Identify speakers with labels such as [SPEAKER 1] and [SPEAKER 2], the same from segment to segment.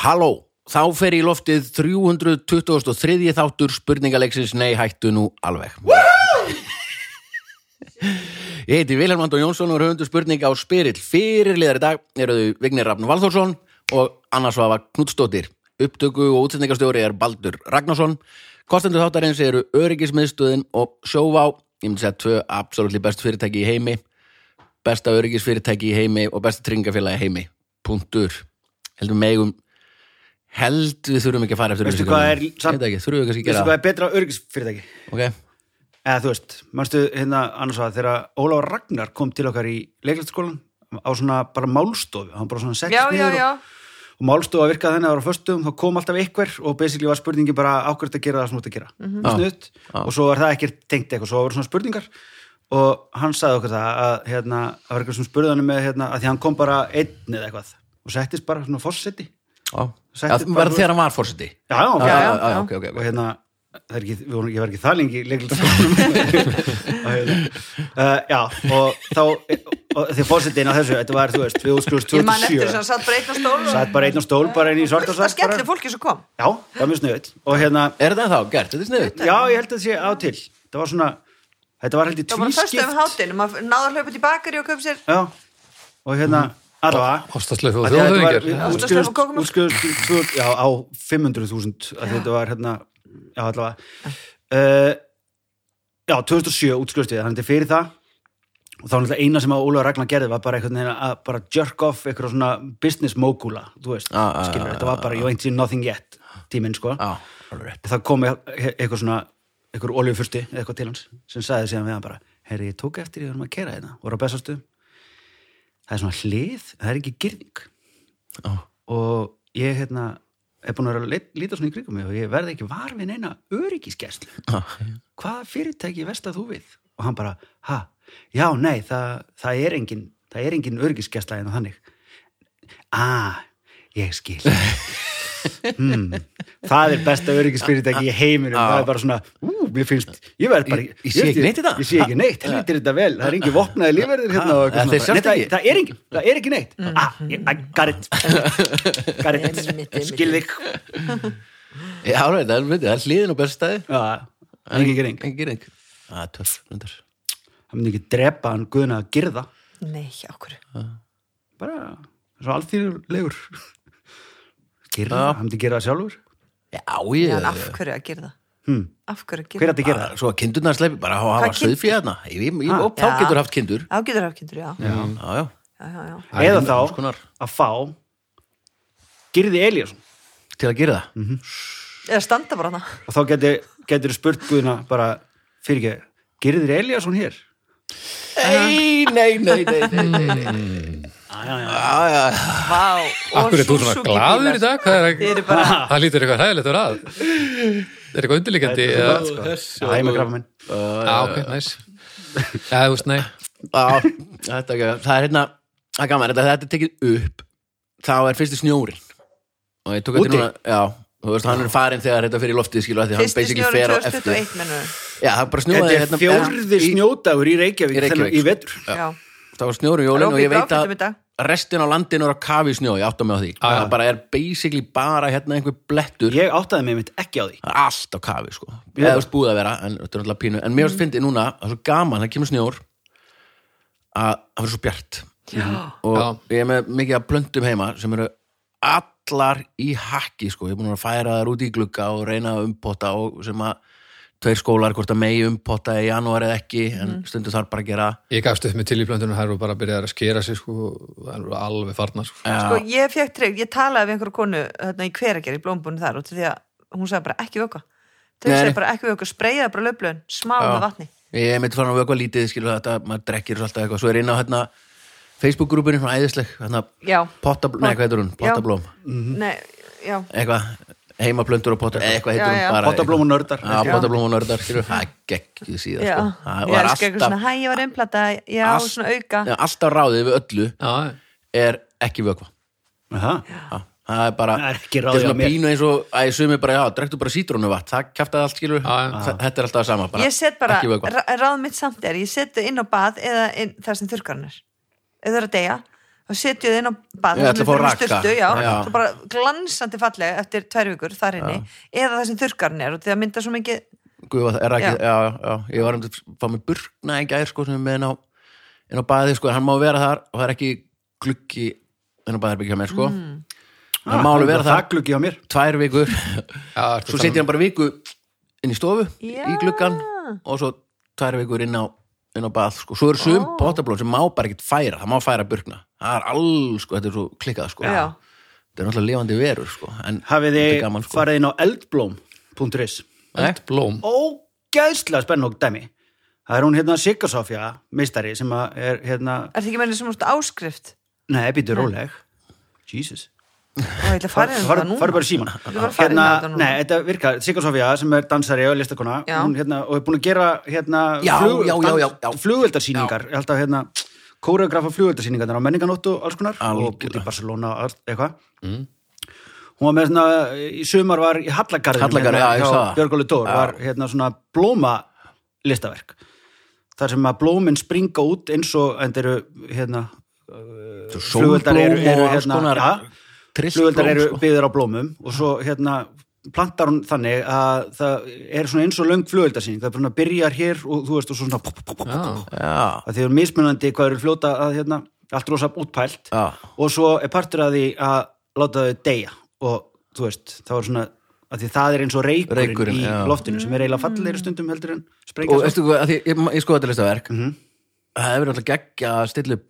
[SPEAKER 1] Halló, þá fer í loftið 323. þáttur spurningaleiksins Nei, hættu nú alveg. Ég heiti Vilhelm Anton Jónsson og er höfundur spurninga á spyrill. Fyrirliðar í dag eru þau Vignir Rafn Valþórsson og Anna Svafa Knudstóttir. Upptöku og útsendingastjóri er Baldur Ragnarsson. Kostendur þáttarins eru Öryggismiðstöðin og Sjóvá. Ég myndi segja tvö absolutt best fyrirtæki í heimi besta öryggisfyrirtæki í heimi og besta tryggingafélagi í heimi punktur heldur við megum held við þurfum ekki að fara eftir
[SPEAKER 2] Veistu
[SPEAKER 1] upplýsingunum.
[SPEAKER 2] hvað er
[SPEAKER 1] Ég
[SPEAKER 2] samt-
[SPEAKER 1] veit ekki, þurfum við kannski
[SPEAKER 2] Veistu hvað
[SPEAKER 1] að
[SPEAKER 2] er betra örgisfyrirtæki?
[SPEAKER 1] gera það ok,
[SPEAKER 2] Eða þú veist, mannstu hérna annars að þegar Ólafur Ragnar kom til okkar í leiklætskólan á svona bara málstofu, hann bara svona settist
[SPEAKER 3] Já, já,
[SPEAKER 2] niður
[SPEAKER 3] já.
[SPEAKER 2] og, og málstofa virkaði þannig að það var á föstum, þá kom alltaf einhver og basically var spurningin bara ákvært að gera það sem þú ert að gera
[SPEAKER 3] Mhm.
[SPEAKER 1] Já.
[SPEAKER 2] snuðt og svo var það ekkert tengt eitthvað, svo voru svona spurningar og hann sagði okkur það að hérna, það var eitthvað sem spurði hann með hérna, að því hann kom bara einn eða eitthvað og settist bara svona fórseti
[SPEAKER 1] já
[SPEAKER 2] Settu
[SPEAKER 1] Það
[SPEAKER 2] bara-
[SPEAKER 1] var þegar hann var fórseti
[SPEAKER 2] Já, já,
[SPEAKER 3] Já, já.
[SPEAKER 1] ok, ok,
[SPEAKER 2] og
[SPEAKER 1] ok
[SPEAKER 2] hérna það er ekki, við vorum, ég var ekki það lengi í leiklistarskólanum hérna, uh, já, og þá og því fórsetin á þessu, þetta var þú veist við útskrifust
[SPEAKER 3] Ég man eftir þess að
[SPEAKER 2] 2007
[SPEAKER 3] hann satt bara einn á stól og
[SPEAKER 2] satt bara einn á stól, bara inn í svart og
[SPEAKER 3] það
[SPEAKER 2] svart
[SPEAKER 3] skellir
[SPEAKER 2] bara,
[SPEAKER 3] fólki sem kom.
[SPEAKER 2] já, það var mjög sniðut og hérna,
[SPEAKER 1] er þetta þá gert, þetta er sniðut
[SPEAKER 2] já, ég held að það sé á til það var svona, þetta var held ég
[SPEAKER 3] Það var fyrst um
[SPEAKER 2] tvískipt
[SPEAKER 3] hátinn, maður náði að hlaupa til bakari og köpa sér
[SPEAKER 2] já, og hérna
[SPEAKER 3] Mm.
[SPEAKER 2] allavega
[SPEAKER 4] Ástaslöfu og
[SPEAKER 2] Af því að sko. þetta var-
[SPEAKER 4] þjóðhöfingjar
[SPEAKER 2] við
[SPEAKER 3] Ástarslöf og
[SPEAKER 2] útskrifumst-
[SPEAKER 3] kókómjólk.
[SPEAKER 2] útskrifumst tvö- já, á 500.000 af því þetta var hérna já, allavega uh, já, 2007 útskrifst við þannig að fyrir það og þá náttúrulega eina sem að Ólaður Ragnar gerði var bara einhvern veginn að bara jerk off eitthvað svona business mogula þú veist,
[SPEAKER 1] Ah, ah,
[SPEAKER 2] skilur,
[SPEAKER 1] ah,
[SPEAKER 2] þetta var bara you ain't seen nothing yet tíminn sko
[SPEAKER 1] já, alveg rétt
[SPEAKER 2] það kom e- e- eitthvað svona eitthvað oljufursti eða eitthvað til hans sem sagði síðan við hann bara herri, ég tók eftir ég varum að kera þetta voru á bestastu það er svona hlið, það er ekki gyrning
[SPEAKER 1] Já.
[SPEAKER 2] og ég hérna er búin að vera að leit- líta svona í krigum mig og ég verði ekki var við neina öryggisgæslu hvað fyrirtæki vestar þú við? og hann bara, ha, já, nei það, það er engin, það er engin öryggisgæsla en þannig ah, ég skil hmm, það er besta öryggisfyrirtæki í heiminum, það er bara svona ú, mér finnst, ég verð bara
[SPEAKER 1] Ég- ég sé ekki neitt í dag.
[SPEAKER 2] ég sé ekki neitt, heldur þetta vel það er engin vopnaði lífverðir hérna og
[SPEAKER 1] Ha,
[SPEAKER 2] eitthvað
[SPEAKER 1] þeir
[SPEAKER 2] svona bara.
[SPEAKER 1] sjást
[SPEAKER 2] Nei, það,
[SPEAKER 1] ekki.
[SPEAKER 2] það er engin, það er ekki neitt ah, ég, I got it got
[SPEAKER 3] Mhm. Einmitt,
[SPEAKER 2] it,
[SPEAKER 3] einmitt.
[SPEAKER 2] skil þig
[SPEAKER 1] já, alveg, það er, veit, það er hliðin og beststæði
[SPEAKER 2] já, það er ekki gering
[SPEAKER 1] engin gering það er törf, reyndar
[SPEAKER 2] það myndi ekki drepa hann guðna að girða
[SPEAKER 3] Nei, okkur
[SPEAKER 2] bara svo alþýrlegur gerða,
[SPEAKER 1] Já.
[SPEAKER 2] hann myndi gera það sjálfur
[SPEAKER 1] já,
[SPEAKER 3] En
[SPEAKER 1] ég
[SPEAKER 3] af hverju að gera það?
[SPEAKER 2] hmm.
[SPEAKER 3] Af hverju að
[SPEAKER 2] hver
[SPEAKER 3] gera það?
[SPEAKER 2] ætti að gera það?
[SPEAKER 1] svo að kindurnar sleppi bara að hafa
[SPEAKER 3] Hvað kind-
[SPEAKER 1] stöðfíð hérna Ég- ég-
[SPEAKER 2] Ah.
[SPEAKER 1] og þá
[SPEAKER 3] Já.
[SPEAKER 1] getur haft kindur Mm.
[SPEAKER 3] Á getur afkyndur, já.
[SPEAKER 1] já, já
[SPEAKER 3] Já, já, já.
[SPEAKER 1] Það er
[SPEAKER 2] Eða
[SPEAKER 1] alls
[SPEAKER 2] þá-
[SPEAKER 1] konar
[SPEAKER 2] að fá Girði Elíasson
[SPEAKER 1] til að gera það
[SPEAKER 3] Eða standa bara hana.
[SPEAKER 2] og þá getur, getur spurt guðna bara fyrir ekki, Girðir Elíasson hér?
[SPEAKER 1] Nei, nei, nei, nei, nei, nei, nei. Já, já,
[SPEAKER 3] Vá. og
[SPEAKER 4] Akkur er þú svona
[SPEAKER 3] Suzuki
[SPEAKER 4] glaður í
[SPEAKER 3] bílar.
[SPEAKER 4] dag? Hvað er ekki?
[SPEAKER 3] Þið eru bara,
[SPEAKER 4] Það lítur eitthvað hræðilegt að vera að Er eitthvað undirleikandi? eða-
[SPEAKER 2] Það sko. Það er með krafa minn
[SPEAKER 4] Já, ok, næs Já, þú veist, nei
[SPEAKER 1] já, þetta er ekki það er hérna, það er gaman, þetta, þetta er tekið upp þá er fyrsti snjórin og ég tók
[SPEAKER 2] Úti?
[SPEAKER 1] eftir núna, já þú veist, hann er farin þegar þetta fyrir loftið skilu því að hann
[SPEAKER 3] fyrsti
[SPEAKER 1] basically
[SPEAKER 3] snjóri
[SPEAKER 1] fer á eftir
[SPEAKER 3] 2021 mennur.
[SPEAKER 1] já, það bara hérna- snjóði
[SPEAKER 2] Þetta er fjórði snjódagur í Reykjavík,
[SPEAKER 1] Í Reykjavík,
[SPEAKER 2] þennan- í vetur
[SPEAKER 3] Já.
[SPEAKER 1] það var snjóri í
[SPEAKER 3] Það
[SPEAKER 1] jólin
[SPEAKER 3] er
[SPEAKER 1] og ég
[SPEAKER 3] óbyggt
[SPEAKER 1] veit
[SPEAKER 3] áfættum
[SPEAKER 1] að
[SPEAKER 3] í dag.
[SPEAKER 1] restin á landinu er á kafi snjó, ég átta mig á því
[SPEAKER 4] Já, já.
[SPEAKER 1] það bara er basically bara hérna einhver blettur
[SPEAKER 2] Ég áttaði mig mitt ekki á því
[SPEAKER 1] það er allt á kafi sko eða þú veist búið að vera, en þetta er náttúrulega pínu en mér finnst fyndið núna, það er svo gaman, það kemur snjór að það verður svo bjart
[SPEAKER 3] Já.
[SPEAKER 1] og
[SPEAKER 4] Já.
[SPEAKER 1] ég er með mikið að blöndum heima sem eru allar í hakki sko, ég er búin að færa þær út í glugga og reyna að umpotta og sem að tveir skólar hvort að megi umpotta í janúar eða ekki, en stundu þarf bara að gera
[SPEAKER 4] Ég gafst upp með til í blöndunum Það eru bara að byrja að skera sig sko og Það eru alveg farnar sko
[SPEAKER 3] Sko, ég fekk trygg, ég talaði við einhverju konu hérna, í hveragerð í blómbunni þar út af því að hún sagði bara ekki vöka. Þau
[SPEAKER 1] Nei,
[SPEAKER 3] sagði
[SPEAKER 1] nei.
[SPEAKER 3] bara ekki vöka, spreyjaði bara löflöðin, smá
[SPEAKER 1] Já.
[SPEAKER 3] með vatni.
[SPEAKER 1] ég er mitt farin að vöka lítið, skilur þetta maður drekkir svo alltaf eitthvað, svo er ég inn á hérna Facebook-grúpunni, svona æðisleg hérna,
[SPEAKER 3] Já.
[SPEAKER 1] pottablóm, nei hvað heitur hún,
[SPEAKER 3] Já.
[SPEAKER 1] pottablóm
[SPEAKER 3] Nei, já.
[SPEAKER 1] eitthvað heimaplöndur og potta, eitthvað heitur
[SPEAKER 3] Já,
[SPEAKER 1] hún
[SPEAKER 3] já.
[SPEAKER 1] bara
[SPEAKER 2] Pottablóm og nördar.
[SPEAKER 1] Já, pottablóm og nördar, skilur, það er geggjuð síðan
[SPEAKER 3] Já,
[SPEAKER 1] sko.
[SPEAKER 3] ég
[SPEAKER 1] var
[SPEAKER 3] elska eitthvað
[SPEAKER 1] alltaf-
[SPEAKER 3] svona, hæ, ég var einplata, já,
[SPEAKER 1] Allt-
[SPEAKER 3] svona auka.
[SPEAKER 1] Já, alltaf ráðið við öllu
[SPEAKER 4] Já,
[SPEAKER 1] er ekki vökva
[SPEAKER 2] Aha.
[SPEAKER 1] Já, það er bara,
[SPEAKER 2] Það er ekki
[SPEAKER 1] þetta
[SPEAKER 2] ráðið
[SPEAKER 1] er
[SPEAKER 2] hjá
[SPEAKER 1] svona
[SPEAKER 2] mér.
[SPEAKER 1] pínu eins og að ég sumi bara, já, drektu bara sítrónu vatn það kæftaði allt skilur,
[SPEAKER 4] Já, já.
[SPEAKER 1] Þa- þetta er alltaf það sama bara,
[SPEAKER 3] ég set bara,
[SPEAKER 1] ekki vökva
[SPEAKER 3] ra- ráð mitt samt er ég setu inn á bað eða inn, þar sem þurrkarinn er ef það er að deyja, þá og setju þið inn á bað
[SPEAKER 1] Ég ætla að fá raka.
[SPEAKER 3] styrtu, já,
[SPEAKER 1] Já.
[SPEAKER 3] svo bara glansandi fallega eftir tvær vikur þar inni eða það sem þurrkarinn er og því að mynda svo mikið
[SPEAKER 1] Gufa, er ekki,
[SPEAKER 3] Já.
[SPEAKER 1] já. Já, já, ég var um til að fá mig burkna í gær sko, sem er með inn á, inn á baði sko, en hann má vera þar og það er ekki gluggi inn á baðherbyggja mér sko.
[SPEAKER 3] Mm.
[SPEAKER 1] hann
[SPEAKER 3] Ah.
[SPEAKER 1] má alveg vera þar
[SPEAKER 2] Þakklugi á mér
[SPEAKER 1] tvær vikur
[SPEAKER 4] Já, ertu
[SPEAKER 1] svo
[SPEAKER 4] að tala
[SPEAKER 1] setja hann bara viku inn í stofu
[SPEAKER 3] Já.
[SPEAKER 1] í gluggan og svo tvær vikur inn á, inn á bað sko. svo eru sum
[SPEAKER 3] Ó.
[SPEAKER 1] oh. potablón sem má bara ekkert færa það má færa burkna það er alls, sko, þetta er svo klikkað sko.
[SPEAKER 3] Já.
[SPEAKER 1] þetta er náttúrulega lifandi verur sko. en
[SPEAKER 2] Hafið
[SPEAKER 1] þetta
[SPEAKER 2] þið
[SPEAKER 1] er gaman sko.
[SPEAKER 2] farið inn á eldblóm.is
[SPEAKER 4] um eldblóm.
[SPEAKER 2] Ógæðslega spennók dæmi Það er hún hérna Sigga Sofja, meistari sem að er hérna,
[SPEAKER 3] er það ekki meina sem úrst áskrift
[SPEAKER 2] nei, býtu róleg Jesus
[SPEAKER 3] og ég ætla að fara inn á
[SPEAKER 2] Farðu-
[SPEAKER 3] það núna
[SPEAKER 2] farðu bara í síman
[SPEAKER 3] Ég var að fara inn á þetta núna.
[SPEAKER 2] Nei, þetta virkar, Sigga Sofía sem er dansari og listakona
[SPEAKER 3] Já.
[SPEAKER 2] hún, hérna, og er búin að gera
[SPEAKER 1] Já,
[SPEAKER 2] hérna,
[SPEAKER 1] já, já, já, já.
[SPEAKER 2] flugveldarsýningar ég held að hérna, kóreografa flugveldarsýningar á menninganótt og alls konar
[SPEAKER 1] Algjörlega. Mm.
[SPEAKER 2] og búin í Barcelona og allt- eitthvað hún var með svona, í sumar var í hérna Hallagarðinu
[SPEAKER 1] Hallagarði, já, ég sá það.
[SPEAKER 2] Björgóli Dór
[SPEAKER 1] Já.
[SPEAKER 2] var hérna svona blóma listaverk þar sem að blómin springa út eins og, en þeir eru hérna, flugveldar
[SPEAKER 1] Sólblóm
[SPEAKER 2] eru, eru
[SPEAKER 1] og alls
[SPEAKER 2] hérna,
[SPEAKER 1] konar
[SPEAKER 2] ja,
[SPEAKER 1] trillblóm,
[SPEAKER 2] flugveldar eru
[SPEAKER 1] sko.
[SPEAKER 2] byggðar á blómum og svo hérna plantar hún þannig að það er svona eins og löng flugveldarsýning það er bara byrjar hér og þú veist og svo svona pop, pop, pop, pop,
[SPEAKER 4] um- Já.
[SPEAKER 1] já,
[SPEAKER 2] að þið eru mismunandi hvað eru fljóta að hérna allt rosa útpælt
[SPEAKER 1] já
[SPEAKER 2] og svo er partur að því að láta þau deyja og þú veist það var svona að því það er eins og reykurinn,
[SPEAKER 1] Reykurinn,
[SPEAKER 2] í
[SPEAKER 1] já.
[SPEAKER 2] loftinu sem er eiginlega fallegri stundum heldur en
[SPEAKER 1] og
[SPEAKER 2] sprengja
[SPEAKER 1] veistu hvað, að því, ég, ég skoði þetta listaverk
[SPEAKER 2] Mhm.
[SPEAKER 1] það hefur alltaf geggja að stilla upp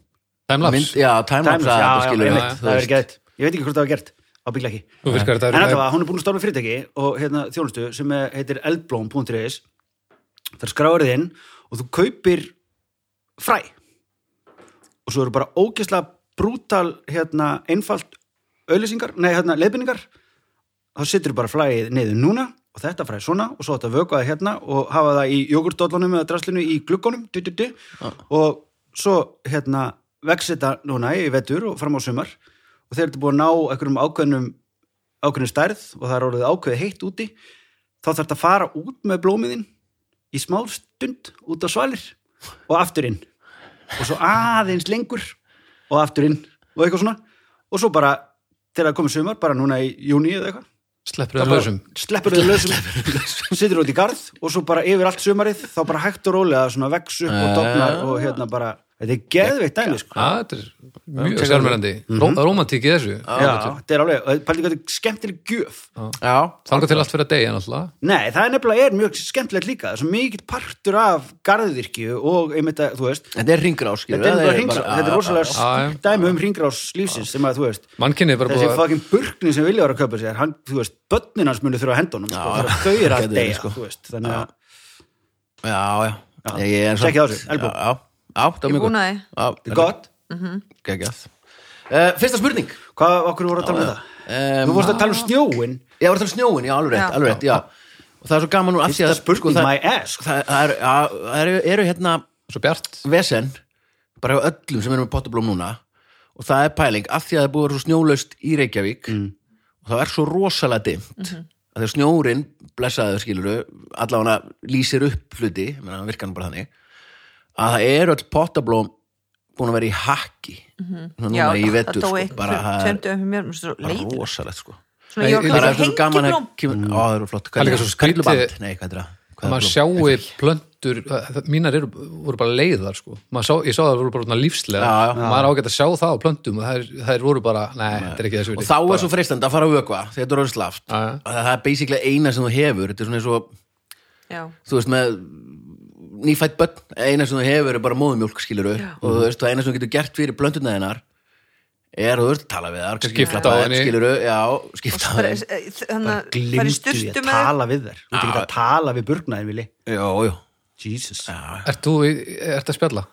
[SPEAKER 1] mynd,
[SPEAKER 4] Timelapse.
[SPEAKER 1] já, timelapse að
[SPEAKER 2] Timelapse,
[SPEAKER 1] þetta
[SPEAKER 2] já, já,
[SPEAKER 1] skilur
[SPEAKER 2] einmitt,
[SPEAKER 1] við, þú
[SPEAKER 2] það er
[SPEAKER 1] veist.
[SPEAKER 2] ekki gætt ég veit ekki hvort það var gert, ábyggla ekki
[SPEAKER 4] Þú virkar þetta
[SPEAKER 2] En
[SPEAKER 4] eru með-
[SPEAKER 2] allavega, hún er búin að starfa fyrirtæki og hérna, þjónustu sem er- heitir eldblóm.is þar skráður þið inn og þú kaupir fræ og svo eru bara ógeðslega brútal, hérna, einfalt auðlýsingar, nei, hérna, leiðbynningar þá situr bara flæðið niður núna og þetta fræði svona og svo þetta vökuða hérna og hafa það í jogurtdóllunum eða draslinu í gluggunum du, du, du. og svo hérna vex þetta núna í vetur og fram á sumar og þeir eru búin að ná einhverjum ákveðnum ákveðnum stærð og það er orðið ákveðið heitt úti þá þarf þetta að fara út með blómiðin í smá stund út á svalir og aftur inn og svo aðeins lengur og aftur inn og eitthvað svona og svo bara þegar það komið sumar bara núna í júni eða eitthvað
[SPEAKER 4] Sleppur það lausum.
[SPEAKER 2] sleppur þau lausum situr út í garð og svo bara yfir allt sumarið þá bara hægt og rólega svona vex upp og dofnar og hérna bara þetta er geðveitt dæmi sko
[SPEAKER 4] Já, Mhm. þetta er mjög sérmennandi. Ró- Rómantík í þessu.
[SPEAKER 2] já, þetta er alveg, og pældi hvað þetta er skemmtileg gjöf
[SPEAKER 1] já,
[SPEAKER 4] Þanga til allt fyrir að deyja náttúrulega.
[SPEAKER 2] Nei, það er nefnilega er mjög skemmtilegt líka, það er svo mikill partur af garðvirkju og einmitt að, þú veist,
[SPEAKER 1] þetta er ringrás skilur
[SPEAKER 2] þetta
[SPEAKER 1] við,
[SPEAKER 2] er nefnilega hringrás,
[SPEAKER 1] bara-
[SPEAKER 2] þetta er rosalega
[SPEAKER 4] já, já.
[SPEAKER 2] stúkt dæmi um hringrás lífsins sem að, þú veist,
[SPEAKER 4] Mannkynni er bara
[SPEAKER 2] þessi
[SPEAKER 4] búið að...
[SPEAKER 2] fucking burkni sem vilja var að kaupa sér, hann, þú veist, börnin hans muni þurfa að henda honum, sko,
[SPEAKER 1] Já,
[SPEAKER 2] þegar þau eru að
[SPEAKER 1] getur verið,
[SPEAKER 2] deyja,
[SPEAKER 1] sko.
[SPEAKER 2] þú veist, þannig að,
[SPEAKER 1] já, já,
[SPEAKER 2] Já.
[SPEAKER 1] Ég er
[SPEAKER 2] Tjekkið á
[SPEAKER 1] samt-
[SPEAKER 2] þessu, elbow.
[SPEAKER 1] já, já, já, það var
[SPEAKER 3] Ég
[SPEAKER 1] mjög
[SPEAKER 3] búin
[SPEAKER 1] gott.
[SPEAKER 3] að því.
[SPEAKER 1] Já,
[SPEAKER 2] þetta er gott,
[SPEAKER 1] geggjað Eh, fyrsta spurning
[SPEAKER 2] hvað okkur voru að tala um þetta?
[SPEAKER 1] um,
[SPEAKER 2] Þú vorst að tala um snjóin,
[SPEAKER 1] ég var að tala um snjóin, já, alveg rétt,
[SPEAKER 3] Já.
[SPEAKER 1] alveg rétt já. og það er svo gaman nú af því að
[SPEAKER 2] fyrsta spurning
[SPEAKER 1] það,
[SPEAKER 2] my ass, sko.
[SPEAKER 1] það, það, er, já, það eru, eru hérna
[SPEAKER 4] Svo bjart.
[SPEAKER 1] vesen bara hjá öllum sem erum með pottablóm núna og það er pæling, af því að það er búið að vera svo snjólaust í Reykjavík
[SPEAKER 4] Mm.
[SPEAKER 1] og það er svo rosalega dimmt
[SPEAKER 3] Mhm.
[SPEAKER 1] að þegar snjórin, blessaðu skiluru allavega lýsir upp hluti ég meina, hann virkar nú bara þannig að það eru öll pottablóm búin að vera í hakki svona núna í vetur
[SPEAKER 3] Mhm. það dói
[SPEAKER 1] sko, bara það er
[SPEAKER 3] töndu um mér, mér finnst það svo
[SPEAKER 1] bara
[SPEAKER 3] leiðilegt.
[SPEAKER 1] rosalegt sko
[SPEAKER 3] Svona ég var
[SPEAKER 4] Ég-
[SPEAKER 1] það
[SPEAKER 3] að
[SPEAKER 1] er svo
[SPEAKER 3] kalla
[SPEAKER 1] gaman að
[SPEAKER 3] hengiblóm
[SPEAKER 1] kemur, á það eru flott
[SPEAKER 4] Mm. Það er líka svo skrýtið-
[SPEAKER 1] Perluband? nei, hvað er það? Hvað
[SPEAKER 4] Maður
[SPEAKER 1] blóm?
[SPEAKER 4] sjáu plöntur, það- mínar eru, voru bara leiðar sko. Maður Sá, ég sá það voru bara svona lífslega.
[SPEAKER 1] Já, já.
[SPEAKER 4] Maður ágætt að sjá það á plöntum og þær, þær voru bara, nei, þetta er ekki þessu
[SPEAKER 1] og
[SPEAKER 4] viti.
[SPEAKER 1] þá er svo freistandi að fara að vökva þegar þetta er orðið slaft
[SPEAKER 4] Já, já.
[SPEAKER 1] það er basically eina sem þú hefur þetta er svona eins og,
[SPEAKER 3] já,
[SPEAKER 1] þú veist með nýfætt börn, eina sem þú hefur er bara móðumjólk skilur
[SPEAKER 3] Já.
[SPEAKER 1] og þú veist, og eina sem þú getur gert fyrir blönduna þinnar er, þú veist, tala við þar
[SPEAKER 4] Skipta á henni.
[SPEAKER 1] skilur, já, skipta á
[SPEAKER 3] bara,
[SPEAKER 1] henni
[SPEAKER 3] eh, þannig að fara í
[SPEAKER 2] glimtu því
[SPEAKER 3] styrtu
[SPEAKER 2] að
[SPEAKER 3] með
[SPEAKER 2] tala við þær, þú ert ekki að tala við burgnaðin, Vili,
[SPEAKER 1] já, já,
[SPEAKER 2] Jesus,
[SPEAKER 4] Ert þú, í- ert að spjalla?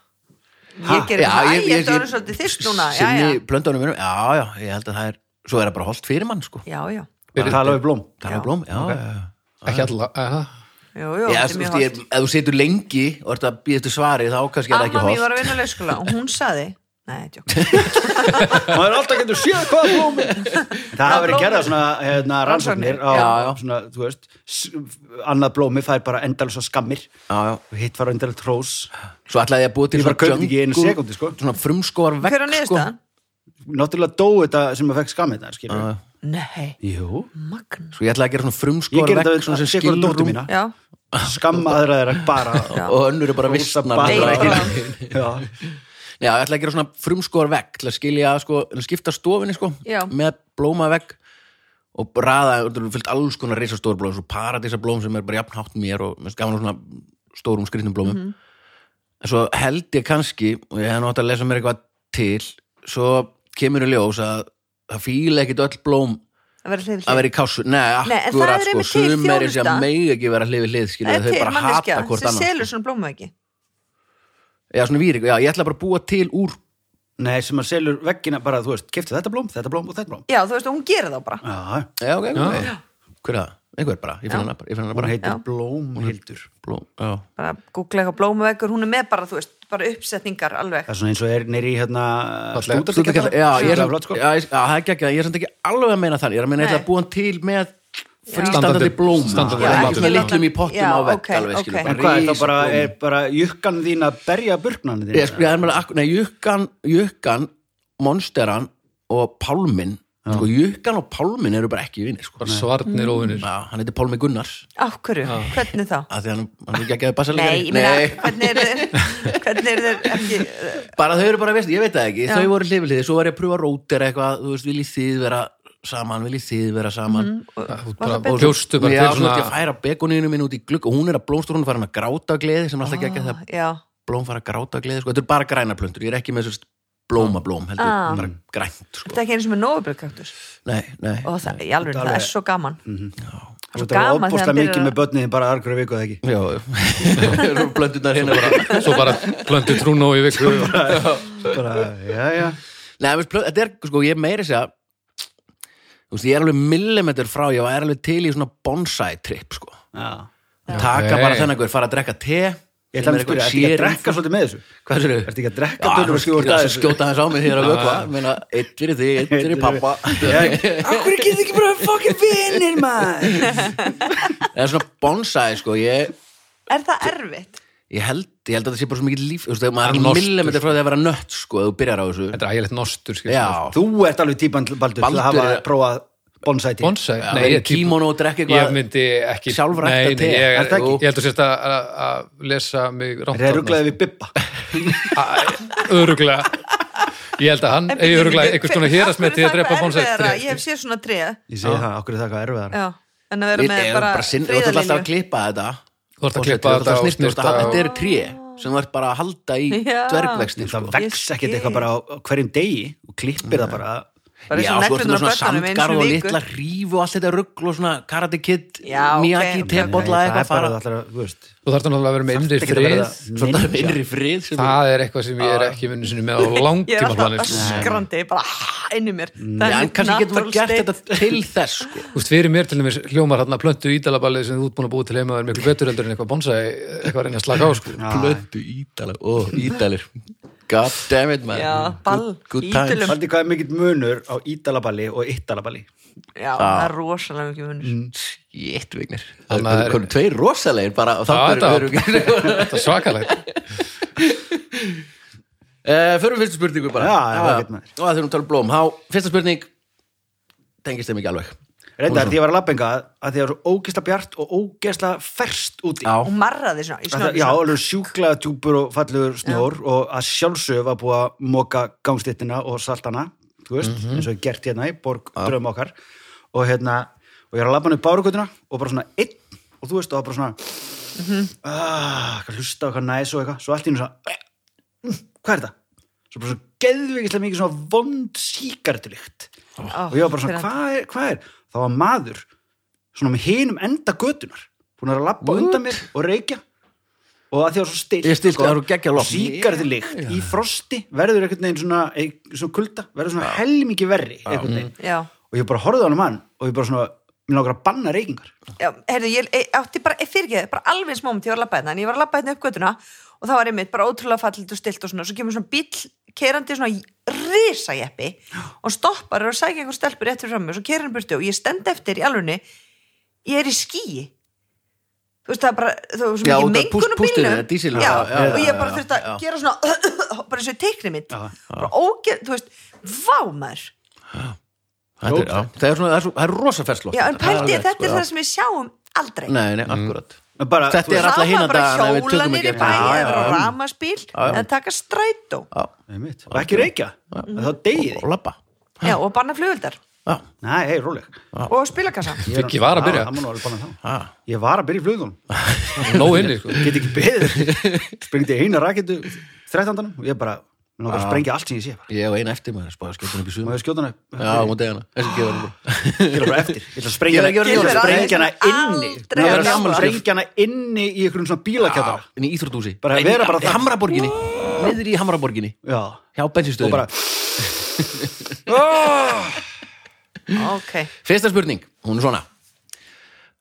[SPEAKER 3] ég gerir
[SPEAKER 1] já,
[SPEAKER 3] það, æ,
[SPEAKER 1] ég-
[SPEAKER 3] ég
[SPEAKER 1] ég-
[SPEAKER 3] er orðin svolítið þyrst núna já, já,
[SPEAKER 1] sinni blöndunum mínum, já, já, ég held að það er svo er það bara holdt fyrir mann, sko
[SPEAKER 3] já, já
[SPEAKER 2] að tala við blóm.
[SPEAKER 1] tala
[SPEAKER 3] Já.
[SPEAKER 1] við blóm, já, já, já
[SPEAKER 4] Ekki alla, eða?
[SPEAKER 3] Jú, jú,
[SPEAKER 1] Já, sko,
[SPEAKER 3] þetta
[SPEAKER 1] þú veist,
[SPEAKER 3] er mjög
[SPEAKER 1] ég,
[SPEAKER 3] hollt.
[SPEAKER 1] ef þú setur lengi og ert að býða eftir svari þá kannski er það
[SPEAKER 3] Amma
[SPEAKER 1] ekki
[SPEAKER 3] mín var
[SPEAKER 1] hótt
[SPEAKER 3] að vinna í leikskóla og hún saði Nei, tjók
[SPEAKER 2] maður er alltaf getur séð hvað blómi það hafa verið
[SPEAKER 3] blómi.
[SPEAKER 2] gerða svona hérna, rannsóknir á,
[SPEAKER 1] Já, já.
[SPEAKER 2] svona, þú veist s- annað blómi fær bara endalus skammir
[SPEAKER 1] Já, já.
[SPEAKER 2] og hitt fara endalus trós
[SPEAKER 1] Svo ætlaði ég að búa til
[SPEAKER 2] Ég bara
[SPEAKER 1] svona
[SPEAKER 2] kaupti ekki í einu
[SPEAKER 1] jungle-
[SPEAKER 2] sekúndu, sko.
[SPEAKER 1] Svona frumskóar vekk
[SPEAKER 3] Hver á niðurstaðan?
[SPEAKER 2] náttúrulega dói þetta sem að fekk skammið þetta, skilur
[SPEAKER 1] Já, já.
[SPEAKER 3] Nei,
[SPEAKER 2] Jú,
[SPEAKER 3] magna
[SPEAKER 1] sko. Svo ég ætlaði að gera svona
[SPEAKER 2] ég
[SPEAKER 1] frumskor
[SPEAKER 2] gerði
[SPEAKER 1] vekk
[SPEAKER 2] þetta
[SPEAKER 1] svona sem
[SPEAKER 2] sem skilur
[SPEAKER 1] skilur
[SPEAKER 2] dóttu mína
[SPEAKER 3] Já,
[SPEAKER 2] skamma aðra þeirra bara
[SPEAKER 3] Já.
[SPEAKER 1] og önnur er bara vissnar
[SPEAKER 2] bara-
[SPEAKER 1] Nei,
[SPEAKER 3] Nei,
[SPEAKER 1] ekki-
[SPEAKER 3] bara-
[SPEAKER 2] Já.
[SPEAKER 1] Já, ég ætlaði að gera svona frumskor vekk til að skilja, sko, skipta stofinni, sko
[SPEAKER 3] Já.
[SPEAKER 1] með blóma vekk og raða, þetta er fyllt alls konar reisastór blóm, svo paradísa blóm sem er bara jafnhátt mér og mér finnst gaman á svona stórum skrýtnum blómum
[SPEAKER 3] Mhm.
[SPEAKER 1] en svo held ég kannski og ég hef nátt að lesa mér eitthvað til svo kemur í ljós að það fíla ekkit öll blóm
[SPEAKER 3] að vera hlið við
[SPEAKER 1] að
[SPEAKER 3] hlið
[SPEAKER 1] vera í kásu, nei,
[SPEAKER 3] Nei, en það
[SPEAKER 1] akkurat
[SPEAKER 3] er
[SPEAKER 1] sko,
[SPEAKER 3] einmitt til
[SPEAKER 1] sum er þessi að
[SPEAKER 3] þjónusta.
[SPEAKER 1] megi ekki vera hlifið hlið, skilja,
[SPEAKER 3] Það er
[SPEAKER 1] þau
[SPEAKER 3] til
[SPEAKER 1] bara
[SPEAKER 3] manneskja
[SPEAKER 1] hata hvort
[SPEAKER 3] sem
[SPEAKER 1] annað sko.
[SPEAKER 3] selur svona blómaveggi
[SPEAKER 1] Já, svona vírik, já, ég ætla bara að búa til úr
[SPEAKER 2] Nei, sem að selur veggina bara, þú veist, kefti þetta blóm, þetta blóm og þetta blóm
[SPEAKER 3] Já, þú veist, hún gerir þá bara
[SPEAKER 2] Já,
[SPEAKER 1] Já, ok, ok,
[SPEAKER 4] Já.
[SPEAKER 1] hver er það? Einhver bara, ég finn hana bara, ég finn hana
[SPEAKER 2] hún
[SPEAKER 1] bara
[SPEAKER 2] heitir
[SPEAKER 3] Já.
[SPEAKER 2] Blómhildur
[SPEAKER 1] Blóm, já,
[SPEAKER 3] bara googla eitthvað blómaveggur, hún er með bara, þú veist, bara uppsetningar alveg
[SPEAKER 2] Það er svona eins og er nýri hérna
[SPEAKER 4] Fallega.
[SPEAKER 1] Stúdíkall,
[SPEAKER 2] stúdendakjallara.
[SPEAKER 1] já, ég er
[SPEAKER 2] Stúdendakjallara,
[SPEAKER 1] samt,
[SPEAKER 2] sko.
[SPEAKER 1] já, ég- já, það er ekki ekki, ég er samt ekki alveg að meina þannig, ég er að meina ég ætla
[SPEAKER 3] Nei.
[SPEAKER 1] að búa hann til með frístandandi
[SPEAKER 4] Standandi-
[SPEAKER 1] blóm, já,
[SPEAKER 4] standandi blóm.
[SPEAKER 1] ekki svona
[SPEAKER 4] Já,
[SPEAKER 1] litlum í pottum
[SPEAKER 3] já,
[SPEAKER 1] á vekk,
[SPEAKER 3] ok,
[SPEAKER 1] alveg, skilur,
[SPEAKER 3] ok.
[SPEAKER 2] En
[SPEAKER 1] bara
[SPEAKER 2] hvað er það bara,
[SPEAKER 1] risablóm.
[SPEAKER 2] er bara jukkan þín að berja burknan þín?
[SPEAKER 1] Ég, sko, ég er meina, akkur- nei, jukkan, jukkan, monsteran og pálmin, sko, jukkan og pálmin eru bara ekki vinir, sko
[SPEAKER 4] bara svarnir óvinnir
[SPEAKER 3] Mm.
[SPEAKER 1] Já, hann heitir Pálmi Gunnars
[SPEAKER 3] Á hverju, hvernig þá?
[SPEAKER 1] að því hann, hann er ekki að geða bassa
[SPEAKER 3] Nei, ég meina, hvernig er þeir hvernig er þeir ekki
[SPEAKER 1] bara þau eru bara veist, ég veit það ekki,
[SPEAKER 3] Já.
[SPEAKER 1] þau voru hlifið hlifið, svo var ég að pröfa rótir eitthvað, þú veist, viljið þið vera saman, viljið þið vera saman
[SPEAKER 3] Mhm.
[SPEAKER 4] Þú
[SPEAKER 3] Var
[SPEAKER 4] bara-
[SPEAKER 3] það
[SPEAKER 4] og
[SPEAKER 3] betra?
[SPEAKER 4] hljóstu bara
[SPEAKER 1] Já,
[SPEAKER 4] til
[SPEAKER 1] svo ætti ég að
[SPEAKER 4] svona
[SPEAKER 1] færa begoninu mín út í glugg og hún er að blómstur, hún er farin að gráta gleði sem er
[SPEAKER 3] Ah.
[SPEAKER 1] alltaf ekki að það
[SPEAKER 3] Já,
[SPEAKER 1] blóm fara að gráta gleði, sko, þetta er bara græna plöntur ég er ekki með þessu blóma blóm, heldur
[SPEAKER 3] Ah.
[SPEAKER 1] bara grænt, sko,
[SPEAKER 3] þetta er ekki eins og með nóvubjörgkaktus
[SPEAKER 1] nei, nei
[SPEAKER 3] og það, í alveg, það er svo gaman það
[SPEAKER 2] Þetta
[SPEAKER 3] er svo
[SPEAKER 2] var
[SPEAKER 3] gaman þegar
[SPEAKER 2] óbúslega
[SPEAKER 3] hann
[SPEAKER 2] mikið
[SPEAKER 3] byrjar
[SPEAKER 2] með
[SPEAKER 3] að-
[SPEAKER 2] börnin þín bara argur að viku eða ekki.
[SPEAKER 1] Já, já. blöndurnar hérna bara
[SPEAKER 4] svo bara plöndu trúnó í viku
[SPEAKER 2] Bara, já, já.
[SPEAKER 1] Nei, veist, plö- þetta er, sko, ég meiri sér að þú veist, ég er alveg millimetr frá ég var alveg til í svona bonsai trip, sko
[SPEAKER 2] já.
[SPEAKER 1] taka
[SPEAKER 4] Ok.
[SPEAKER 1] bara þennan guður, fara að drekka te
[SPEAKER 2] Ég ætla að spyrja, ertu ekki að
[SPEAKER 1] sko.
[SPEAKER 2] drekka svolítið með þessu?
[SPEAKER 1] Hvað sér þau?
[SPEAKER 2] Ertu ekki að drekka tölum og skjóta
[SPEAKER 1] að
[SPEAKER 2] þessu?
[SPEAKER 1] skjóta þess á mig þegar að vökva Meina, eitt fyrir þig, eitt fyrir pappa
[SPEAKER 2] Já, akkur ekki þið ekki bara fokkin vinir, maður?
[SPEAKER 1] Eða svona bonsai, sko Ég,
[SPEAKER 3] Er það erfitt?
[SPEAKER 1] ég, held, ég held að það sé bara svo mikið líf Þú veist, þegar maður
[SPEAKER 4] Hann
[SPEAKER 1] er
[SPEAKER 4] nostur,
[SPEAKER 1] millimetri frá því að vera nött, sko ef Þú byrjar á þessu
[SPEAKER 4] þetta er ægilegt nostur skilur.
[SPEAKER 1] Já,
[SPEAKER 2] Þú ert alveg típan, Baldur, til
[SPEAKER 1] Baldur
[SPEAKER 2] að hafa
[SPEAKER 1] er-
[SPEAKER 2] prófað bonsæti.
[SPEAKER 4] bonsai,
[SPEAKER 1] Já,
[SPEAKER 4] nei,
[SPEAKER 1] verið
[SPEAKER 4] ég er
[SPEAKER 1] í kímónó og drekka eitthvað
[SPEAKER 4] ég myndi ekki
[SPEAKER 1] sjálfrækta
[SPEAKER 4] Nei, nei,
[SPEAKER 1] te.
[SPEAKER 4] ég,
[SPEAKER 1] Er
[SPEAKER 4] er,
[SPEAKER 1] það ekki?
[SPEAKER 4] ég held að sérst að- að að lesa mig rámt
[SPEAKER 2] Er það rugglaðið við Bibba?
[SPEAKER 4] öruglega ég held að hann,
[SPEAKER 3] En
[SPEAKER 4] ég
[SPEAKER 3] byrju,
[SPEAKER 4] öruglega
[SPEAKER 3] hver-
[SPEAKER 4] einhvers konar
[SPEAKER 3] af
[SPEAKER 4] hérast með
[SPEAKER 3] hverju
[SPEAKER 4] því
[SPEAKER 3] er
[SPEAKER 4] að
[SPEAKER 3] það
[SPEAKER 4] drepa sko.
[SPEAKER 3] eitthvað erfiðara? Ég
[SPEAKER 4] bonsai
[SPEAKER 3] hef séð svona tré
[SPEAKER 2] Ég segi það, akkur er það eitthvað erfiðara.
[SPEAKER 3] Já, en að vera
[SPEAKER 1] Við-
[SPEAKER 3] með
[SPEAKER 1] eh,
[SPEAKER 3] bara
[SPEAKER 1] sinn- Þú ert alltaf að
[SPEAKER 3] friðarlinju
[SPEAKER 1] klippa þetta
[SPEAKER 4] Þú ert að
[SPEAKER 1] Og
[SPEAKER 4] klippa
[SPEAKER 1] þú ert alltaf
[SPEAKER 4] þetta og
[SPEAKER 1] snyrta, þú ert að-
[SPEAKER 4] snyrta og-
[SPEAKER 1] Þetta eru tré sem þú ert bara að halda í
[SPEAKER 3] Já.
[SPEAKER 1] dvergvexti
[SPEAKER 2] Það
[SPEAKER 1] sko.
[SPEAKER 2] vex ekkert
[SPEAKER 3] Ég skil.
[SPEAKER 2] eitthvað bara á á hverjum degi og klippir það bara.
[SPEAKER 3] Bara
[SPEAKER 1] Já, sko,
[SPEAKER 3] eins og
[SPEAKER 1] ertu með svona
[SPEAKER 3] neglurnar á börnunum, einu
[SPEAKER 1] samgar og
[SPEAKER 3] sinni í viku.
[SPEAKER 1] litla ríf og allt þetta ruggl og svona karate kid,
[SPEAKER 3] Já, ok,
[SPEAKER 1] miyagi,
[SPEAKER 3] ok.
[SPEAKER 1] okay, tebolla
[SPEAKER 2] Nei,
[SPEAKER 1] eitthvað
[SPEAKER 2] það er bara
[SPEAKER 1] fara
[SPEAKER 2] það allar að, þú veist.
[SPEAKER 4] þú þarf náttúrulega að vera með innri
[SPEAKER 2] ekki að
[SPEAKER 4] frið
[SPEAKER 2] verða-
[SPEAKER 1] svona innri frið sem þú-
[SPEAKER 4] það er eitthvað sem ég er ekki vinnu sinni með á sko.
[SPEAKER 3] Ég er
[SPEAKER 4] langtíma
[SPEAKER 3] alltaf
[SPEAKER 4] planir
[SPEAKER 3] öskrandi, bara ah, inn í mér
[SPEAKER 1] Mm.
[SPEAKER 3] Það
[SPEAKER 1] Já,
[SPEAKER 3] er
[SPEAKER 1] en
[SPEAKER 3] mitt
[SPEAKER 1] kannski getum
[SPEAKER 3] natural
[SPEAKER 1] við gert
[SPEAKER 3] state.
[SPEAKER 1] þetta til þess sko.
[SPEAKER 4] Þú veist, fyrir mér til dæmis hljómar hérna plöntu ídalabalið sem þú ert búin að búið til heima er miklu betur heldur en eitthvað bonsai eitthvað að reyna að slaka á sko.
[SPEAKER 1] Plötu ídalir Ó, ídalir God damn it, man
[SPEAKER 3] Já, ball,
[SPEAKER 1] Good, good times
[SPEAKER 3] ídölum.
[SPEAKER 2] Haldi hvað er mikill munur á ídalaballi og ittalaballi?
[SPEAKER 3] Já, það er rosalega mikið
[SPEAKER 1] Mm.
[SPEAKER 3] munur
[SPEAKER 1] Jétt, Vignir
[SPEAKER 4] Þannig að-
[SPEAKER 1] Það eru tveir rosalegir bara og þá
[SPEAKER 4] Já,
[SPEAKER 1] eru- eru-
[SPEAKER 4] þetta er svakalegt
[SPEAKER 1] Eh, Förum fyrstu spurningu bara
[SPEAKER 2] Já, já, ekkert maður.
[SPEAKER 1] Og það þurfum að tala um blóm Há, fyrsta spurning Tengist þeim ekki alveg
[SPEAKER 2] Reyndar, því ég var að labbenga að því það var svo ógeðsla bjart og ógeðsla ferst úti.
[SPEAKER 1] Já
[SPEAKER 3] Og marraði svona
[SPEAKER 2] Að
[SPEAKER 3] í
[SPEAKER 2] það-
[SPEAKER 3] snjónum
[SPEAKER 2] Já,
[SPEAKER 3] svona.
[SPEAKER 2] alveg sjúkla djúpur og fallegur snjór og að sjálfsög var búið að moka gangstittina og saltana, þú veist, eins og er gert hérna í borg dröfum okkar og hérna, og ég er að labba hann upp bárugutuna og bara svona einn og þú veist, og það var bara svona ah, hvað hlusta og hvað næs og eitthvað, svo allt í nú svona "Eh, mm, hvað er þetta? Svo bara svona geðveikislega mikið svona vond síkartulikt
[SPEAKER 3] Ó,
[SPEAKER 2] og ég var bara svona,
[SPEAKER 3] pirrandi.
[SPEAKER 2] hvað er, hvað er? Það var maður svona með hinum enda götunar búin að vera að labba undan mér og reykja og að því var svo sko, stilt
[SPEAKER 1] Ég er stillt, það var geggjað lofn.
[SPEAKER 2] síkarðlikt í frosti verður einhvern veginn svona, ein- svona kulda, verður svona helmingi verri einhvern veginn
[SPEAKER 3] Já,
[SPEAKER 1] Mm.
[SPEAKER 2] og ég bara horfði á hann um hann og ég bara svona, mér langar að banna reykingar
[SPEAKER 3] já, heyrðu, ég ég átti bara, ég fyrir ekki, bara alveg eins moment ég var að labba hérna, en ég var að labba hérna upp göttuna og það var einmitt bara ótrúlega fallit og stilt og svona, svo kemur svona bíll, keirandi svona risajeppi og stoppar og sækja einhver stelpur rétt fyrir fram mig og svo keirir hann burtu og ég stend eftir í alvegni, ég er í skýi þú veist það er bara þú veist
[SPEAKER 1] Já, út af
[SPEAKER 3] mikið mengun
[SPEAKER 1] púst-
[SPEAKER 3] á
[SPEAKER 1] pústinu,
[SPEAKER 3] bílnum
[SPEAKER 1] eða dísilinu,
[SPEAKER 3] já,
[SPEAKER 1] já, já,
[SPEAKER 3] og
[SPEAKER 1] já,
[SPEAKER 3] ég bara
[SPEAKER 1] já,
[SPEAKER 3] þurfti að
[SPEAKER 1] já.
[SPEAKER 3] gera svona bara eins og í teikni mitt
[SPEAKER 2] Já.
[SPEAKER 3] bara ógeð, þú veist, vámar
[SPEAKER 1] Þetta er, já, það er svona, það er, svo, það er rosa ferslótt
[SPEAKER 3] já, en pældi ég, þetta er
[SPEAKER 1] sko,
[SPEAKER 3] það sem við sjáum aldrei
[SPEAKER 1] já. Nei, nei, akkurat
[SPEAKER 2] En bara,
[SPEAKER 1] Þetta
[SPEAKER 2] þú
[SPEAKER 1] er
[SPEAKER 2] veist-
[SPEAKER 1] alla hina
[SPEAKER 3] sama bara
[SPEAKER 1] dagana við tökum ekki
[SPEAKER 3] hjólanir í
[SPEAKER 1] eftir.
[SPEAKER 3] bæði
[SPEAKER 1] Já, já,
[SPEAKER 3] eða
[SPEAKER 1] já.
[SPEAKER 3] vera ramaspíl eða taka strætó
[SPEAKER 2] Einmitt. og ekki reykja, þá degið þið
[SPEAKER 1] Og labba
[SPEAKER 3] já, og banna flugvildar
[SPEAKER 1] Já,
[SPEAKER 2] Nei, hei, róleg
[SPEAKER 3] og spilakassa
[SPEAKER 2] Ég er-
[SPEAKER 4] Viggi var að
[SPEAKER 2] Já,
[SPEAKER 4] byrja.
[SPEAKER 2] það má nú alveg banna það.
[SPEAKER 1] já,
[SPEAKER 2] Ég var að byrja í flugunum
[SPEAKER 4] nóg inni sko.
[SPEAKER 2] get ekki beðið sprengdi eina raketu 13. og ég bara, mér langar að sprengja allt sem ég sé bara.
[SPEAKER 1] ég og eina eftir maður spáði skjóttan upp í
[SPEAKER 2] Má
[SPEAKER 1] sumar
[SPEAKER 2] ég skjóta hana upp?
[SPEAKER 1] Já, hún degana, þessi ekki var
[SPEAKER 2] Ég er bara eftir Ég ætla að sprengja hana,
[SPEAKER 1] Ég er ekki
[SPEAKER 2] ég ætla
[SPEAKER 1] verið
[SPEAKER 2] að sprengja hana
[SPEAKER 3] aldrei.
[SPEAKER 2] inni
[SPEAKER 3] Aldrei.
[SPEAKER 2] Ég ætla að
[SPEAKER 1] Gammal-
[SPEAKER 2] sprengja hana inni í einhverjum svona bílakjátara
[SPEAKER 1] Inn í Íþrótúsi
[SPEAKER 2] Bara vera bara
[SPEAKER 1] Í
[SPEAKER 2] þar.
[SPEAKER 1] Hamraborginni, niður í Hamraborginni
[SPEAKER 2] Já,
[SPEAKER 1] Hjá
[SPEAKER 2] og
[SPEAKER 1] bensinstöðinu
[SPEAKER 2] bara Ah!
[SPEAKER 3] ok,
[SPEAKER 1] Fyrsta spurning, hún er svona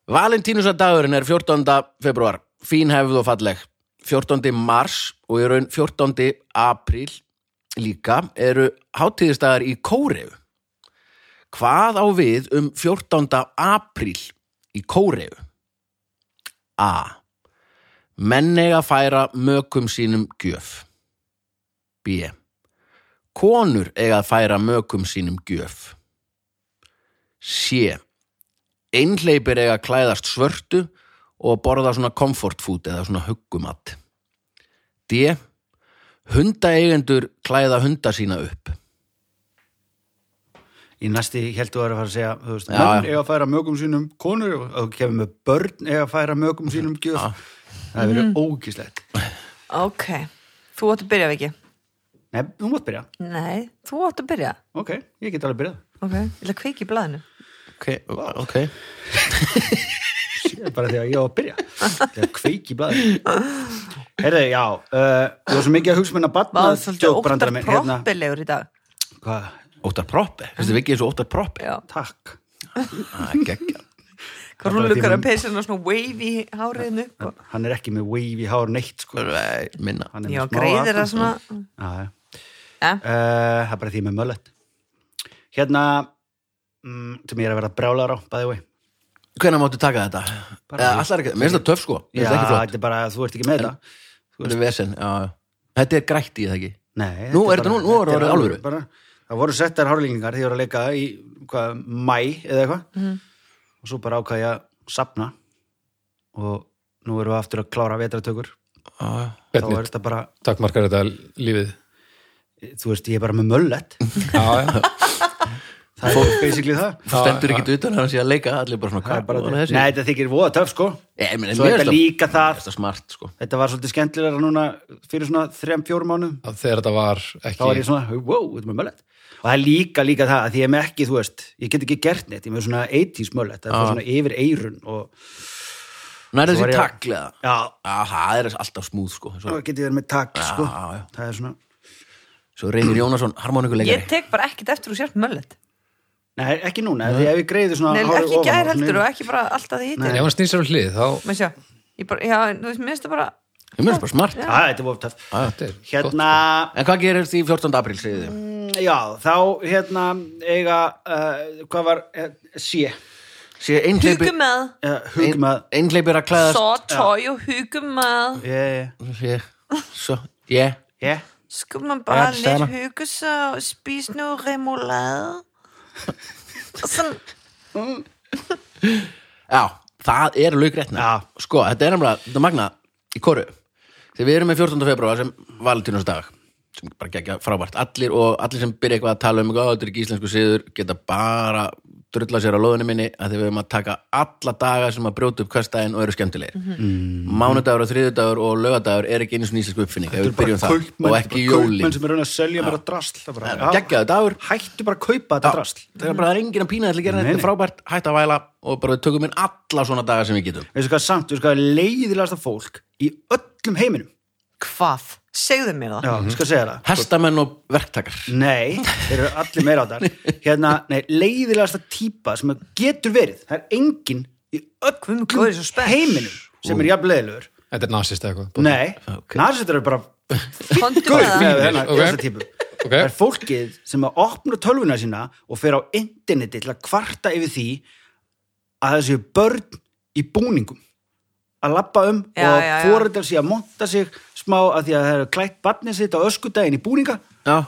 [SPEAKER 1] Valentínusardagurinn er 14. februar Fín hefð og falleg 14. mars og í raun 14. apríl líka eru hátíðistagar í Kóreu Hvað á við um 14. apríl í Kóreu? A. Menn eiga að færa mökum sínum gjöf B. Konur eiga að færa mökum sínum gjöf sé einhleipir eiga að klæðast svörtu og borða svona comfort food eða svona huggumat D. Hundaeigendur klæða hunda sína upp
[SPEAKER 2] Í næsti heldur að vera að fara að segja þú veist,
[SPEAKER 1] Já,
[SPEAKER 2] Menn
[SPEAKER 1] já.
[SPEAKER 2] eiga að færa mögum sínum konur og þú kemur með börn eiga að færa mögum sínum gjöf Það hefur verið ógíslegt
[SPEAKER 3] ok þú átt að byrja, Viki
[SPEAKER 2] Nei, þú mátt byrja
[SPEAKER 3] nei, þú átt að byrja
[SPEAKER 2] Ok, ég get alveg byrjað
[SPEAKER 3] ok, ég ætla að kveiki í blaðinu
[SPEAKER 1] Ok, ok
[SPEAKER 2] Ég er bara þegar ég á að byrja þegar kveik í blaði herði, já uh, ég var svo mikið að hugsa hérna minna batna
[SPEAKER 3] maður svolítið óttar
[SPEAKER 2] hérna.
[SPEAKER 3] proppilegur í dag
[SPEAKER 2] hvað,
[SPEAKER 1] Óttar proppi, finnst þið ekki eins og óttar proppi?
[SPEAKER 3] já,
[SPEAKER 2] takk
[SPEAKER 1] Ah, geggjað.
[SPEAKER 3] hvað
[SPEAKER 2] bara
[SPEAKER 3] rúlu
[SPEAKER 2] því
[SPEAKER 3] ykkur
[SPEAKER 2] hún-
[SPEAKER 3] að peysa svona wavy háriðinu og
[SPEAKER 2] hann er ekki með wave í hár neitt sko.
[SPEAKER 1] Nei, Minna
[SPEAKER 2] hann
[SPEAKER 3] já, greiðir það svona
[SPEAKER 2] svona
[SPEAKER 3] ja,
[SPEAKER 2] Uh, það er bara því ég er með möllet hérna mm, sem ég er að vera brjálar á, bæði vei
[SPEAKER 1] Hvenær máttu taka þetta?
[SPEAKER 2] Bara
[SPEAKER 1] Eða,
[SPEAKER 2] við-
[SPEAKER 1] allar ekki, mér finnst það töff sko Mér
[SPEAKER 2] já,
[SPEAKER 1] finnst það ekki flott
[SPEAKER 2] þetta er bara að þú ert ekki með þetta
[SPEAKER 1] Þetta er vesen, já, já Þetta er grætt í það ekki
[SPEAKER 2] Nei,
[SPEAKER 1] Nú
[SPEAKER 2] þetta
[SPEAKER 1] er þetta- nú- nú er orðið alvöru.
[SPEAKER 2] bara, Það voru settar hárlíkingar þegar ég var að leika í hvað, mæ eða eitthvað og svo bara ákvað ég að sapna og nú erum við aftur að klára vetratökur
[SPEAKER 1] Já, já.
[SPEAKER 2] þá
[SPEAKER 4] hvernig
[SPEAKER 2] er þetta bara,
[SPEAKER 4] takkmarkar þetta lífið
[SPEAKER 2] þú veist, ég er bara með möllet
[SPEAKER 4] já, já.
[SPEAKER 2] það er basically það
[SPEAKER 1] Þú stendur ekki utan að hann sé að leika Allir bara svona,
[SPEAKER 2] Það er
[SPEAKER 1] hvað
[SPEAKER 2] bara,
[SPEAKER 1] voru
[SPEAKER 2] nei,
[SPEAKER 1] þessi? Nei,
[SPEAKER 2] þetta þykir voða töf sko
[SPEAKER 1] ég meina,
[SPEAKER 2] svo
[SPEAKER 1] mér
[SPEAKER 2] er
[SPEAKER 1] finnst
[SPEAKER 2] þetta
[SPEAKER 1] það-
[SPEAKER 2] líka það
[SPEAKER 1] þetta er smart sko
[SPEAKER 2] þetta var svolítið skemmtilega núna fyrir svona 3-4 mánuðum
[SPEAKER 4] Að þegar þetta var
[SPEAKER 2] þá var
[SPEAKER 4] ekki
[SPEAKER 2] ég svona, wow, þetta er með möllet og það er líka, líka það, að því ég er með ekki, þú veist ég get ekki gert neitt, ég er með svona 80s möllet það er
[SPEAKER 1] Já.
[SPEAKER 2] bara svona yfir eirun og
[SPEAKER 1] Nærðu
[SPEAKER 2] Svo var
[SPEAKER 1] því
[SPEAKER 2] ég-
[SPEAKER 1] taklega
[SPEAKER 2] já,
[SPEAKER 1] Já, það er alltaf smúð sko
[SPEAKER 2] þá
[SPEAKER 1] Svo,
[SPEAKER 2] get ég verið með takk, sko
[SPEAKER 1] já, já.
[SPEAKER 2] það er svona,
[SPEAKER 1] svo reynir Jónasson harmonikuleikari
[SPEAKER 3] ég tek bara ekkit eftir úr sért möllet
[SPEAKER 2] nei, ekki núna því ef ég greiði svona
[SPEAKER 3] Nei,
[SPEAKER 2] hárið
[SPEAKER 3] ekki
[SPEAKER 2] ofan á,
[SPEAKER 3] gær
[SPEAKER 2] svona
[SPEAKER 3] heldur
[SPEAKER 2] yfir-
[SPEAKER 3] og ekki bara alltaf því
[SPEAKER 4] ef
[SPEAKER 3] hittir
[SPEAKER 4] hann snýr sér á hlið þá
[SPEAKER 3] maður sjá, ég bara, já, þú veist, minnst það bara
[SPEAKER 1] Ég mér finnst bara smart
[SPEAKER 2] já, þetta er vofa töf
[SPEAKER 4] þetta er gott.
[SPEAKER 2] hérna,
[SPEAKER 1] En hvað gerir því 14. apríl, segir þið?
[SPEAKER 2] mm, já, þá hérna, eiga uh, hvað var, eh, sé
[SPEAKER 1] Sér einhleipi
[SPEAKER 3] hugum með,
[SPEAKER 2] uh, hugum að
[SPEAKER 1] Einhleipir að klæðast
[SPEAKER 3] svo tói og hugum með
[SPEAKER 2] ég,
[SPEAKER 1] Sé- Svo, ég
[SPEAKER 2] ég,
[SPEAKER 3] skum man
[SPEAKER 1] Ja,
[SPEAKER 3] bara
[SPEAKER 1] det sagde
[SPEAKER 3] lidt
[SPEAKER 1] jeg.
[SPEAKER 3] hygge sig og spise noget remoulade og sådan
[SPEAKER 1] Já, það er laukréttna
[SPEAKER 2] Já.
[SPEAKER 1] Sko, þetta er nefnilega, þetta er magna í koru Þegar við erum með 14. februar sem valentínursdag sem bara gegja frábært allir og allir sem byrja eitthvað að tala um eitthvað, "Ó, þetta er ekki íslensku siður, geta bara drulla sér á loðinu minni að þegar við erum að taka alla daga sem að brjóta upp hverstæðin og eru skemmtilegir
[SPEAKER 2] Mhm.
[SPEAKER 1] mánudagur og þriðudagur og lögadagur er ekki einu svona íslensku uppfinning ef við byrjum það
[SPEAKER 2] kaupmenn,
[SPEAKER 1] og
[SPEAKER 2] bara
[SPEAKER 1] ekki jólin
[SPEAKER 2] kaupmenn sem er raun að selja bara drasl það bara, já,
[SPEAKER 1] geggjaðu dagur
[SPEAKER 2] hættu bara að kaupa þetta drasl
[SPEAKER 1] það er bara það er engin að pína þetta að gera
[SPEAKER 2] Nei,
[SPEAKER 1] þetta er
[SPEAKER 2] nei.
[SPEAKER 1] frábært, hætt að væla og bara við tökum inn alla svona daga sem við getum
[SPEAKER 2] veistu hvað samt, veistu hvað er leiðilegasta fólk í öllum heiminum
[SPEAKER 3] Hvað? Segðu mér það
[SPEAKER 2] já, mm skal segja það
[SPEAKER 1] Hestamenn og verktakar
[SPEAKER 2] nei, þeir eru allir meira á þar hérna, nei, leiðilegasta típa sem getur verið, það er engin í
[SPEAKER 3] Guð minn
[SPEAKER 2] öllum
[SPEAKER 3] góður, ég er svo spennt.
[SPEAKER 2] heiminum sem er jafn leiðilegur
[SPEAKER 4] þetta er nasist eitthvað bara.
[SPEAKER 2] nei, okay. narsættur eru bara
[SPEAKER 3] Komdu
[SPEAKER 2] gaur
[SPEAKER 3] með það
[SPEAKER 2] með hennar
[SPEAKER 4] Ok.
[SPEAKER 2] okay. típu
[SPEAKER 4] Ok.
[SPEAKER 2] það er fólkið sem að opna tölvuna sína og fer á interneti til að kvarta yfir því að það séu börn í búningum að labba um
[SPEAKER 3] Já,
[SPEAKER 2] og
[SPEAKER 3] já, já.
[SPEAKER 2] fóreldar sér að monta sig smá að því að það eru klætt barnið sitt á öskudaginn í búninga
[SPEAKER 1] já,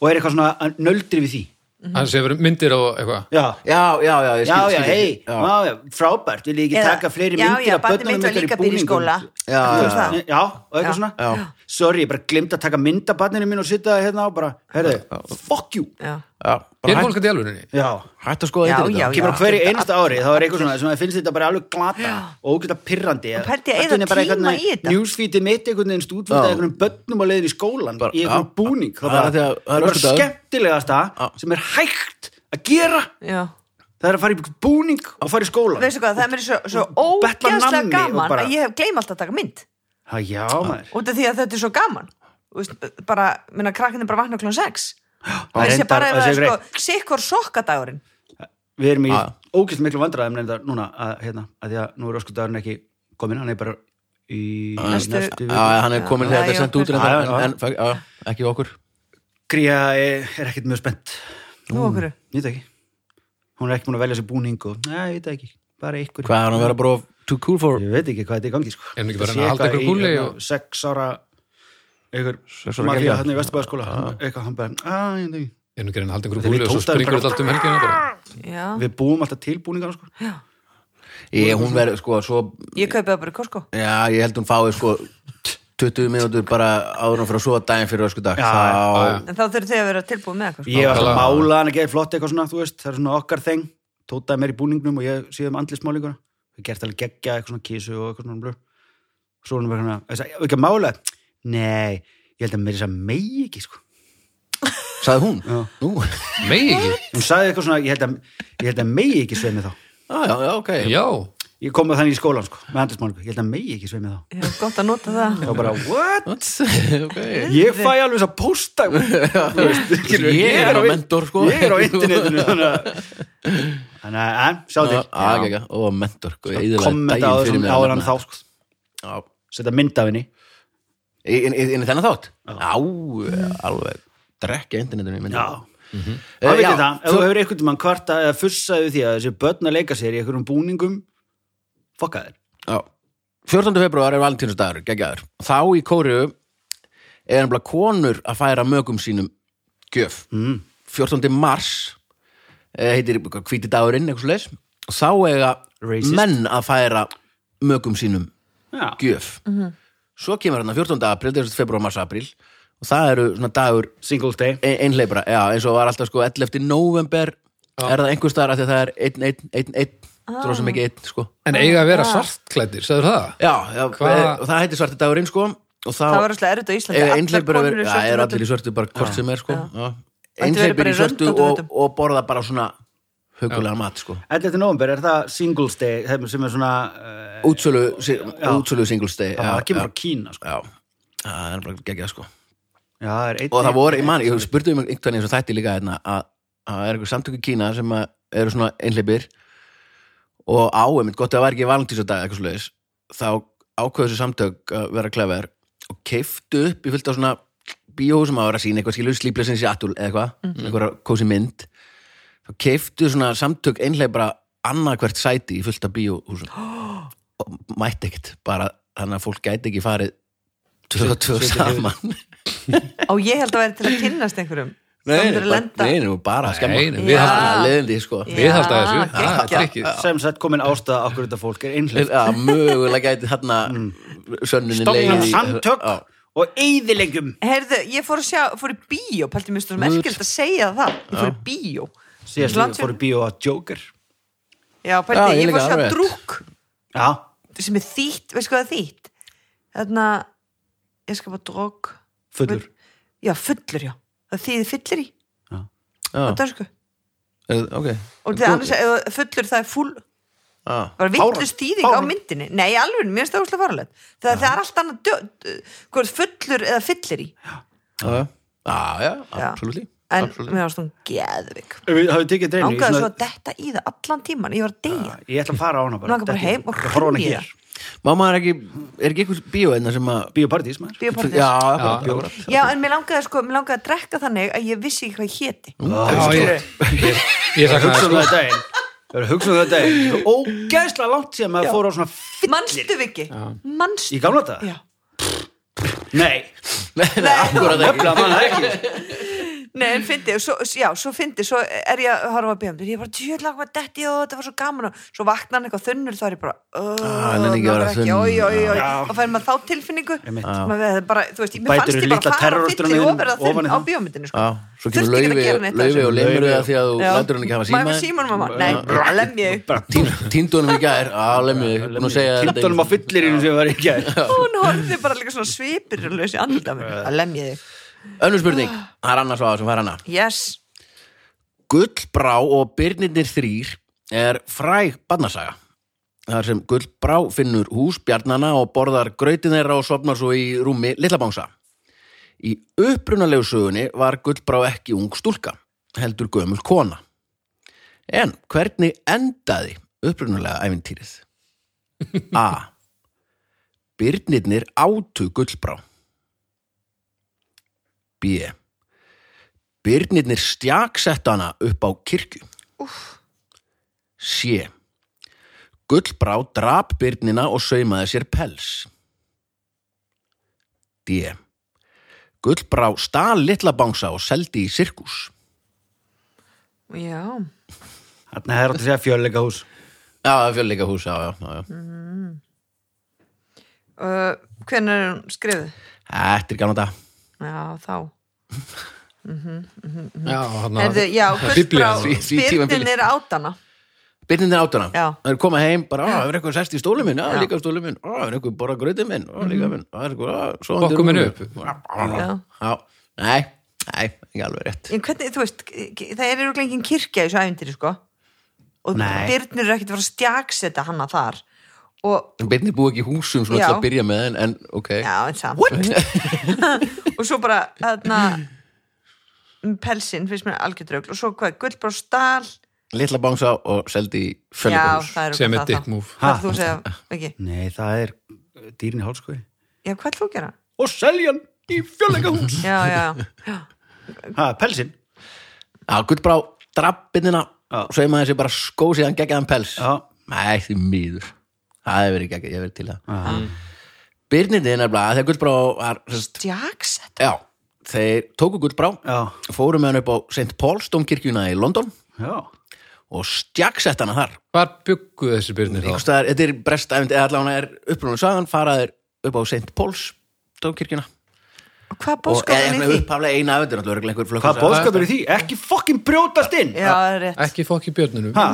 [SPEAKER 2] og er eitthvað svona að nöldri við því
[SPEAKER 4] Hann sé verið myndir og eitthvað
[SPEAKER 2] já,
[SPEAKER 1] já, já, já, ég
[SPEAKER 2] já,
[SPEAKER 1] skil-
[SPEAKER 2] já,
[SPEAKER 1] skil
[SPEAKER 2] hei
[SPEAKER 1] ekki.
[SPEAKER 2] já. Já, frábært, vil ég ekki
[SPEAKER 3] Eða-
[SPEAKER 2] taka fleiri
[SPEAKER 3] já,
[SPEAKER 2] myndir
[SPEAKER 3] já,
[SPEAKER 2] af
[SPEAKER 3] barnið mitt
[SPEAKER 2] börnunum
[SPEAKER 3] var
[SPEAKER 2] ykkar í
[SPEAKER 3] líka að byrja í
[SPEAKER 2] búningum?
[SPEAKER 3] skóla.
[SPEAKER 1] Já,
[SPEAKER 3] Þú
[SPEAKER 1] já,
[SPEAKER 3] veist það?
[SPEAKER 1] já.
[SPEAKER 2] Já, og eitthvað
[SPEAKER 3] Já.
[SPEAKER 2] svona
[SPEAKER 1] Já.
[SPEAKER 2] Sorry, ég bara glimt að taka mynd af barninu mín og sitja það hérna og bara, herðu, fuck you
[SPEAKER 3] Já.
[SPEAKER 1] já, bara
[SPEAKER 4] Er
[SPEAKER 1] hætt,
[SPEAKER 4] fólk að djálfurinni?
[SPEAKER 2] Já,
[SPEAKER 1] hætt að skoða
[SPEAKER 3] Já,
[SPEAKER 1] internet,
[SPEAKER 3] já,
[SPEAKER 1] þá.
[SPEAKER 3] já.
[SPEAKER 2] kemur á hverju
[SPEAKER 3] þetta
[SPEAKER 2] einasta ári þá er eitthvað svona sem að finnst þetta bara alveg glata og ógæta pirrandi
[SPEAKER 3] Og pældi ég að eyða tíma í þetta?
[SPEAKER 2] Newsfeedið mitt einhvern veginn
[SPEAKER 1] Já.
[SPEAKER 2] stúdfullt að einhvern bönnum á leiðin í skólan
[SPEAKER 1] Bara,
[SPEAKER 2] í einhvern
[SPEAKER 1] já.
[SPEAKER 2] búning
[SPEAKER 1] Það er að því að- það er
[SPEAKER 2] það er
[SPEAKER 1] öskudagur.
[SPEAKER 2] skemmtilegasta
[SPEAKER 1] Já.
[SPEAKER 2] sem er hægt að gera
[SPEAKER 3] Já.
[SPEAKER 2] það er að fara í búning og fara í skólan
[SPEAKER 3] Veistu hvað, það er mér svo, svo
[SPEAKER 2] Betla
[SPEAKER 3] ógeðslega
[SPEAKER 2] nammi og
[SPEAKER 3] gaman
[SPEAKER 2] bara-
[SPEAKER 3] að ég hef gleym alltaf að taka mynd
[SPEAKER 2] Ha, Já, maður
[SPEAKER 3] út af því að þetta er svo gaman Þú veist, bara, minna krakkinni bara vakna klón 6
[SPEAKER 2] Það er
[SPEAKER 3] þessi
[SPEAKER 2] reyndar-
[SPEAKER 3] bara ef
[SPEAKER 2] það
[SPEAKER 3] það
[SPEAKER 2] sé
[SPEAKER 3] er
[SPEAKER 2] greit.
[SPEAKER 3] sko sikkur sokkadagurinn
[SPEAKER 2] Við erum í
[SPEAKER 1] Já.
[SPEAKER 2] ógæst miklu vandræðum neynda núna að, hérna, að því að nú er öskudagurinn ekki komin, hann er bara í
[SPEAKER 3] Næstu-
[SPEAKER 2] næstu
[SPEAKER 1] já, já, hann er komin
[SPEAKER 3] Já,
[SPEAKER 1] þegar þetta er
[SPEAKER 3] já,
[SPEAKER 1] sendt út
[SPEAKER 3] já.
[SPEAKER 1] reyndar,
[SPEAKER 2] Já, já.
[SPEAKER 1] en, en já, já, ekki við okkur
[SPEAKER 2] Gría er, er ekkert mjög spennt
[SPEAKER 3] Nú okkur
[SPEAKER 2] Ég veit það ekki. Hún er ekki búin að velja sér búning og, nei, ég veit það ekki, bara ykkur.
[SPEAKER 1] hvað er hann að vera bara of too cool for
[SPEAKER 2] Ég veit ekki hvað þetta er í gangi, sko.
[SPEAKER 4] Er hún ekki
[SPEAKER 2] Það
[SPEAKER 4] bara
[SPEAKER 2] sé
[SPEAKER 4] að halda
[SPEAKER 2] eitthvað
[SPEAKER 4] ykkur
[SPEAKER 2] í,
[SPEAKER 4] kúlli
[SPEAKER 2] hérna,
[SPEAKER 4] og-
[SPEAKER 2] Sex ára, ykkur,
[SPEAKER 1] Sex ára Ah.
[SPEAKER 2] maður
[SPEAKER 1] gelgja.
[SPEAKER 2] hérna í Vesturbæðaskóla, eitthvað, hann bara, að, ég veit ekki.
[SPEAKER 4] Er nú gerðin að halda
[SPEAKER 2] Þetta er
[SPEAKER 4] einhverju búli og svo
[SPEAKER 2] tóta-
[SPEAKER 4] springur þetta allt um helgina bara.
[SPEAKER 3] Já.
[SPEAKER 2] Við búum alltaf til búningar, sko.
[SPEAKER 1] ég, hún verður, sko, svo
[SPEAKER 3] ég kaupi það bara í Costco
[SPEAKER 1] já, ég held hún fái, sko 20 mínútur bara áður en fyrir að sofa daginn fyrir öskudag
[SPEAKER 2] Já,
[SPEAKER 1] þá,
[SPEAKER 4] já,
[SPEAKER 3] en þá þurfið þið að vera tilbúið með eitthvað sko.
[SPEAKER 2] Ég var alltaf
[SPEAKER 4] Nákvæmlega.
[SPEAKER 2] að mála hann að gera flott eitthvað svona, þú veist, það er svona okkar þeng, tótaði mér í búningnum og ég séð um andlismálinguna. Við gert alveg geggja eitthvað svona kísu og eitthvað svona blur. Svo er hann bara svona, þess að, ekki að mála, nei, ég held að mér þess að megi ekki, sko.
[SPEAKER 1] sagði hún
[SPEAKER 2] Já.
[SPEAKER 1] nú,
[SPEAKER 4] Megi ekki?
[SPEAKER 2] Hún sagði eitthvað svona, ég held að, ég held að megi ekki sveið með þá.
[SPEAKER 1] já, já, já, ok
[SPEAKER 4] Já,
[SPEAKER 2] Ég kom með þannig í skólan, sko, með andlismálingu. Ég held að megi ekki sveið með þá.
[SPEAKER 3] Já, gott að nota það
[SPEAKER 2] Ég var bara, what?
[SPEAKER 1] ok
[SPEAKER 2] Ég fæ alveg þess að posta. Þú veist, skilur,
[SPEAKER 1] Ég er á
[SPEAKER 2] in-
[SPEAKER 1] mentor, sko.
[SPEAKER 2] Ég er á internetinu, þannig að, þannig að, en, sjá til.
[SPEAKER 1] aðgækja og mentor sko, ég eyðilagði
[SPEAKER 2] kommenta á
[SPEAKER 1] daginn fyrir
[SPEAKER 2] þessum
[SPEAKER 1] mér að
[SPEAKER 2] áðan
[SPEAKER 1] nefna
[SPEAKER 2] þá, sko.
[SPEAKER 1] þetta. Já.
[SPEAKER 2] setja mynd af henni
[SPEAKER 1] Í- inn inn- inn í þennan þátt á, alveg drekja internetinu í myndinni.
[SPEAKER 2] Já.
[SPEAKER 1] Eh,
[SPEAKER 2] Það veit
[SPEAKER 1] já,
[SPEAKER 2] ég það, ef
[SPEAKER 1] þú-
[SPEAKER 2] þú hefur einhvern tímann kvarta eða fussaði við því að þessi börn að leika sér í einhverjum búningum fokka þér
[SPEAKER 1] já. 14. februar er valentínusdagur geggjaður, þá í Kóriðu er nefnilega konur að færa mögum sínum gjöf mm. 14. mars eh, heitir hvíti dagurinn eitthvað svoleiðis. og þá eiga
[SPEAKER 2] Racist.
[SPEAKER 1] menn að færa mögum sínum
[SPEAKER 2] Já,
[SPEAKER 1] gjöf svo kemur hann 14. april, 1. februar, mars, april og það eru svona dagur
[SPEAKER 2] single day
[SPEAKER 1] e- ein- einhleypra, já, eins og var alltaf sko 11. november er það einhvers staðar af því að það er einn, einn, einn, einn, ah. sem ekki einn, sko
[SPEAKER 4] en eiga að vera svartklæddir, sagður það?
[SPEAKER 1] já, já e- og
[SPEAKER 4] Hva-
[SPEAKER 1] það heitir svarti dagurinn, sko og þá
[SPEAKER 3] það var rosslega erut á Íslandi
[SPEAKER 1] eiga
[SPEAKER 3] Allar
[SPEAKER 1] Eh, einhleypur að
[SPEAKER 3] konur
[SPEAKER 1] vera,
[SPEAKER 3] í
[SPEAKER 1] já,
[SPEAKER 3] svörtum
[SPEAKER 1] er
[SPEAKER 3] fötum.
[SPEAKER 1] allir í svörtu bara hvort sem er, sko já.
[SPEAKER 3] Þetta verður bara
[SPEAKER 1] einhleypur
[SPEAKER 3] í
[SPEAKER 1] í svörtu
[SPEAKER 3] röndóttum
[SPEAKER 1] og,
[SPEAKER 3] fötum.
[SPEAKER 1] og borða bara svona hugulega mat, sko
[SPEAKER 2] 11. november er það singles day þeim sem er svona uh,
[SPEAKER 1] útsölu, si- útsölu singlestegi
[SPEAKER 2] það kemur frá Kína sko.
[SPEAKER 1] já, það er bara geggjað, sko
[SPEAKER 2] Já, það er einn
[SPEAKER 1] og það voru, ég man, ég spurði um einhvern veginn sem þætti líka hérna að að það er einhver samtöku í Kína sem að eru svona einhleipir og á, einmitt, gott að það var ekki valentísadag eitthvað svoleiðis, þá ákveðu þessu samtök að vera klefver og keiftu upp í fullt á svona bíóhúsum að vera að sína eitthvað skilur slíplesins í atul eða eitthvað,
[SPEAKER 2] Mhm.
[SPEAKER 1] einhverja kósi mynd þá keiftu svona samtök einhleipra annarkvert sæti í fullt af bíóhúsum og mætti ekkert bara, þannig að fólk gæti ekki farið tvö og tvö saman
[SPEAKER 3] og ég held að vera til að kynnast einhverjum
[SPEAKER 1] Nei,
[SPEAKER 3] Samt er að
[SPEAKER 1] bara,
[SPEAKER 3] lenda.
[SPEAKER 1] nei, nei, bara að skemma
[SPEAKER 4] Nei, nei,
[SPEAKER 1] við
[SPEAKER 4] við
[SPEAKER 1] ja.
[SPEAKER 3] haldum-
[SPEAKER 1] leðandi, sko
[SPEAKER 3] Já.
[SPEAKER 4] Við halda þessu, Ah,
[SPEAKER 3] Já,
[SPEAKER 4] það er
[SPEAKER 3] geggjað.
[SPEAKER 4] trikkið.
[SPEAKER 2] sem sagt komin ástæða okkur þetta fólk er einhleif
[SPEAKER 1] ja, mögulega gæti þarna sönnunin
[SPEAKER 2] stofnum
[SPEAKER 1] legið í-
[SPEAKER 2] samtök
[SPEAKER 1] Já.
[SPEAKER 2] og eyðilegum
[SPEAKER 3] Heyrðu, ég fór að sjá, fór í bíó Pælti mér stóðum erkild að segja það Ég fór í bíó
[SPEAKER 2] síðast
[SPEAKER 3] Landsfjörn-
[SPEAKER 2] við fóru bíó að Joker
[SPEAKER 3] Já,
[SPEAKER 1] Já,
[SPEAKER 3] pælti,
[SPEAKER 1] ég
[SPEAKER 3] ég fór
[SPEAKER 1] líka,
[SPEAKER 3] að
[SPEAKER 1] alveg.
[SPEAKER 3] sjá drúk
[SPEAKER 2] Já,
[SPEAKER 3] sem er þýtt, veist hvað það er þýtt Þarna, ég skal bara drúk
[SPEAKER 2] fullur
[SPEAKER 3] Já, fullur, já, það þýði fyllir í
[SPEAKER 1] Já,
[SPEAKER 3] á dönsku
[SPEAKER 1] eh, ok
[SPEAKER 3] Og það annars, ef fullur það er full
[SPEAKER 1] Já.
[SPEAKER 3] bara vittlust þýðing á
[SPEAKER 2] fáránlegt. mynd.
[SPEAKER 3] myndinni Nei, alveg, mér finnst það úrslega farulegt Það, það er allt annað dö, dö, hvort fullur eða fyllir í
[SPEAKER 1] Já, já. já, já,
[SPEAKER 3] Já.
[SPEAKER 1] absolutt
[SPEAKER 3] En mér varst hún geðvik
[SPEAKER 2] Við hafum tekið dreinu
[SPEAKER 3] Ángaði svo að detta í það allan tíman Ég var að deyja
[SPEAKER 2] Ég ætla að fara á hana bara
[SPEAKER 3] Langar bara heim og
[SPEAKER 2] Ég horfa á hana
[SPEAKER 3] hrinja í
[SPEAKER 2] hér.
[SPEAKER 3] það.
[SPEAKER 1] Má maður ekki, er ekki einhvers bíó einna sem að
[SPEAKER 2] Bíóparadís maður
[SPEAKER 3] Bíóparadís.
[SPEAKER 1] Já, akkurat,
[SPEAKER 4] Já.
[SPEAKER 1] akkurat.
[SPEAKER 3] Já, en mér langaði sko, mér langaði að drekka þannig að ég vissi ekki hvað ég héti
[SPEAKER 4] Já, ég- ég- Ég
[SPEAKER 2] Hugsa um það
[SPEAKER 4] saknaði
[SPEAKER 2] í daginn Ég var að hugsa um þetta er ógeðslega langt síðan maður fór á svona fyll
[SPEAKER 3] Manstu við ekki? Manstu?
[SPEAKER 2] í gamla þetta?
[SPEAKER 3] Já.
[SPEAKER 2] Nei,
[SPEAKER 1] Nei, akkurat ekki
[SPEAKER 2] nefnilega mann ekki
[SPEAKER 3] Nei, en fyndi, svo, já, svo fyndi, svo er ég að horfa að bíða um Ég er bara, djöðlega, hvað detti og þetta var svo gaman og svo vaknar hann eitthvað þunnur, þá er ég bara
[SPEAKER 1] Ah, hann er ekki að vera þunn.
[SPEAKER 3] Ói, ói, ói,
[SPEAKER 2] Já.
[SPEAKER 3] og fær maður þá tilfinningu
[SPEAKER 2] Einmitt.
[SPEAKER 3] Sem að við- bara, Þú veist, ég mér
[SPEAKER 2] Bætir
[SPEAKER 3] fannst
[SPEAKER 2] í
[SPEAKER 3] ég bara
[SPEAKER 2] litla
[SPEAKER 3] að fara að
[SPEAKER 2] terroristrann
[SPEAKER 3] fyndi
[SPEAKER 2] ofan í-
[SPEAKER 3] og vera
[SPEAKER 2] ofan í
[SPEAKER 3] þunn á
[SPEAKER 2] það.
[SPEAKER 3] bíómyndinu
[SPEAKER 1] Já,
[SPEAKER 3] sko.
[SPEAKER 1] svo
[SPEAKER 3] Þurfti
[SPEAKER 1] kemur
[SPEAKER 3] ekki að
[SPEAKER 1] laufi,
[SPEAKER 3] gera neitt af
[SPEAKER 1] laufi
[SPEAKER 3] þessu.
[SPEAKER 1] og lemur
[SPEAKER 2] Laufey
[SPEAKER 1] það
[SPEAKER 2] og-
[SPEAKER 1] því að þú
[SPEAKER 3] Já.
[SPEAKER 1] lætur hann ekki hafa
[SPEAKER 3] Má ég
[SPEAKER 1] síma
[SPEAKER 3] með símanum mamma? Nei, lemmi ég
[SPEAKER 1] Tíndunum í gær, að lemmi Búin að segja þetta
[SPEAKER 2] Tindunum á fyllirinu sem var í gær
[SPEAKER 3] Hún horfði bara líka svona svipir og lausi andlita mig að lemja þig
[SPEAKER 1] Önnur spurning, það er annars á það sem fær hana
[SPEAKER 3] Yes,
[SPEAKER 1] Gullbrá og Byrnirnir þrýr er fræg barnasaga þar sem Gullbrá finnur hús bjarnana og borðar grautin þeirra og sopnar svo í rúmi Lillabangsa. Í upprunalegu sögunni var Gullbrá ekki ung stúlka, heldur gömul kona. En hvernig endaði upprunalega ævintýrið? A. Byrnirnir átu Gullbrá. B. Byrnirnir stjaksetta hana upp á kirkju. Sjö. Gullbrá drap byrnina og saumaði sér pels. D. Gullbrá stal litla bangsa og seldi í sirkus.
[SPEAKER 3] já
[SPEAKER 2] Þarna er átt að segja fjölleika hús
[SPEAKER 1] Já, fjölleika hús, já, já, já,
[SPEAKER 3] Mm.
[SPEAKER 1] já.
[SPEAKER 3] uh, Hvernig er hún skrifuð?
[SPEAKER 1] Þetta er gana þetta.
[SPEAKER 3] Já, þá
[SPEAKER 4] Já, hann
[SPEAKER 3] Herðu, já, Gullbrá,
[SPEAKER 4] Biblían.
[SPEAKER 1] Því- því tímabili.
[SPEAKER 3] Byrnin er átana
[SPEAKER 1] Byrnirnir átt hana.
[SPEAKER 3] Já.
[SPEAKER 1] Það er koma heim, bara, á, það er eitthvað sest í stólu minn, á,
[SPEAKER 3] Já. Mm.
[SPEAKER 1] líka stólu minn, á, það er eitthvað borra gröti minn, á, líka minn, á, það er eitthvað, á,
[SPEAKER 4] Bokkum minn upp.
[SPEAKER 1] Já, nei, nei, ekki alveg rétt.
[SPEAKER 3] En hvernig, þú veist, það er eru engin kirkja í þessu æfintir, sko og
[SPEAKER 2] Nei.
[SPEAKER 3] Byrnir er ekkert að fara að stjaksetta hana þar og
[SPEAKER 1] Byrnir búið ekki í húsum svona
[SPEAKER 3] Já.
[SPEAKER 1] til að byrja með, en, en ok.
[SPEAKER 3] Já, en samt Og svo bara þarna, pelsin finnst mér algjör draugl og svo hvað, gullbrá stál
[SPEAKER 1] Litla bangsa og seldi í
[SPEAKER 3] Já,
[SPEAKER 1] fjölningahús
[SPEAKER 3] það er
[SPEAKER 4] Sem er
[SPEAKER 3] það
[SPEAKER 4] dick
[SPEAKER 3] þá.
[SPEAKER 4] move.
[SPEAKER 3] Það er þú að segja, ekki
[SPEAKER 2] Nei, það er dýrin í hálskói
[SPEAKER 3] Já, hvað ætlum þú að gera?
[SPEAKER 2] Og seljan í fjölleika hús
[SPEAKER 3] Já, já, já
[SPEAKER 2] Ha, pelsin
[SPEAKER 1] Já, Gullbrá drappinina
[SPEAKER 2] Já.
[SPEAKER 1] og segir maður þessi bara skó síðan geggjaðan pels
[SPEAKER 2] Já.
[SPEAKER 1] Nei, því miður Það hefur verið geggjað, ég hef verið til það
[SPEAKER 3] Mm.
[SPEAKER 1] Byrnindi er nefnilega, þegar Gullbrá var sest,
[SPEAKER 3] Stjaksetta
[SPEAKER 1] Já, þeir tóku Gullbrá
[SPEAKER 2] Já,
[SPEAKER 1] fóru með hann upp á St. Paul's domkirkjuna í London
[SPEAKER 2] já
[SPEAKER 1] og stjaksett hana þar
[SPEAKER 4] Hvar bygguðu þessi byrnir þá?
[SPEAKER 1] Einhverstaðar, þetta er brest æfnd eða allan er upprunum sagan, faraðir upp á St. Paul's domkirkjuna
[SPEAKER 3] Og hvað
[SPEAKER 1] og eh, eða
[SPEAKER 3] bóðskapin í
[SPEAKER 1] eitthvað
[SPEAKER 3] því?
[SPEAKER 1] upphaflega eina æfndir, náttúrulega örugglega einhver
[SPEAKER 2] Hvað
[SPEAKER 1] flökkus-
[SPEAKER 2] bóðskapur í því? Ekki fokkin brjótast inn
[SPEAKER 3] Já, það er rétt
[SPEAKER 4] Ekki fokk í björnunum.
[SPEAKER 2] Ha,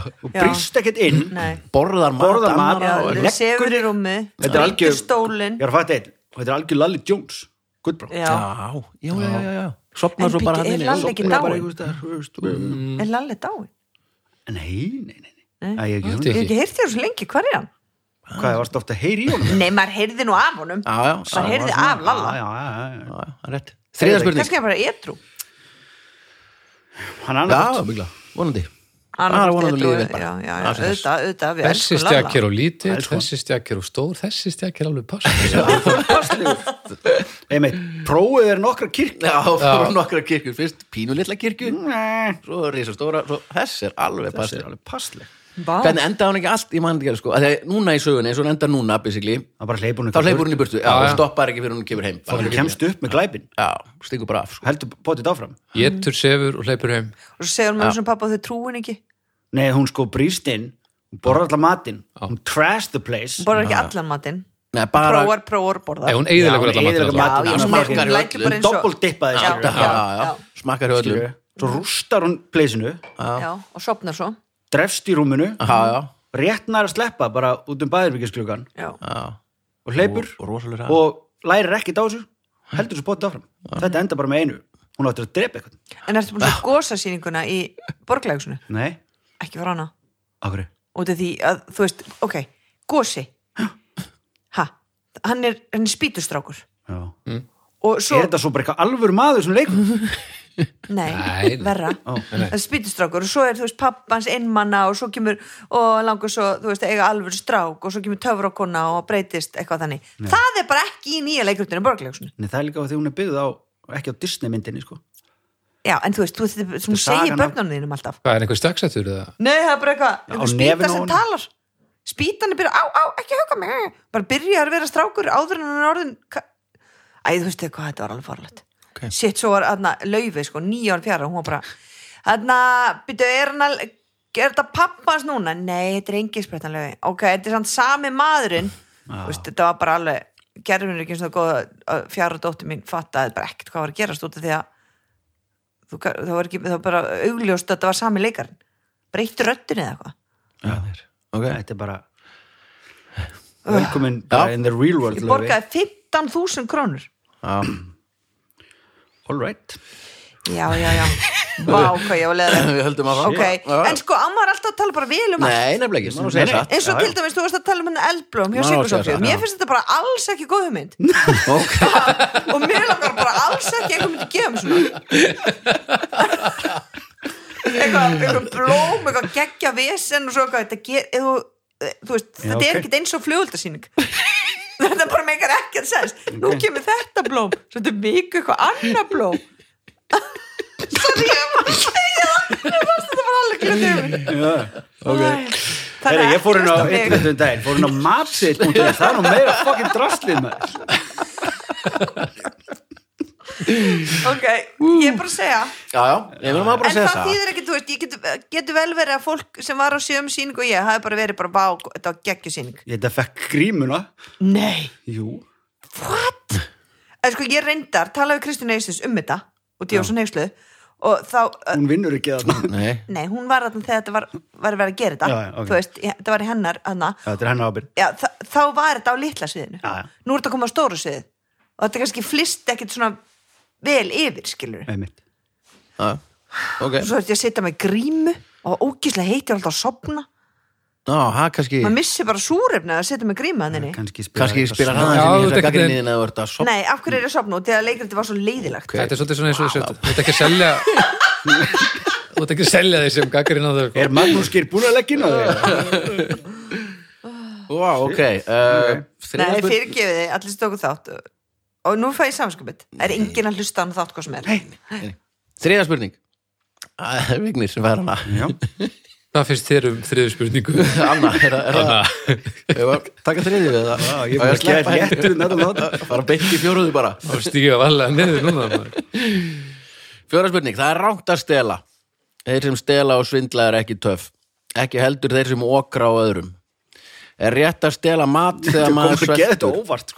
[SPEAKER 2] og
[SPEAKER 3] Já.
[SPEAKER 2] brýst ekkert inn
[SPEAKER 3] Nei
[SPEAKER 1] borðar mat
[SPEAKER 2] Borðar mat,
[SPEAKER 1] annarra
[SPEAKER 3] Já,
[SPEAKER 1] og-
[SPEAKER 2] leggur-
[SPEAKER 3] þú sefur í rúmi
[SPEAKER 2] Þetta er algjör-
[SPEAKER 3] stólin
[SPEAKER 2] Ég er að fatta einn Og þetta er algjör Lalli Jones Guðbrá
[SPEAKER 3] Já,
[SPEAKER 1] Já, já, já, já, já. Sopna
[SPEAKER 3] En
[SPEAKER 1] svo bara
[SPEAKER 3] bíddu,
[SPEAKER 1] hann
[SPEAKER 3] er Lalli ekki
[SPEAKER 1] Sofnar bara
[SPEAKER 3] dáinn?
[SPEAKER 1] einhvers staðar, þú veist, og-
[SPEAKER 3] er Lalli dáin?
[SPEAKER 2] Nei, nei, nei, nei.
[SPEAKER 3] Nei.
[SPEAKER 2] Æ, ég hef ekki
[SPEAKER 4] Þetta
[SPEAKER 3] Ég hef
[SPEAKER 4] er ekki.
[SPEAKER 3] ekki heyrt þér svo lengi, hvað er hann?
[SPEAKER 2] hún Hvað varst ofta að heyri í honum?
[SPEAKER 3] Nei, maður heyrði nú af honum
[SPEAKER 1] Já, já, já,
[SPEAKER 3] Maður heyrði af Lalla
[SPEAKER 2] Já, já, já, já.
[SPEAKER 1] já, já, rétt Þriða spurning
[SPEAKER 3] Kannski er bara edru
[SPEAKER 2] Hann
[SPEAKER 1] Já,
[SPEAKER 2] annað
[SPEAKER 1] byggla, vonandi
[SPEAKER 3] Hann
[SPEAKER 1] Það er
[SPEAKER 3] er
[SPEAKER 1] vonandi
[SPEAKER 3] edrú,
[SPEAKER 1] lífið bara.
[SPEAKER 3] Já, já, já,
[SPEAKER 1] Það er þess.
[SPEAKER 3] auðvitað, auðvitað við
[SPEAKER 4] Þessi
[SPEAKER 3] elskum Lalla.
[SPEAKER 4] stjakk er á lítið,
[SPEAKER 2] Elsku hann.
[SPEAKER 4] þessi stjakk er á stór, þessi stjakk er alveg pass.
[SPEAKER 2] Einmitt, prófið er nokkra kirkna
[SPEAKER 1] Já, fórum nokkra kirkjur Fyrst pínu litla
[SPEAKER 3] Mm.
[SPEAKER 1] kirkju
[SPEAKER 2] Þessi
[SPEAKER 1] Svo risa stóra Svo þess er alveg passir
[SPEAKER 2] er alveg passleg
[SPEAKER 3] Vá.
[SPEAKER 1] Hvernig enda hann ekki allt í manndikæri sko Af því að núna í sögunni Svo hann endar núna, basically
[SPEAKER 2] Það bara hleypur hún
[SPEAKER 1] Þá hleypur hún í burtu Já,
[SPEAKER 4] Já,
[SPEAKER 1] og
[SPEAKER 4] já.
[SPEAKER 1] stoppar ekki fyrir hún kemur heim
[SPEAKER 2] Þá kemst upp með glæpin
[SPEAKER 1] Já, stingur bara af sko
[SPEAKER 2] Heldur potið áfram
[SPEAKER 4] Getur, sefur og hleypur heim.
[SPEAKER 3] Og svo segir maður sem pappa þau trúin ekki
[SPEAKER 2] Nei, hún sko brýst inn Hún borðar allar matinn Hún trash the place
[SPEAKER 3] Hún borðar ekki allan matinn
[SPEAKER 1] Nei, bara
[SPEAKER 3] Prófar, prófar, borðar
[SPEAKER 4] Nei, hún
[SPEAKER 2] Já,
[SPEAKER 4] eigðilegur
[SPEAKER 2] hún
[SPEAKER 4] þetta
[SPEAKER 2] eyðileggur
[SPEAKER 4] matur.
[SPEAKER 2] matinn. Hún
[SPEAKER 3] Já, já,
[SPEAKER 2] smakkar í
[SPEAKER 3] hún lætur
[SPEAKER 2] öllu.
[SPEAKER 3] bara eins og-
[SPEAKER 2] Doppeltippaði
[SPEAKER 3] Já,
[SPEAKER 2] þessu.
[SPEAKER 1] Já, já,
[SPEAKER 3] já.
[SPEAKER 1] Smakkar hjá öllum
[SPEAKER 2] Skilurðu? Svo rústar hún pleysinu
[SPEAKER 3] Já, og sopnar svo
[SPEAKER 2] Drefst í rúminu
[SPEAKER 1] Já,
[SPEAKER 3] Mhm.
[SPEAKER 1] já
[SPEAKER 2] Rétt nær að sleppa bara út um bæðirbyggjasklugan
[SPEAKER 3] Já,
[SPEAKER 1] Já,
[SPEAKER 2] Og hleypur
[SPEAKER 1] Og- og rosalega hratt.
[SPEAKER 2] Og lærir ekki dásu Heldur þessu potið áfram Þetta enda bara með einu Hún áttur að drepa eitthvað
[SPEAKER 3] en ertu búin að sjá gósasýninguna í borglægsunu?
[SPEAKER 2] Nei,
[SPEAKER 3] Ekki fara hana
[SPEAKER 2] okkur
[SPEAKER 3] út af því að, þú veist, ok, gósi ha, hann er, hann er spítustrákur
[SPEAKER 2] Er
[SPEAKER 3] og svo,
[SPEAKER 2] þetta svo bara eitthvað alvöru maður sem leikur?
[SPEAKER 3] nei,
[SPEAKER 4] Nei.
[SPEAKER 3] verra það er spítustrákur og svo er, þú veist, pappa hans einmanna og svo kemur, og langar svo þú veist, eiga alvöru strák og svo kemur töfrakonna og breytist eitthvað þannig það er bara ekki í nýja leikritinu borglegsinu
[SPEAKER 2] Nei, það er líka á því hún er byggð á ekki á Disney myndinni sko
[SPEAKER 3] já, en þú veist, þú, þú, þú, þú
[SPEAKER 2] sagan
[SPEAKER 3] segir
[SPEAKER 2] af-
[SPEAKER 3] börnunum þínum alltaf
[SPEAKER 4] Hvað, er einhver stökksettur eða?
[SPEAKER 3] Nei, það er bara eitthvað
[SPEAKER 2] á nefinu
[SPEAKER 3] einhver spýta
[SPEAKER 2] á
[SPEAKER 3] sem
[SPEAKER 2] honum.
[SPEAKER 3] talar Spýtan er byrja, á, á, ekki huga mig Bara byrjar að vera strákur áður en hann er orðin ka- Æ, þú veistu hvað, þetta var alveg farlegt
[SPEAKER 1] Ok.
[SPEAKER 3] Sitt svo var, aðna, laufi, sko, níu ára fjara Hún var bara, aðna, byrju, er hann að Er þetta pappans núna? Nei, þetta er engin sprettan laufi Ok, þetta er samt sami maðurinn Þú veist, Þetta var bara alveg Gerðum er ekki eins og það góð Fjara dóttir mín fattaði bara ekkert hvað var að gerast út af því að þú, ga- það var ekki, það var bara augljóst að þetta var sami leikarinn breyttu röddinu eða eitthvað
[SPEAKER 2] já.
[SPEAKER 1] ok,
[SPEAKER 2] Þetta er bara velkomin bara
[SPEAKER 1] Já.
[SPEAKER 2] in the real world
[SPEAKER 3] ég
[SPEAKER 2] Laufey.
[SPEAKER 3] borgaði 15.000 krónur
[SPEAKER 1] já
[SPEAKER 2] All right
[SPEAKER 3] já, já, já, vá hvað ég var leður
[SPEAKER 1] Við höldum að
[SPEAKER 3] ok, en sko, amma er alltaf að tala bara vel um allt
[SPEAKER 1] Nei, nefnilega ekki, maður segja
[SPEAKER 2] Nei, nei.
[SPEAKER 1] satt
[SPEAKER 3] eins og
[SPEAKER 2] Já,
[SPEAKER 3] til dæmis, þú varst að tala um henni eldblóm hjá
[SPEAKER 1] Má segja
[SPEAKER 3] Sigursófíu,
[SPEAKER 1] það, já.
[SPEAKER 3] mér finnst þetta bara alls ekki góð hugmynd
[SPEAKER 1] Ok,
[SPEAKER 3] og mér langar bara alls ekki eitthvað myndi gefa mér svona eitthvað, eitthvað blóm, eitthvað geggja vesen og svo eitthvað, þetta ger eða þú, þú veist,
[SPEAKER 2] Já,
[SPEAKER 3] þetta
[SPEAKER 2] ok.
[SPEAKER 3] er ekkert eins og flugöldasýning þetta bara meikar ekkert sens nú kemur þetta blóm, svo þetta er mikið eitthvað annað blóm sorry, ég var að segja það mér fannst þetta bara alveg glöð yfir okay.
[SPEAKER 2] Heri, ég fór inn á internetum daginn, fór inn á matsit það er nú meira fucking drastlið maður.
[SPEAKER 3] ok, ég er bara að segja
[SPEAKER 1] já, já, ég verðum að bara
[SPEAKER 3] en
[SPEAKER 1] segja
[SPEAKER 3] það
[SPEAKER 1] það
[SPEAKER 3] þýðir ekki, þú veist, ég getur getu vel verið að fólk sem var á sjöum síningu og ég hafi bara verið bara bá, þetta var geggjusýning
[SPEAKER 2] Ég þetta fekk grímuna
[SPEAKER 3] Nei,
[SPEAKER 2] Jú,
[SPEAKER 3] what? En sko, ég reyndar, talaði við Kristján Eistins um þetta og Djóðsson Heimslu og þá, eh,
[SPEAKER 2] hún vinnur ekki þarna
[SPEAKER 1] Nei,
[SPEAKER 3] nei, hún var þarna þegar þetta var, var verið að gera þetta,
[SPEAKER 2] Já, já, ok.
[SPEAKER 3] þú veist, ég- þetta var í hennar, hana,
[SPEAKER 2] Já, Þetta er hennar ábyrg
[SPEAKER 3] já, þa þá var þetta á litla sviðinu
[SPEAKER 2] Já, já.
[SPEAKER 3] nú er þetta að koma á stóru sviðið og þetta kannski flist ekkit svona vel yfir, skilur
[SPEAKER 2] Nei, mitt.
[SPEAKER 1] já, ok
[SPEAKER 3] og svo er þetta að sitja með grímu og ógíslega heitir alltaf að sopna
[SPEAKER 1] Já, það kannski,
[SPEAKER 3] maður missi bara súrefni að setja með gríma þannig
[SPEAKER 2] Kannski spila
[SPEAKER 1] kannski
[SPEAKER 2] þetta
[SPEAKER 1] spilar
[SPEAKER 2] svona.
[SPEAKER 1] hann
[SPEAKER 4] Já,
[SPEAKER 1] aðeins inn í
[SPEAKER 4] þetta
[SPEAKER 1] þessa
[SPEAKER 4] einhvern veginn-
[SPEAKER 1] gagnrýnin eða þú ert að sopna
[SPEAKER 3] Nei, af hverju er ég að sopna út því að leikritið var svo leiðilegt
[SPEAKER 4] Þetta er svolítið svona eins og þessu, þú ert ekki að selja Þú ert ekki að selja því sem gaggarinn á þau sko.
[SPEAKER 2] Er Magnús Geir búin að leggja inn á því?
[SPEAKER 1] Vá, ok, uh,
[SPEAKER 3] Nei,
[SPEAKER 1] þriðja spurning
[SPEAKER 3] fyrirgefið þið, allir stóku þátt og nú fæ ég samskupið Það er enginn að hlusta á hann þátt hvað sem er
[SPEAKER 1] Þriða spurning Það er Vignir sem fær hana
[SPEAKER 2] Já,
[SPEAKER 4] Hvað finnst þér um þriðu spurningu?
[SPEAKER 1] Anna, er það- er það Eigum við að Taka þriðju við það
[SPEAKER 2] já, ég búin að gera réttur um þetta þátt.
[SPEAKER 1] Það var beint í fjóruðu hérna. bara
[SPEAKER 4] Þá stígum við alveg niður núna maður.
[SPEAKER 1] Fjóra spurning, það er rámt að stela Þeir sem stela og svindla er ekki töff Ekki heldur þeir sem okra á öðrum Er rétt að stela mat
[SPEAKER 2] Þetta
[SPEAKER 1] þegar
[SPEAKER 2] kom
[SPEAKER 1] maður
[SPEAKER 2] að gera þetta
[SPEAKER 1] sveltur
[SPEAKER 2] óvart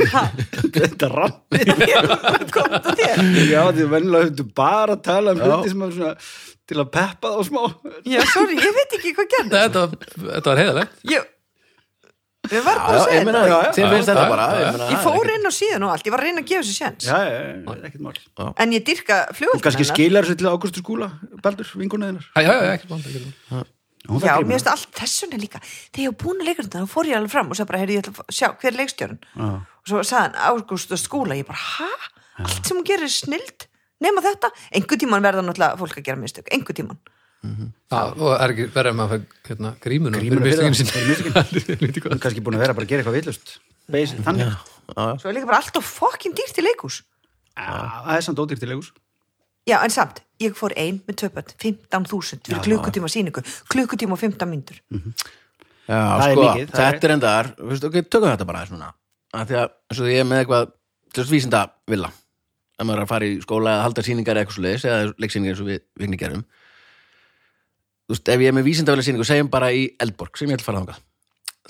[SPEAKER 2] sko. Þetta er rann
[SPEAKER 3] Kom þetta þér?
[SPEAKER 2] Já, því venjulega höfðu bara að tala um hluti sem er svona til að peppa þá smá
[SPEAKER 3] Já, sorry, ég veit ekki hvað gerði
[SPEAKER 4] Þetta, þetta var heiðalegt
[SPEAKER 3] Ég, ég var
[SPEAKER 1] Já,
[SPEAKER 3] bara að
[SPEAKER 1] ég
[SPEAKER 3] segja
[SPEAKER 1] meina,
[SPEAKER 2] Já,
[SPEAKER 3] þetta
[SPEAKER 2] já.
[SPEAKER 1] þér finnst
[SPEAKER 4] Já,
[SPEAKER 1] þetta
[SPEAKER 4] já,
[SPEAKER 1] bara
[SPEAKER 4] já, já.
[SPEAKER 1] meina,
[SPEAKER 3] Ég
[SPEAKER 1] það er
[SPEAKER 3] fór
[SPEAKER 1] ekkert-
[SPEAKER 3] inn á síðan og allt, ég var að reyna að gefa þessu séns
[SPEAKER 2] Já, já, já, ekkert mál
[SPEAKER 3] En ég hérna. dyrka
[SPEAKER 2] Og kannski
[SPEAKER 3] flugvöldin
[SPEAKER 2] skilar þessu til Ágústur Skúla Baldur, vingunaðinnar
[SPEAKER 4] Já, já, já, ekki blant, ekki blant
[SPEAKER 2] Hún
[SPEAKER 3] Já,
[SPEAKER 2] fær
[SPEAKER 3] mér
[SPEAKER 2] grímuna
[SPEAKER 3] finnst allt þessuna líka Þegar ég var búin að leikurinn þá fór ég alveg fram og sagði bara, heyrðu, ég ætla að fá- sjá, hver er leikstjórinn?
[SPEAKER 2] Já.
[SPEAKER 3] og svo sagði hann Ágúst og skúla ég bara, hæ? Allt sem hún gerir er snild nema þetta, einhver tíman verða náttúrulega fólk að gera mistök, einhver tíman
[SPEAKER 4] Já, og er ekki verið maður að fá, hérna, grímuna
[SPEAKER 2] Grímuna fyrir
[SPEAKER 4] fyrir
[SPEAKER 2] það, fyrir
[SPEAKER 4] mistökin
[SPEAKER 2] Hún er kannski búin að vera bara að gera eitthvað villust Þannig, já,
[SPEAKER 3] svo er líka bara alltaf fokkin dýrt í leikus
[SPEAKER 2] það er samt ódýrt í leikus
[SPEAKER 3] já, en samt, ég fór ein með töpöld 15.000 fyrir klukkutíma síningu klukkutíma og 15 mínútur
[SPEAKER 1] Já,
[SPEAKER 2] Það er
[SPEAKER 1] sko,
[SPEAKER 2] mikið, það er-
[SPEAKER 1] þetta er endar Vistu, ok, tökum þetta bara svona að Því að, eins og ég er með eitthvað Þú veist, vísinda vilja að maður er að fara í skóla eða halda sýningar eða eitthvað svo leiðis eða leiksýningar eins og við vigni gerum Þú veist, ef ég er með vísindavilla sýningu segjum bara í Eldborg sem ég ætla að fara þangað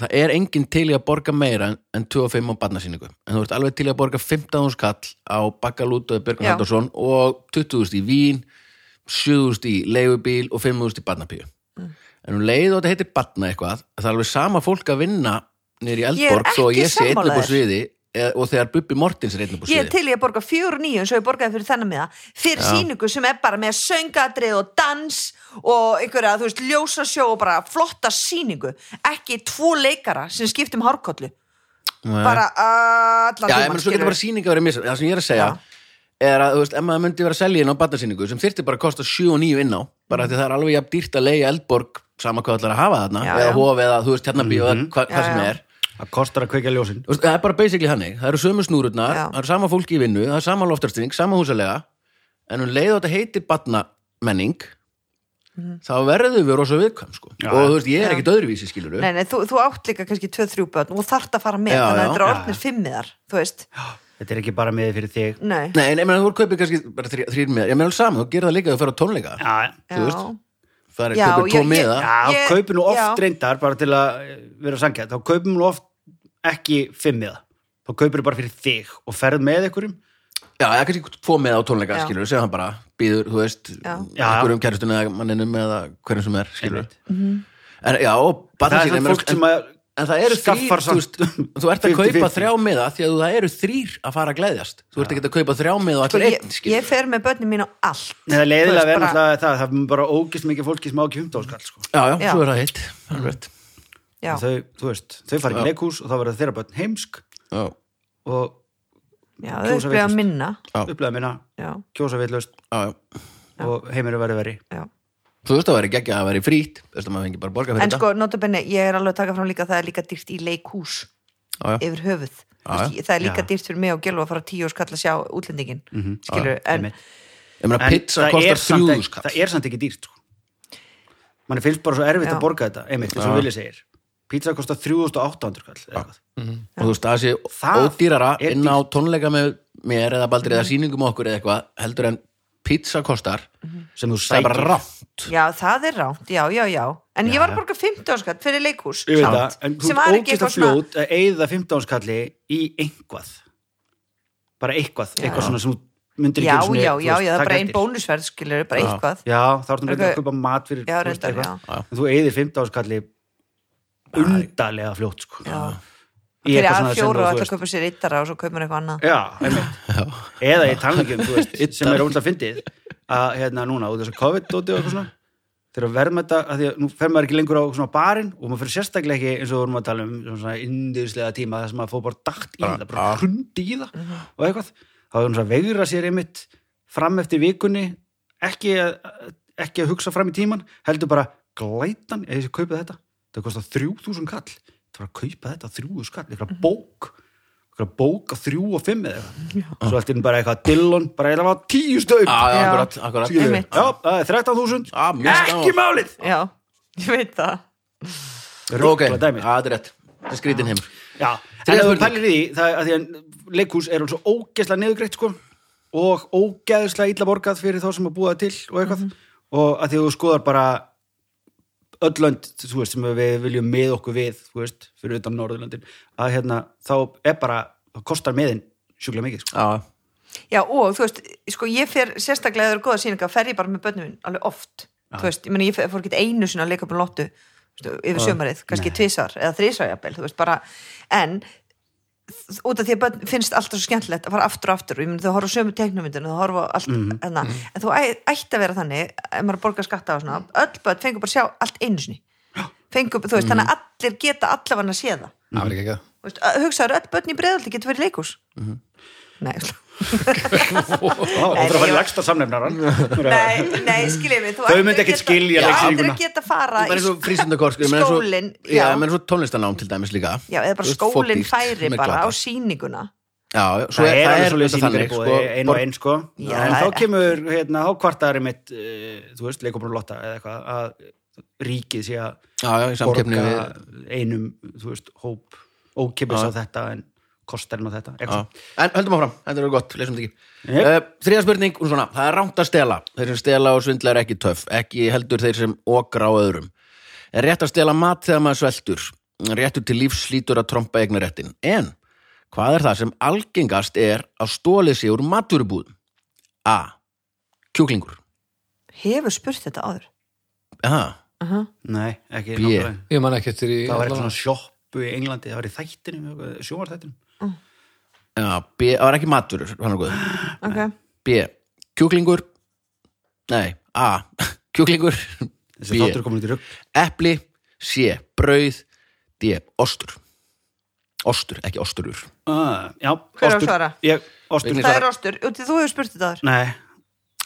[SPEAKER 1] Það er enginn til í að borga meira en- en 25 á barnasýningu en þú ert alveg til í að borga 15.000 kall á Bakkalútaði Björgun
[SPEAKER 3] Já.
[SPEAKER 1] Haldarsson og 20.000 í Vín 7.000 í leigubíl og 5.000 í barnapíu
[SPEAKER 3] Mm.
[SPEAKER 1] en um leið og þetta heitir barna eitthvað það er alveg sama fólk að vinna nýr í
[SPEAKER 3] Ég er
[SPEAKER 1] Eldborg þó að
[SPEAKER 3] ekki
[SPEAKER 1] ég sé einn upp á
[SPEAKER 3] sammála þér.
[SPEAKER 1] sviði eða- og þegar Bubbi Mortins er einn upp á
[SPEAKER 3] ég er
[SPEAKER 1] sviði
[SPEAKER 3] til ég að borga 4.9 eins og ég borgaði fyrir þennan miða fyrir síningu sem er bara með söngadrið og dans og einhverja, þú veist, ljósasjó og bara flotta síningu ekki tvo leikara sem skiptum hárkollu
[SPEAKER 1] Nei.
[SPEAKER 3] bara allan
[SPEAKER 1] Já,
[SPEAKER 3] tímann,
[SPEAKER 1] ég menn svo getur
[SPEAKER 3] skilurðu.
[SPEAKER 1] bara sýning að vera missa Það sem ég er að segja er að, þú veist, ef maður myndi vera að selja inn á barnasýningu sem þyrfti bara að kosta 7 og 9 inn á
[SPEAKER 3] Mm.
[SPEAKER 1] bara því það er alveg jafn dýrt að leiga eldborg sama hvað ætlar að hafa þarna
[SPEAKER 3] Já,
[SPEAKER 1] eða
[SPEAKER 3] já.
[SPEAKER 1] hof eða þú veist hérna bíó eða hva, hvað
[SPEAKER 3] Já,
[SPEAKER 1] sem
[SPEAKER 3] já.
[SPEAKER 1] er
[SPEAKER 2] Það kostar að kveika ljósin
[SPEAKER 1] Þú veist, það er bara basically hannig, það eru sömu snúrurnar
[SPEAKER 3] Já.
[SPEAKER 1] það eru sama fólki í vinnu, það er sama loftarstýring sama húsalega en hún leið á þetta heitir batnamenning
[SPEAKER 3] Mhm.
[SPEAKER 1] þá verðum við rosa viðkvæm sko.
[SPEAKER 2] Já.
[SPEAKER 1] og þú veist, ég er ekkit öðruvísi skilur
[SPEAKER 3] Nei, nei, þú, þú átt líka kannski 2-3 börn og þarft að fara með,
[SPEAKER 1] Já,
[SPEAKER 3] þannig að
[SPEAKER 1] já.
[SPEAKER 3] þetta er orðnir fimmiðar, þú veist.
[SPEAKER 2] Þetta er ekki bara með fyrir þig
[SPEAKER 3] Nei,
[SPEAKER 1] Nei, nei, menn, þú er kaupið kannski bara þrý- þrír með ég meðal saman, þú gerir það líka að þú fer á tónleika
[SPEAKER 2] Já, já.
[SPEAKER 3] já.
[SPEAKER 1] þú veist. það er
[SPEAKER 3] Já,
[SPEAKER 1] kaupið tvo
[SPEAKER 3] ég-
[SPEAKER 1] með
[SPEAKER 3] ég-
[SPEAKER 2] Já,
[SPEAKER 3] Ég-
[SPEAKER 2] kaupir nú oft
[SPEAKER 3] já.
[SPEAKER 2] reyndar bara til að eh, vera sangja þá kaupir nú oft ekki fimmiða þá kaupir bara fyrir þig og ferð með einhverjum
[SPEAKER 1] já, ég er kannski tvo með á tónleika
[SPEAKER 3] Já.
[SPEAKER 1] skilur, segja hann bara, býður, þú veist
[SPEAKER 3] Já.
[SPEAKER 2] Já.
[SPEAKER 1] einhverjum kærustunni eða manninum eða hverjum sem er, skilur
[SPEAKER 2] Einmitt.
[SPEAKER 3] Mhm.
[SPEAKER 1] en, já, og
[SPEAKER 2] það
[SPEAKER 1] barna
[SPEAKER 2] er
[SPEAKER 1] sín, ég
[SPEAKER 2] svona
[SPEAKER 1] meina,
[SPEAKER 2] fólk sem að
[SPEAKER 1] en það eru
[SPEAKER 2] skaffar
[SPEAKER 1] þrýr þú, veist,
[SPEAKER 2] samt
[SPEAKER 1] þú ert að
[SPEAKER 2] 50-50.
[SPEAKER 1] kaupa þrjá miða því að þú- það eru þrýr að fara að gleðjast þú ert ekki að kaupa þrjá miða og
[SPEAKER 3] Sko,
[SPEAKER 1] allir
[SPEAKER 3] ég,
[SPEAKER 1] einn
[SPEAKER 3] ég
[SPEAKER 1] skilur.
[SPEAKER 3] fer með börnin mín á allt.
[SPEAKER 2] Nei, það er
[SPEAKER 3] Þú
[SPEAKER 2] leiðilega
[SPEAKER 3] veist,
[SPEAKER 2] verð
[SPEAKER 3] bara-
[SPEAKER 2] náttúrulega það, það er bara ógist mikið fólki sem á ekki hundáskall sko.
[SPEAKER 1] já, já,
[SPEAKER 3] Já.
[SPEAKER 1] svo er það hitt Það er rétt.
[SPEAKER 3] Já,
[SPEAKER 2] þau, þú veist, þau fara ekki í leikhús og þá verður þeirra börn heimsk
[SPEAKER 1] Já.
[SPEAKER 2] og
[SPEAKER 3] já,
[SPEAKER 2] kjósa
[SPEAKER 3] þau spila
[SPEAKER 2] vitlaust.
[SPEAKER 3] minna.
[SPEAKER 1] Já.
[SPEAKER 2] upplega minna
[SPEAKER 3] Já,
[SPEAKER 2] kjósa vitlaust
[SPEAKER 1] Já, já.
[SPEAKER 2] og heimur verður verri
[SPEAKER 3] já.
[SPEAKER 1] þú veist að það væri geggja að það væri frýtt þú veist að maður fengi bara borga fyrir
[SPEAKER 3] En sko, notabenni, ég er alveg að taka fram líka að það er líka dýrt í leikhús
[SPEAKER 1] þetta já, já.
[SPEAKER 3] yfir höfuð.
[SPEAKER 1] Já,
[SPEAKER 3] Vist, það er líka
[SPEAKER 2] Já. Mhm,
[SPEAKER 3] dýrt fyrir mig og Gjölu að fara á tíu og skalla sjá útlendingin. Skilur, en
[SPEAKER 2] einmitt.
[SPEAKER 1] ég meina
[SPEAKER 2] en
[SPEAKER 1] pizza
[SPEAKER 2] það er,
[SPEAKER 1] kostar
[SPEAKER 2] samt
[SPEAKER 1] þrjúðu
[SPEAKER 2] ekki, það er samt ekki dýrt sko. mann finnst bara svo erfitt
[SPEAKER 3] Já.
[SPEAKER 2] að borga þetta einmitt, eins og
[SPEAKER 1] Já.
[SPEAKER 2] vilja segir pizza kostar 3800 kall eða eitthvað.
[SPEAKER 1] og þú veist að það sé
[SPEAKER 2] Það
[SPEAKER 1] ódýrara
[SPEAKER 2] er
[SPEAKER 1] inn á tónleika með mér eða baldur eða sýningum okkur eða eitthvað heldur en pizza kostar
[SPEAKER 2] sem þú
[SPEAKER 1] það er bara
[SPEAKER 2] sækir
[SPEAKER 1] rátt
[SPEAKER 3] já, það er ránt, já, já, já. En ég var að borga 15 skatt fyrir leikhús.
[SPEAKER 2] Ég veit
[SPEAKER 3] samt,
[SPEAKER 2] það, en þú
[SPEAKER 3] sem var
[SPEAKER 2] ert
[SPEAKER 3] ekki
[SPEAKER 2] ógist
[SPEAKER 3] eitthvað
[SPEAKER 2] að
[SPEAKER 3] svona...
[SPEAKER 2] fljót að eigða 15 skalli í einhvað bara eitthvað, eitthvað svona sem þú myndir
[SPEAKER 3] Já,
[SPEAKER 2] ekki einu sinni,
[SPEAKER 3] já,
[SPEAKER 2] þú
[SPEAKER 3] já,
[SPEAKER 2] veist,
[SPEAKER 3] já, það er
[SPEAKER 2] taka
[SPEAKER 3] bara einn
[SPEAKER 2] eftir.
[SPEAKER 3] bónusverð, skilur, bara
[SPEAKER 1] Já.
[SPEAKER 3] eitthvað.
[SPEAKER 2] Já, þá ertu myndið
[SPEAKER 3] Ok.
[SPEAKER 2] að kaupa mat fyrir
[SPEAKER 3] Já,
[SPEAKER 2] þú veist,
[SPEAKER 3] reyndar,
[SPEAKER 2] eitthvað.
[SPEAKER 1] já.
[SPEAKER 2] En Þú eigðir 15 skalli undarlega fljótt sko.
[SPEAKER 3] Já.
[SPEAKER 2] Í
[SPEAKER 3] Fyrir
[SPEAKER 2] eitthvað
[SPEAKER 3] að
[SPEAKER 2] svona sem
[SPEAKER 3] fjóru
[SPEAKER 2] þú-
[SPEAKER 3] og
[SPEAKER 2] þú
[SPEAKER 3] alltaf
[SPEAKER 2] veist-
[SPEAKER 3] kaupa sér yttara og svo kaupa hann eitthvað annað.
[SPEAKER 2] Já, einmitt. Eða í talningum, þú veist, sem er ótrúlega fyndið að hérna núna, út af þessu COVID-dóti og eitthvað svona, þegar verðum þetta að því að nú fer maður ekki lengur á svona barinn og maður fyrir sérstaklega ekki eins og við vorum að tala um svona indislega tíma þar sem maður fór bara dagt í það, bara hrundi í það
[SPEAKER 3] Mhm.
[SPEAKER 2] og eitthvað, þá er hún svona að vegra sér einmitt fram eftir vikunni ekki að, ekki að hugsa fram í tíman, heldur bara glætan eða þessi kaupið þetta, það kostar 3000 kall, það var að kaupa þetta 3000 kall,
[SPEAKER 3] Mhm.
[SPEAKER 2] eitthvað bók eitthvað bók að þrjú og fimm eða eitthvað svo allt inn bara eitthvað Dillon, bara eitthvað var tíu stöð
[SPEAKER 1] Já, já,
[SPEAKER 3] Já.
[SPEAKER 1] akkurat, akkurat.
[SPEAKER 2] Skilur við?
[SPEAKER 3] Einmitt.
[SPEAKER 2] Já, það er 13.000
[SPEAKER 1] Já, mér finnst
[SPEAKER 2] Ekki
[SPEAKER 1] gaman.
[SPEAKER 2] málið
[SPEAKER 3] Já, ég veit það.
[SPEAKER 1] ok,
[SPEAKER 2] Ruggla dæmi.
[SPEAKER 1] Já, það er rétt það er skrítin heim
[SPEAKER 2] Já, en
[SPEAKER 1] Þriðja
[SPEAKER 2] ef þú
[SPEAKER 1] spurning.
[SPEAKER 2] pælir í því það er að því að leikhús er alveg svo ógeðslega niðurgreitt sko og ógeðslega illa borgað fyrir þá sem að búa það til og eitthvað
[SPEAKER 3] Mhm.
[SPEAKER 2] og að því að þú skoðar bara öll lönd þú veist, sem við viljum með okkur við þú veist, fyrir utan Norðurlöndin að hérna, þá er bara, þá kostar meðin sjúklega mikið sko.
[SPEAKER 1] já,
[SPEAKER 3] Já, og þú veist, sko, ég fer sérstaklega eða eru góða síninga, fer ég bara með börnum minn alveg oft, þú veist, ég meni, ég fer- fór ekki einu sinna að leika upp um lottu þú veist, yfir sömarið, kannski tvisar eða þrisar jafnvel, þú veist, bara, en þ- út af því að börn finnst alltaf svo skemmtilegt að fara aftur og aftur, og ég meni, þau horfa á sömu teknumyndinu, þau horfa á allt,
[SPEAKER 2] Mhm.
[SPEAKER 3] hérna, en þú æ- ætti að vera þannig, ef maður borgar skatta og svona, öll börn fengur bara að sjá allt einu sinni, fengur, þú veist,
[SPEAKER 2] Mhm.
[SPEAKER 3] þannig að allir geta allavega að sé það,
[SPEAKER 4] það var ekki ekki
[SPEAKER 3] Þú veist, hugsaður, öll börn í breðaldi getur verið leikus mm
[SPEAKER 1] Mhm.
[SPEAKER 3] Nei, sko.
[SPEAKER 2] Ó, þú þarf að
[SPEAKER 3] Nei, nei,
[SPEAKER 2] fara í
[SPEAKER 3] ég-
[SPEAKER 2] lægsta samnefnaran
[SPEAKER 3] Nei, nei, skiljið mig þú
[SPEAKER 2] Þau
[SPEAKER 3] ættir
[SPEAKER 2] myndu
[SPEAKER 3] að
[SPEAKER 2] ekkert
[SPEAKER 3] geta-
[SPEAKER 2] skilja
[SPEAKER 3] Já,
[SPEAKER 2] leiksýninguna.
[SPEAKER 3] ættir að geta fara
[SPEAKER 1] það er
[SPEAKER 3] í
[SPEAKER 1] svo frísundakort
[SPEAKER 3] skólinn,
[SPEAKER 1] já,
[SPEAKER 3] já.
[SPEAKER 1] menn svo tónlistanám til dæmis líka
[SPEAKER 3] Já, eða
[SPEAKER 1] Þú
[SPEAKER 3] bara
[SPEAKER 1] veist,
[SPEAKER 3] skólinn
[SPEAKER 1] fokdýrt,
[SPEAKER 3] færi
[SPEAKER 1] sem er
[SPEAKER 3] bara á
[SPEAKER 1] glatað.
[SPEAKER 3] síninguna
[SPEAKER 1] já, já, svo
[SPEAKER 2] það er alveg svo
[SPEAKER 1] auðvitað
[SPEAKER 2] leiðis
[SPEAKER 1] þannig,
[SPEAKER 2] þannig
[SPEAKER 1] sko,
[SPEAKER 2] ein
[SPEAKER 1] borg-
[SPEAKER 2] og ein sko
[SPEAKER 3] Já,
[SPEAKER 2] en
[SPEAKER 3] það
[SPEAKER 2] þá
[SPEAKER 3] er-
[SPEAKER 2] kemur hérna hákvartari mitt uh, þú veist, leikumbrum lotta eða eitthvað að ríkið sé að
[SPEAKER 1] já, já, í samkeppni
[SPEAKER 2] borga
[SPEAKER 1] við
[SPEAKER 2] einum, þú veist, hóp ókipis á
[SPEAKER 1] Já.
[SPEAKER 2] þetta en kostarinn á þetta
[SPEAKER 1] Já.
[SPEAKER 2] eitthvað.
[SPEAKER 1] En höldum áfram, þetta eru gott, leysum þetta ekki
[SPEAKER 2] Jep.
[SPEAKER 1] yep. Þriða spurning, hún svona, það er rámt að stela Þeir sem stela og svindla er ekki töff Ekki heldur þeir sem okra á öðrum Er rétt að stela mat þegar maður sveltur Réttur til lífs lítur að trompa eignaréttin En, hvað er það sem algengast er að stólið sig úr maturubúðum? A. Kjúklingur
[SPEAKER 3] Hefur spurt þetta áður
[SPEAKER 1] Aha.
[SPEAKER 2] nei, ekki
[SPEAKER 1] B.
[SPEAKER 2] nákvæmlega.
[SPEAKER 4] ég man ekki eftir hérna, í
[SPEAKER 2] það var eitthvað svona sjoppu í Englandi það var í þættinum, sjómarþættinum
[SPEAKER 1] Já, B, það var ekki matur hann er góður.
[SPEAKER 3] okay.
[SPEAKER 1] B. Kjúklingur Nei, A. Kjúklingur B.
[SPEAKER 2] þessi þáttur er komin út í rugg
[SPEAKER 1] Epli, C, brauð D, ostur Ostur, ekki osturur
[SPEAKER 2] ah, já,
[SPEAKER 3] Hver á að
[SPEAKER 2] ostur.
[SPEAKER 3] svara?
[SPEAKER 2] Ég- ostur
[SPEAKER 1] Vigni
[SPEAKER 3] Það er
[SPEAKER 1] svarar.
[SPEAKER 3] rostur, Úti, þú hefur spurt þetta áður
[SPEAKER 2] nei,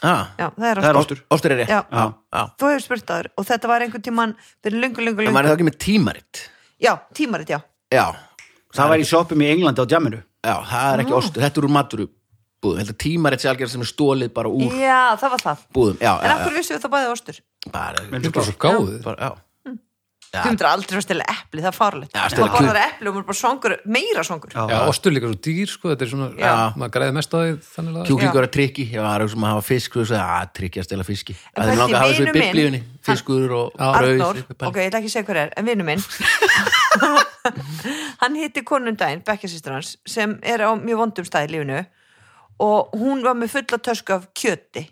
[SPEAKER 1] ah,
[SPEAKER 3] Já, það er
[SPEAKER 2] það er
[SPEAKER 3] rostur
[SPEAKER 2] ostur
[SPEAKER 1] Ostur er rétt
[SPEAKER 3] Já.
[SPEAKER 1] Já. Já.
[SPEAKER 3] Þú hefur spurt það áður og þetta var einhvern tíman fyrir lungu, lungu,
[SPEAKER 1] En maður
[SPEAKER 3] lungu
[SPEAKER 1] er þá ekki með tímarit
[SPEAKER 3] Já, tímarit, já
[SPEAKER 1] Já,
[SPEAKER 2] það var í sjoppum í Englandi á djaminu
[SPEAKER 1] já það er ekki ostur Þetta er úr maturubúð búðum, heldur tímarit sé algjörð sem er stólið bara úr
[SPEAKER 3] Já, það var það
[SPEAKER 1] búðum já,
[SPEAKER 3] En af
[SPEAKER 1] já,
[SPEAKER 3] hverju vissum við það bæði ostur?
[SPEAKER 1] já, bara,
[SPEAKER 4] Þetta er bara svo gáðið.
[SPEAKER 1] bara, já.
[SPEAKER 3] Þú myndir aldrei að stela epli, það er fárlegt
[SPEAKER 1] Já,
[SPEAKER 3] Það
[SPEAKER 1] stela
[SPEAKER 3] borðar epli og maður er bara svangur, meira svangur
[SPEAKER 4] Já, ostur er líka svo dýr, sko, þetta er svona,
[SPEAKER 1] Já.
[SPEAKER 4] maður græði mest á því þannig að
[SPEAKER 1] kjúklingur er trikki, já, það er sem að hafa fisk þú veist, að trikki að stela fiski
[SPEAKER 3] En
[SPEAKER 1] það er
[SPEAKER 3] pældi
[SPEAKER 1] langa að hafa þessu í
[SPEAKER 3] vinur minn-
[SPEAKER 1] biblíunni fiskur og
[SPEAKER 3] Arnór,
[SPEAKER 1] brauð
[SPEAKER 3] ok, ég ætla ekki að segja hver er, en vinnu minn Hann hitti konundaginn, bekkjarsýstur hans sem er á mjög vondum stað í lífinu og hún var með fulla tösku af kjöti,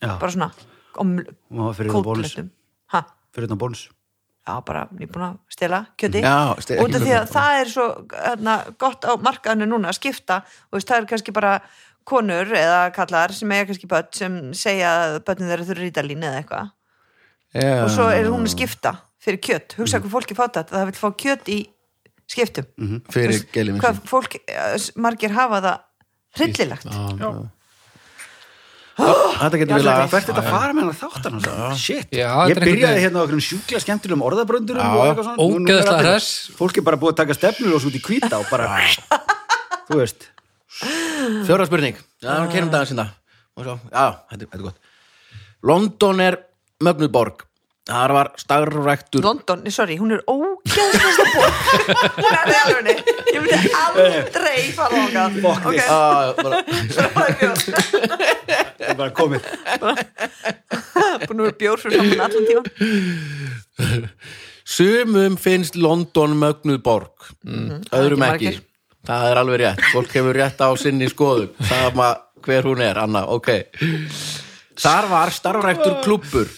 [SPEAKER 2] Já,
[SPEAKER 3] bara svona oml-
[SPEAKER 2] hún var fyrir það bónus
[SPEAKER 3] kótletum Ha,
[SPEAKER 2] Fyrir það bónus
[SPEAKER 3] já, bara nýbúin að stela kjöti
[SPEAKER 1] Já, ste-
[SPEAKER 3] út af
[SPEAKER 1] ekki
[SPEAKER 3] því að
[SPEAKER 1] kaupa.
[SPEAKER 3] það er svo hérna, gott á markaðinu núna að skipta og veist, það er kannski bara konur eða kallar sem eiga kannski börn sem segja að börnin þeirra þurfa rítalín eða eitthvað og svo er hún að skipta fyrir kjött hugsa hvað fólki fátt að það vil fá kjött í skiptum
[SPEAKER 1] fyrir gelið minn
[SPEAKER 3] hvað fólk, eh, s- margir hafa það hryllilegt
[SPEAKER 1] þetta getur við laga
[SPEAKER 2] Hvert þetta fara með hennar þáttan hans Shit,
[SPEAKER 4] Já, þetta
[SPEAKER 2] ég
[SPEAKER 4] er einhvern
[SPEAKER 2] byrjaði
[SPEAKER 4] veginn-
[SPEAKER 2] hérna á okkur sjúkla skemmtilegum orðabröndurum
[SPEAKER 1] Já,
[SPEAKER 2] og eitthvað svona. Nú- nú er
[SPEAKER 4] ógeðslega
[SPEAKER 2] allir-
[SPEAKER 4] hress.
[SPEAKER 2] Fólk er bara búið að taka stefnur og svo út í hvíta og bara Þú veist
[SPEAKER 1] fjóra spurning, já, það er kærum dagans hérna og svo, já, þetta, þetta er gott London er mögnuð borg þar var starfræktur
[SPEAKER 3] London, nei, sorry, hún er ógæðslega bók hún er alvegni ég myndi aldrei fara á
[SPEAKER 2] Fuck
[SPEAKER 3] ok,
[SPEAKER 2] this.
[SPEAKER 1] Ah, bara-
[SPEAKER 3] svo var það bjór
[SPEAKER 2] Það er bara komið
[SPEAKER 3] búin að vera bjór fyrir saman allan tíma
[SPEAKER 1] sumum finnst London mögnuð borg Mm. öðrum
[SPEAKER 3] Mhm. Það er ekki
[SPEAKER 1] ekki
[SPEAKER 3] margir.
[SPEAKER 1] það er alveg rétt, fólk hefur rétt á sinni skoðum sama hver hún er, Anna, ok þar var starfræktur klubbur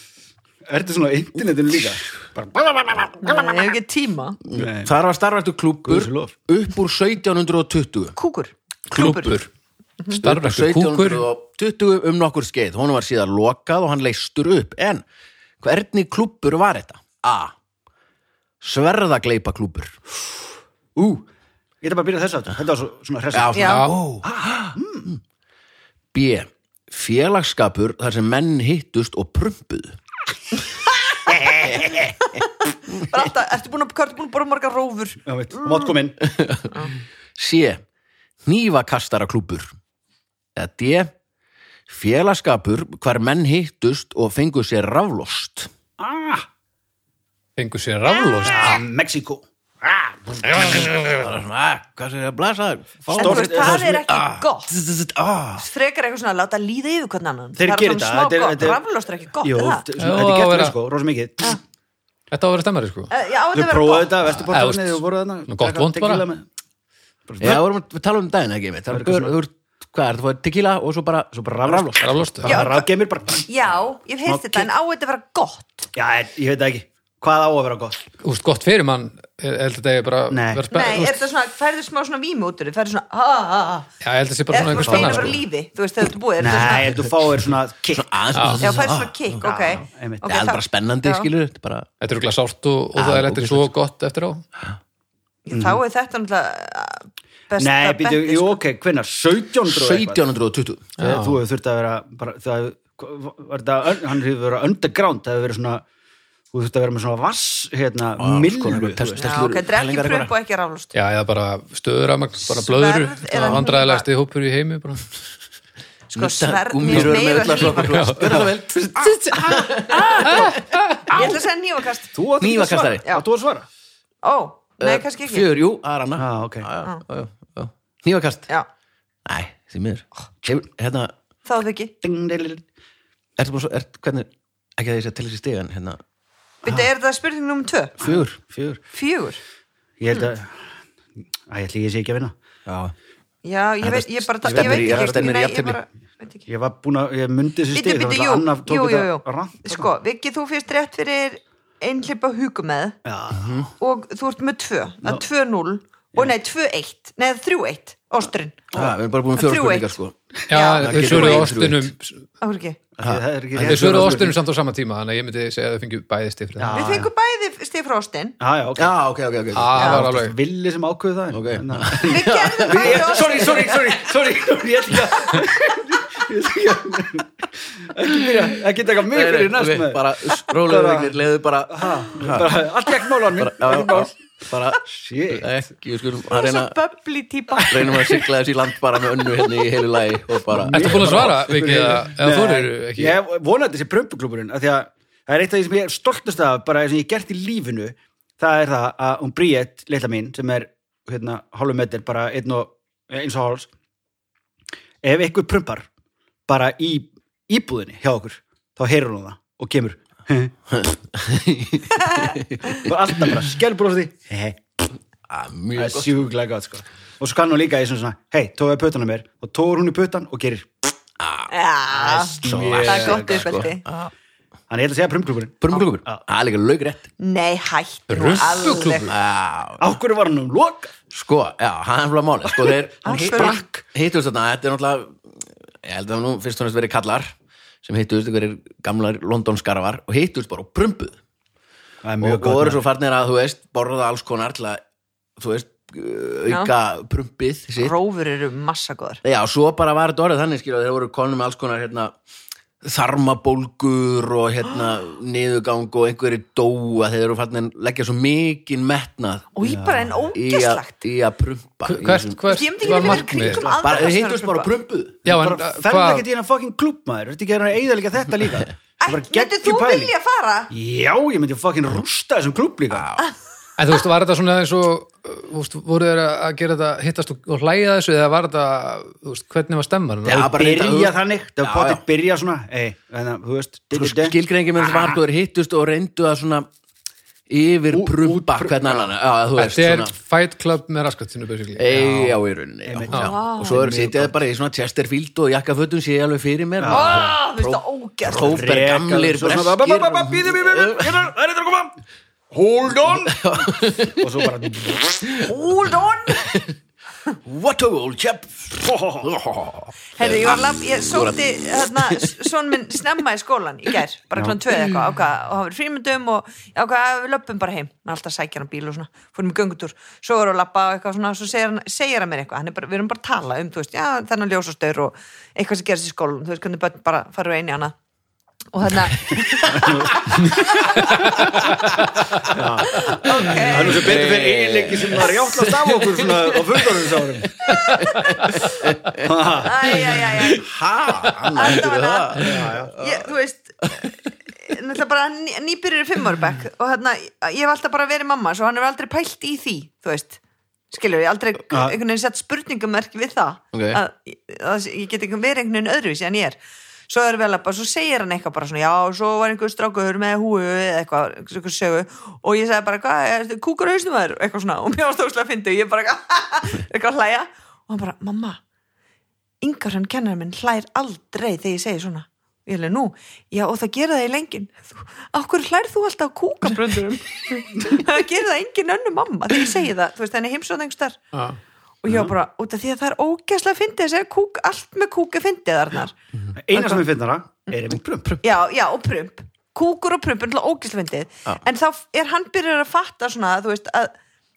[SPEAKER 2] Er þetta svona á internetinu líka?
[SPEAKER 3] Nei, ég hef ekki tíma
[SPEAKER 2] Nei.
[SPEAKER 1] Þar var starfræktur klúpur
[SPEAKER 2] Guði sé lof.
[SPEAKER 1] upp úr 1720
[SPEAKER 3] kúkur
[SPEAKER 1] Klúpur
[SPEAKER 4] starfræktu kúkur,
[SPEAKER 1] 1720 um nokkur skeið Hún var síðan lokað og hann leistur upp En hvernig klúpur var þetta? A. Sverðagleipa klúpur
[SPEAKER 2] Ú, ég ætla bara að byrja þess aftur Þetta var svo, svona hress
[SPEAKER 1] Já,
[SPEAKER 3] Já.
[SPEAKER 1] svona, ó. B. Félagskapur þar sem menn hittust og prumpuðu
[SPEAKER 3] Bara alltaf, ertu búin að, hvað ertu búin að borða margar rófur
[SPEAKER 2] Já, veit, og mátt kom inn
[SPEAKER 1] C. Nývakastara klúpur Eða D. Félagskapur hvar menn hittust og fengu sér raflost
[SPEAKER 2] ah,
[SPEAKER 4] fengur sér raflóst
[SPEAKER 2] Mexiko
[SPEAKER 1] bara svona, "Ah, hvað sem er að blasa
[SPEAKER 3] En þú veist, það er ekki gott
[SPEAKER 1] Stort ah.
[SPEAKER 3] frekar eitthvað svona að láta líða yfir hvernig annan
[SPEAKER 2] Þeir
[SPEAKER 3] það
[SPEAKER 2] gera
[SPEAKER 3] er
[SPEAKER 2] þetta,
[SPEAKER 3] svona smá
[SPEAKER 2] þetta er-
[SPEAKER 3] gott,
[SPEAKER 2] þetta er-
[SPEAKER 3] raflóst er ekki gott
[SPEAKER 2] Jú,
[SPEAKER 3] er
[SPEAKER 2] svona-
[SPEAKER 3] það?
[SPEAKER 2] þetta
[SPEAKER 4] Já,
[SPEAKER 2] er
[SPEAKER 4] að
[SPEAKER 2] gert
[SPEAKER 4] vera-
[SPEAKER 2] Mexiko, rosa mikið
[SPEAKER 4] þetta á að vera stemmari sko
[SPEAKER 3] Eh, já,
[SPEAKER 2] Þau
[SPEAKER 3] þetta verður
[SPEAKER 2] prófaðu
[SPEAKER 3] gott
[SPEAKER 2] þetta,
[SPEAKER 4] Já,
[SPEAKER 2] Vesturbortarni,
[SPEAKER 4] þú
[SPEAKER 2] þau
[SPEAKER 4] veist,
[SPEAKER 2] voru þarna
[SPEAKER 4] gott vond bara.
[SPEAKER 1] Já, vorum að- við tala um daginn ekki einmitt. Það er gaur- þú ert- Hvað er það, fóðið tequila og svo bara, svo bara raflost
[SPEAKER 4] raflóst,
[SPEAKER 3] Já.
[SPEAKER 2] Rafgeimir bara
[SPEAKER 3] já, ég hef
[SPEAKER 2] Smá
[SPEAKER 3] heist þetta, en á þetta að vera gott
[SPEAKER 2] Já, ég veit það ekki Hvað á að vera gott?
[SPEAKER 4] úst gott fyrir mann ég held að þetta er bara
[SPEAKER 2] Nei.
[SPEAKER 4] vera spe-
[SPEAKER 3] nei,
[SPEAKER 4] þú
[SPEAKER 3] er
[SPEAKER 4] veist,
[SPEAKER 3] þetta svona, færðu smá svona vími út úr þér, færðu svona ha, ha, ha,
[SPEAKER 4] já, ég held að þetta sé bara
[SPEAKER 3] er
[SPEAKER 4] svona
[SPEAKER 3] það
[SPEAKER 4] einhver
[SPEAKER 3] svona
[SPEAKER 4] spenna
[SPEAKER 3] að vera
[SPEAKER 4] sko.
[SPEAKER 3] lífi þú veist, þegar þú ert búið, er þetta
[SPEAKER 2] Nei,
[SPEAKER 3] svona
[SPEAKER 2] ef þú fáir svona kick
[SPEAKER 3] já,
[SPEAKER 1] Það
[SPEAKER 3] færðu svona kick, ok
[SPEAKER 2] einmitt.
[SPEAKER 3] Ok,
[SPEAKER 1] ah. er alveg bara spennandi,
[SPEAKER 3] já.
[SPEAKER 1] skilur þetta er bara,
[SPEAKER 4] þetta er okkur sárt og, og það er þetta svo gott eftir á
[SPEAKER 3] þá er þetta náttúrulega uh, besta
[SPEAKER 2] Nei, býtu,
[SPEAKER 3] bettið,
[SPEAKER 2] jú,
[SPEAKER 3] sko.
[SPEAKER 2] ok, hvenær? 1700 og eitthvað?
[SPEAKER 1] 1720
[SPEAKER 2] Þegar Þú hefur þurft að vera bara, það, var það, hann hefur verið underground það hefur verið svona þú þurft að vera með svona vass hérna, millu
[SPEAKER 1] sko,
[SPEAKER 2] þú
[SPEAKER 1] test-
[SPEAKER 2] veist.
[SPEAKER 3] já,
[SPEAKER 1] testlur-
[SPEAKER 3] ok, þetta er
[SPEAKER 1] pælingar
[SPEAKER 3] ekki
[SPEAKER 1] eitthvað.
[SPEAKER 3] pröp og ekki raflóst
[SPEAKER 4] já, eða bara stöðuramagn, bara blöðru
[SPEAKER 3] Sverð eða
[SPEAKER 4] vandræðilegasti hópur í heimi bara.
[SPEAKER 3] sko, sverð,
[SPEAKER 1] gúmmíur
[SPEAKER 3] mér
[SPEAKER 1] með
[SPEAKER 3] meira
[SPEAKER 1] ullarsokkar.
[SPEAKER 3] hlýfa
[SPEAKER 1] Já. Gjörðu það vel.
[SPEAKER 3] ég ætla að segja nývakast
[SPEAKER 2] Þú átt ekki að svara,
[SPEAKER 1] Hnífakastari.
[SPEAKER 3] Já.
[SPEAKER 2] áttu að svara
[SPEAKER 3] ó, nei, kannski
[SPEAKER 1] Eh,
[SPEAKER 3] ekki Ah.
[SPEAKER 1] Fjör, jú, það er
[SPEAKER 2] Já,
[SPEAKER 1] annað
[SPEAKER 2] ok,
[SPEAKER 1] Nývakast
[SPEAKER 3] já, Oh.
[SPEAKER 1] Nei, því miður Kemur- Hérna,
[SPEAKER 3] þá er það ekki
[SPEAKER 2] Ding, ding, ding.
[SPEAKER 1] ertu búin svo, er, hvernig ekki að ég sé til þessi stigan, hérna
[SPEAKER 3] Ah. Býttu, er þetta spurning nummer 2?
[SPEAKER 1] Fjör,
[SPEAKER 2] fjör
[SPEAKER 3] Fjögur?
[SPEAKER 2] Ég held að,
[SPEAKER 3] Mm.
[SPEAKER 2] að ég ætli ég sé ekki að vinna
[SPEAKER 1] já,
[SPEAKER 3] Já, ég
[SPEAKER 1] Þetta
[SPEAKER 3] veit, ég bara, ég
[SPEAKER 1] stefnir
[SPEAKER 3] veit
[SPEAKER 1] í-
[SPEAKER 3] ekki
[SPEAKER 1] það stefnir í
[SPEAKER 3] Nei, ég
[SPEAKER 1] jafntefli.
[SPEAKER 3] bara, veit ekki
[SPEAKER 2] Ég var búin að, ég myndi þessi
[SPEAKER 3] Býttu,
[SPEAKER 2] stig
[SPEAKER 3] býttu,
[SPEAKER 2] það
[SPEAKER 3] jú,
[SPEAKER 2] var annað
[SPEAKER 3] jú,
[SPEAKER 2] tók
[SPEAKER 3] jú,
[SPEAKER 2] þetta
[SPEAKER 3] jú
[SPEAKER 2] rangt.
[SPEAKER 3] Sko, Viki, þú fyrst rétt fyrir einhleipa hugumeð Mhm.
[SPEAKER 2] Já,
[SPEAKER 3] og þú ert með 2, það er 2-0 og nei, 2-1, nei, 3-1 Ósturinn,
[SPEAKER 1] Já, við erum bara búin um fjóra
[SPEAKER 3] Þrjú
[SPEAKER 1] spurningar
[SPEAKER 3] eitt.
[SPEAKER 1] sko
[SPEAKER 4] já,
[SPEAKER 3] Já,
[SPEAKER 1] getur
[SPEAKER 4] þeir svöruðu
[SPEAKER 1] verið
[SPEAKER 4] ástinum
[SPEAKER 3] áhver ekki
[SPEAKER 2] það er ekki
[SPEAKER 4] þeir svöruðu ástinum samt á sama tíma þannig að ég myndi segja að þau fengju bæði stig fyrir það
[SPEAKER 3] Við fengum bæði stig frá Óstin
[SPEAKER 2] Já, já, ok
[SPEAKER 1] Já, ok, ok, ok
[SPEAKER 4] það var alveg
[SPEAKER 2] Villi sem ákveðu það
[SPEAKER 1] Ok.
[SPEAKER 2] Ná,
[SPEAKER 3] Við gerðum bæði
[SPEAKER 2] Sorry,
[SPEAKER 3] Óstin
[SPEAKER 2] sorry, sorry, sorry Ég ætla ekki að Ég ætla ekki að Ekki byrja, ekki taka mig fyrir næst
[SPEAKER 1] Ok,
[SPEAKER 2] með
[SPEAKER 1] Bara rólegur
[SPEAKER 2] Bara-
[SPEAKER 1] vignir, leiðu bara
[SPEAKER 2] bara allt ekki málan
[SPEAKER 1] já, já, já. bara
[SPEAKER 2] Shit.
[SPEAKER 1] ekki, við skulum að
[SPEAKER 3] Það er
[SPEAKER 1] reyna,
[SPEAKER 3] svo bubbly típa
[SPEAKER 1] reynum að sigla þessi land bara með önnu hérna í heilu lagi og bara
[SPEAKER 4] Ertu búin að svara, Viki, eða eða þorir ekki?
[SPEAKER 2] Ég vonandi þessi prömpuklúburinn af því að það er eitt af því sem ég er stoltast af bara sem ég hef gert í lífinu það er það að hún Bríett, litla mín sem er hérna, hálfum metir bara einn og, eh, eins og háls ef einhver prömpar bara í íbúðinni hjá okkur þá heyrir hún það og kemur og alltaf bara skjálbróði það
[SPEAKER 1] Ah, mjög
[SPEAKER 2] er
[SPEAKER 1] gott
[SPEAKER 2] sjúklega gott sko og svo kann hún líka í svona, svona hei, tóðu pötana mér og tóður hún í pötan og gerir
[SPEAKER 3] Já, það er gott uppeldi
[SPEAKER 2] Þannig ég ætla að segja prumklúkurinn.
[SPEAKER 1] Brumbrúkumur, það er líka laugrætt
[SPEAKER 3] Nei, hættu nú
[SPEAKER 4] Ruffuklúbbur?
[SPEAKER 3] alveg.
[SPEAKER 2] Á hverju var hann um loka?
[SPEAKER 1] sko, já, það er flá máli sko, þeir
[SPEAKER 3] Hann
[SPEAKER 1] hitt-
[SPEAKER 3] sprakk.
[SPEAKER 1] hittust þarna, þetta er náttúrulega ég held að nú fyrst og næst verið kallar sem hittust einhverjir gamlar londonskarvar og hittust bara og prumbuð
[SPEAKER 2] Það er
[SPEAKER 1] og
[SPEAKER 2] mjög
[SPEAKER 1] voru
[SPEAKER 2] gott.
[SPEAKER 1] svo farnir að, þú veist, borða alls konar til að, þú veist, auka prumpið sitt.
[SPEAKER 3] Rófur eru massa góður
[SPEAKER 1] Já, svo bara var þetta orðið þannig, skilja, þeir voru konum með alls konar, hérna, þarmabólgur og hérna niðurgang og einhverju dóa þeir eru farnir að leggja svo mikinn metnað
[SPEAKER 3] Og ég bara en
[SPEAKER 1] í að,
[SPEAKER 3] ógeslagt
[SPEAKER 1] í að prumpa í
[SPEAKER 4] Hvert,
[SPEAKER 1] þessum-
[SPEAKER 3] Ég
[SPEAKER 4] hvert
[SPEAKER 3] myndi ekki vilja
[SPEAKER 4] var
[SPEAKER 3] vera
[SPEAKER 4] markmið?
[SPEAKER 3] kringum aðra
[SPEAKER 1] bara, þeir
[SPEAKER 3] persónur
[SPEAKER 1] hittust bara og
[SPEAKER 3] prumpa.
[SPEAKER 1] prumbuð
[SPEAKER 4] Já, en
[SPEAKER 2] Bara
[SPEAKER 4] uh,
[SPEAKER 2] ferð
[SPEAKER 4] hvað,
[SPEAKER 2] ekki í hennar fucking klúb maður. Þetta ekki að hann eigðalega þetta líka. Það er bara
[SPEAKER 3] Æ, Myndir þú
[SPEAKER 2] geggjum pæling.
[SPEAKER 3] vilja fara?
[SPEAKER 2] Já, ég myndi fucking rústa þessum klúb líka.
[SPEAKER 4] en þú veist, var þetta svona eins og, uh, þú veist, voru þeir að gera þetta, hittast og- og hlæja þessu, eða var þetta, þú veist, hvernig var stemman?
[SPEAKER 1] Já, bara
[SPEAKER 2] byrja
[SPEAKER 1] reynda-
[SPEAKER 2] þannig.
[SPEAKER 1] Já,
[SPEAKER 2] Það var potið
[SPEAKER 1] já.
[SPEAKER 2] byrja svona. Ei, þannig, að, þú veist.
[SPEAKER 1] Svo skilgreingi með þessu var þú þeir hittust og reyndu að svona yfir prumpa hvern annan já, þú veist,
[SPEAKER 4] Þetta er
[SPEAKER 1] svona
[SPEAKER 4] Fight Club með raskattinu, basically.
[SPEAKER 1] Ei, já, í rauninni já, já. og svo eru sitjaði bara í svona Chesterfield og jakkafötum sé ég alveg fyrir mér
[SPEAKER 3] Ó,
[SPEAKER 1] og
[SPEAKER 3] þú veist það ógeslagt
[SPEAKER 1] hóper gamlir breskir
[SPEAKER 2] Býðu, býðu, býðu. hérna, Það er þetta að koma. Hold on. Og svo bara.
[SPEAKER 3] Hold on
[SPEAKER 1] what a old chap
[SPEAKER 3] Herri, ég var lab, ég sótti hérna, svon minn snemma í skólan í gær, bara klón tvöð eitthvað ákvað, og hann verið frímyndum og ég ákvað að við löpum bara heim, maður alltaf sækja hann á bíl og svona, fórum í göngutúr, svo voru að labba og eitthvað svona, svo segir hann, segir hann mér eitthvað hann er bara, við erum bara að tala um, þú veist, já, þennan ljósastaur og eitthvað sem gerist í skólan, þú veist, hvernig börn bara farið einu í annað og þannig
[SPEAKER 2] Það er nú
[SPEAKER 3] ok,
[SPEAKER 2] sem betur fyrir eiginleiki sem var játtlast af okkur svona á fundarhundsárum.
[SPEAKER 3] æjæjæjæ
[SPEAKER 1] ha, hann heldur
[SPEAKER 3] Allavega.
[SPEAKER 1] það
[SPEAKER 3] ég, þú veist náttúrulega bara ný- nýbyrjur í fimmárbæk og hérna, ég hef alltaf bara verið mamma svo hann hefur aldrei pælt í því, þú veist skilur, ég hef aldrei
[SPEAKER 2] Ja.
[SPEAKER 3] einhvern veginn sett spurningamerk við það
[SPEAKER 1] Ok.
[SPEAKER 3] að, að ég get einhvern verið einhvern veginn öðruvísi en ég er svo er vel að bara, svo segir hann eitthvað bara svona já, svo var einhver strákur með húu eða eitthvað, eitthvað sögu og ég sagði bara, hvað, er, kúkur á hausnum þær eitthvað svona, og mér var stóðslega að fyndi ég bara, eitthvað að hlæja og hann bara, mamma, yngar hann kennar minn hlær aldrei þegar ég segi svona ég hefði nú, já og það gera það í lengin okkur hlær þú alltaf á kúkabröndurum það gera það engin önnu mamma þegar ég segi það, þú veist þannig heimsóð einhver
[SPEAKER 4] Já.
[SPEAKER 3] og ég var bara, út af því að það er ógæslega fyndið að segja kúk, allt með kúk er fyndið þarnar
[SPEAKER 2] Eina sem ég finna það er einmitt prump.
[SPEAKER 3] já, já og prump, kúkur og prump er alltaf ógæslega fyndið, en þá er hann byrjar að fatta svona, þú veist að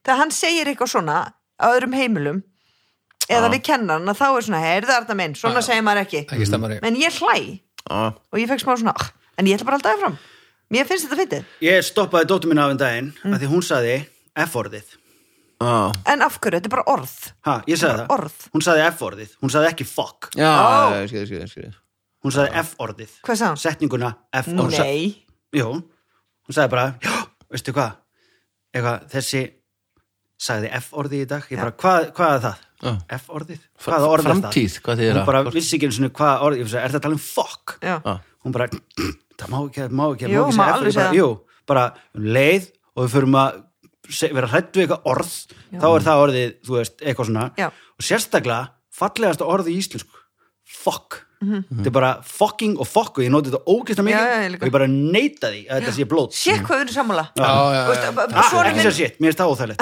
[SPEAKER 3] þegar hann segir eitthvað svona á öðrum heimilum eða við kennar hann að þá er svona, heyrðu Arna minn, svona segir maður ekki
[SPEAKER 4] Ekki stemmari.
[SPEAKER 3] en ég hlæ
[SPEAKER 1] Já.
[SPEAKER 3] og ég fekk smá svona "Ah, en ég ætla bara alltaf fram mér finnst þetta fyndið,
[SPEAKER 2] Ég stoppaði dóttur minna af en daginn mm. að því hún saði F-orðið.
[SPEAKER 1] Já.
[SPEAKER 3] en af hverju, þetta er bara orð
[SPEAKER 2] Ha, ég sagði það.
[SPEAKER 3] Orð.
[SPEAKER 2] Hún saði F-orðið. Hún saði ekki fuck.
[SPEAKER 1] já,
[SPEAKER 3] Ó.
[SPEAKER 1] já, skil, skil, skil
[SPEAKER 2] Hún saði F-orðið.
[SPEAKER 3] hvað sagði
[SPEAKER 2] Setninguna
[SPEAKER 3] hann?
[SPEAKER 2] F-orðið.
[SPEAKER 3] nei,
[SPEAKER 2] Jú. Hún saði bara, já, veistu hvað? Eitthvað, þessi sagði F-orðið í dag. Ég bara, hvað, hvað er það?
[SPEAKER 1] Já.
[SPEAKER 2] F-orðið?
[SPEAKER 1] Fra-
[SPEAKER 2] Hvað orð er það?
[SPEAKER 1] framtíð, hvað þýðir
[SPEAKER 2] Hún
[SPEAKER 1] það?
[SPEAKER 2] bara vissi ekki einu sinni hvað orðið. Ég sagði, er það að tala um fuck?
[SPEAKER 3] já,
[SPEAKER 1] Já.
[SPEAKER 2] Hún bara, það má ekki, það má ekki, það
[SPEAKER 3] Jú,
[SPEAKER 2] má ekki
[SPEAKER 3] má
[SPEAKER 2] segja F-orðið.
[SPEAKER 3] alveg
[SPEAKER 2] Ég bara,
[SPEAKER 3] segja.
[SPEAKER 2] Jú, bara um leið og við förum að se- vera hrættu eitthvað orð, þá er það orðið, þú veist, eitthvað svona.
[SPEAKER 3] Já.
[SPEAKER 2] Og sérstaklega, fallegasta orðið í íslensku, fuck. Þetta er bara fucking og fuck og ég noti þetta ógeðslega
[SPEAKER 3] Já,
[SPEAKER 2] mikið
[SPEAKER 3] Mhm. já, ég líka.
[SPEAKER 2] og ég bara neita því að þetta sé blót.
[SPEAKER 3] sé hvað við erum sammála
[SPEAKER 4] Já, já,
[SPEAKER 3] Þú
[SPEAKER 4] já.
[SPEAKER 3] veist, b- b-
[SPEAKER 2] Ah,
[SPEAKER 3] sonur
[SPEAKER 2] ekki
[SPEAKER 3] minn-
[SPEAKER 2] sér sétt, mér er það óþægilegt.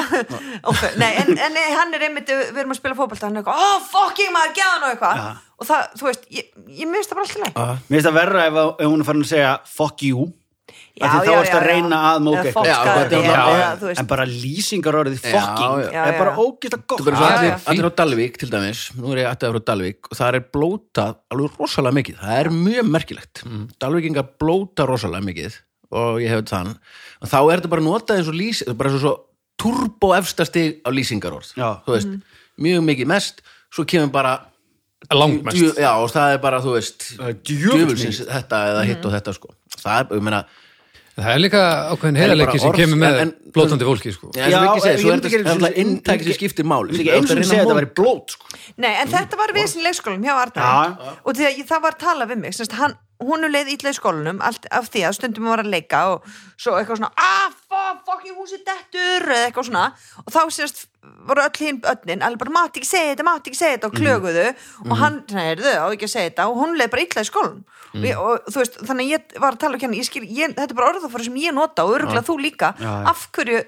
[SPEAKER 3] ok, nei, en, en hann er einmitt við erum að spila fótbolta, hann er eitthvað oh fucking maður, geða hann og eitthvað
[SPEAKER 2] Já.
[SPEAKER 3] og það, þú veist, ég, ég minnst það bara alltaf leið
[SPEAKER 1] Já.
[SPEAKER 2] Mér finnst það verra ef, að- ef hún er farin að segja fuck you
[SPEAKER 3] Já,
[SPEAKER 2] af því þá
[SPEAKER 3] já,
[SPEAKER 2] ertu að
[SPEAKER 3] já, já.
[SPEAKER 2] reyna að móka
[SPEAKER 3] Eða
[SPEAKER 2] eitthvað
[SPEAKER 1] Já,
[SPEAKER 3] fokkaði
[SPEAKER 1] þetta er
[SPEAKER 3] eða,
[SPEAKER 1] bara-
[SPEAKER 3] eða, þú veist,
[SPEAKER 2] en bara lýsingar orðið
[SPEAKER 1] Já,
[SPEAKER 2] fucking
[SPEAKER 1] já.
[SPEAKER 3] Já,
[SPEAKER 2] er
[SPEAKER 3] já,
[SPEAKER 2] bara
[SPEAKER 3] já.
[SPEAKER 2] ógeðslega
[SPEAKER 1] Þetta er bara
[SPEAKER 2] gott
[SPEAKER 1] svo
[SPEAKER 3] Já,
[SPEAKER 1] allir,
[SPEAKER 3] já.
[SPEAKER 1] allir á Dalvík til dæmis, nú er ég ættið frá Dalvík og það er blótað alveg rosalega mikið það er mjög merkilegt
[SPEAKER 2] Mm.
[SPEAKER 1] Dalvíkingar blóta rosalega mikið og ég hef þann og þá er þetta bara notað eins og lýs bara svo, svo turbo efsta stig á lýsingarorð
[SPEAKER 2] Já.
[SPEAKER 1] þú veist, mjög mikið mest svo kemur bara Djö,
[SPEAKER 4] langmest
[SPEAKER 1] já, og það er bara, þú veist
[SPEAKER 2] Það er djöfulls
[SPEAKER 1] djöfulsins þetta eða hitt og þetta sko það er, ég meina
[SPEAKER 4] það er líka ákveðin heiðarleiki
[SPEAKER 1] bara
[SPEAKER 4] sem
[SPEAKER 1] orð,
[SPEAKER 4] kemur með
[SPEAKER 1] en- en-
[SPEAKER 4] blótandi fólki sko.
[SPEAKER 1] Já, eins og Viggi segir,
[SPEAKER 2] en
[SPEAKER 1] svo
[SPEAKER 2] ég
[SPEAKER 1] er
[SPEAKER 2] myndi
[SPEAKER 1] þetta-
[SPEAKER 2] ekki einu
[SPEAKER 1] það er
[SPEAKER 2] sinni-
[SPEAKER 1] alltaf
[SPEAKER 2] ég myndi
[SPEAKER 1] inntæki
[SPEAKER 2] ekki-
[SPEAKER 1] sem skiptir máli.
[SPEAKER 2] Ég myndi
[SPEAKER 1] Þú
[SPEAKER 2] ekki
[SPEAKER 1] ert
[SPEAKER 2] einu
[SPEAKER 1] að
[SPEAKER 2] sinni
[SPEAKER 1] reyna að
[SPEAKER 2] segja að þetta
[SPEAKER 1] móta.
[SPEAKER 2] væri blót sko.
[SPEAKER 3] Nei, en þetta var vesen í leikskólanum hjá Arnar og því að ég- það var talað við mig semst, hann, hún er leið ítla í skólanum allt, af því að stundum hún var að leika og svo eitthvað svona, ah, fuck, fucking húsi dettur eða eitthvað svona og þá semst voru öll hinn öllin alveg bara, mátt ekki segja þetta, mátt ekki segja
[SPEAKER 2] Mhm.
[SPEAKER 3] þetta og klöguðu og hann, neðu, á ekki að segja þetta og hún leið bara ítla í skólanum og,
[SPEAKER 2] Mhm.
[SPEAKER 3] ég, og þú veist, þannig að ég var að tala ekki hann ég skil, ég, þetta er bara orðafara sem ég nota og örgulega þú líka,
[SPEAKER 2] Já, já.
[SPEAKER 3] af hverju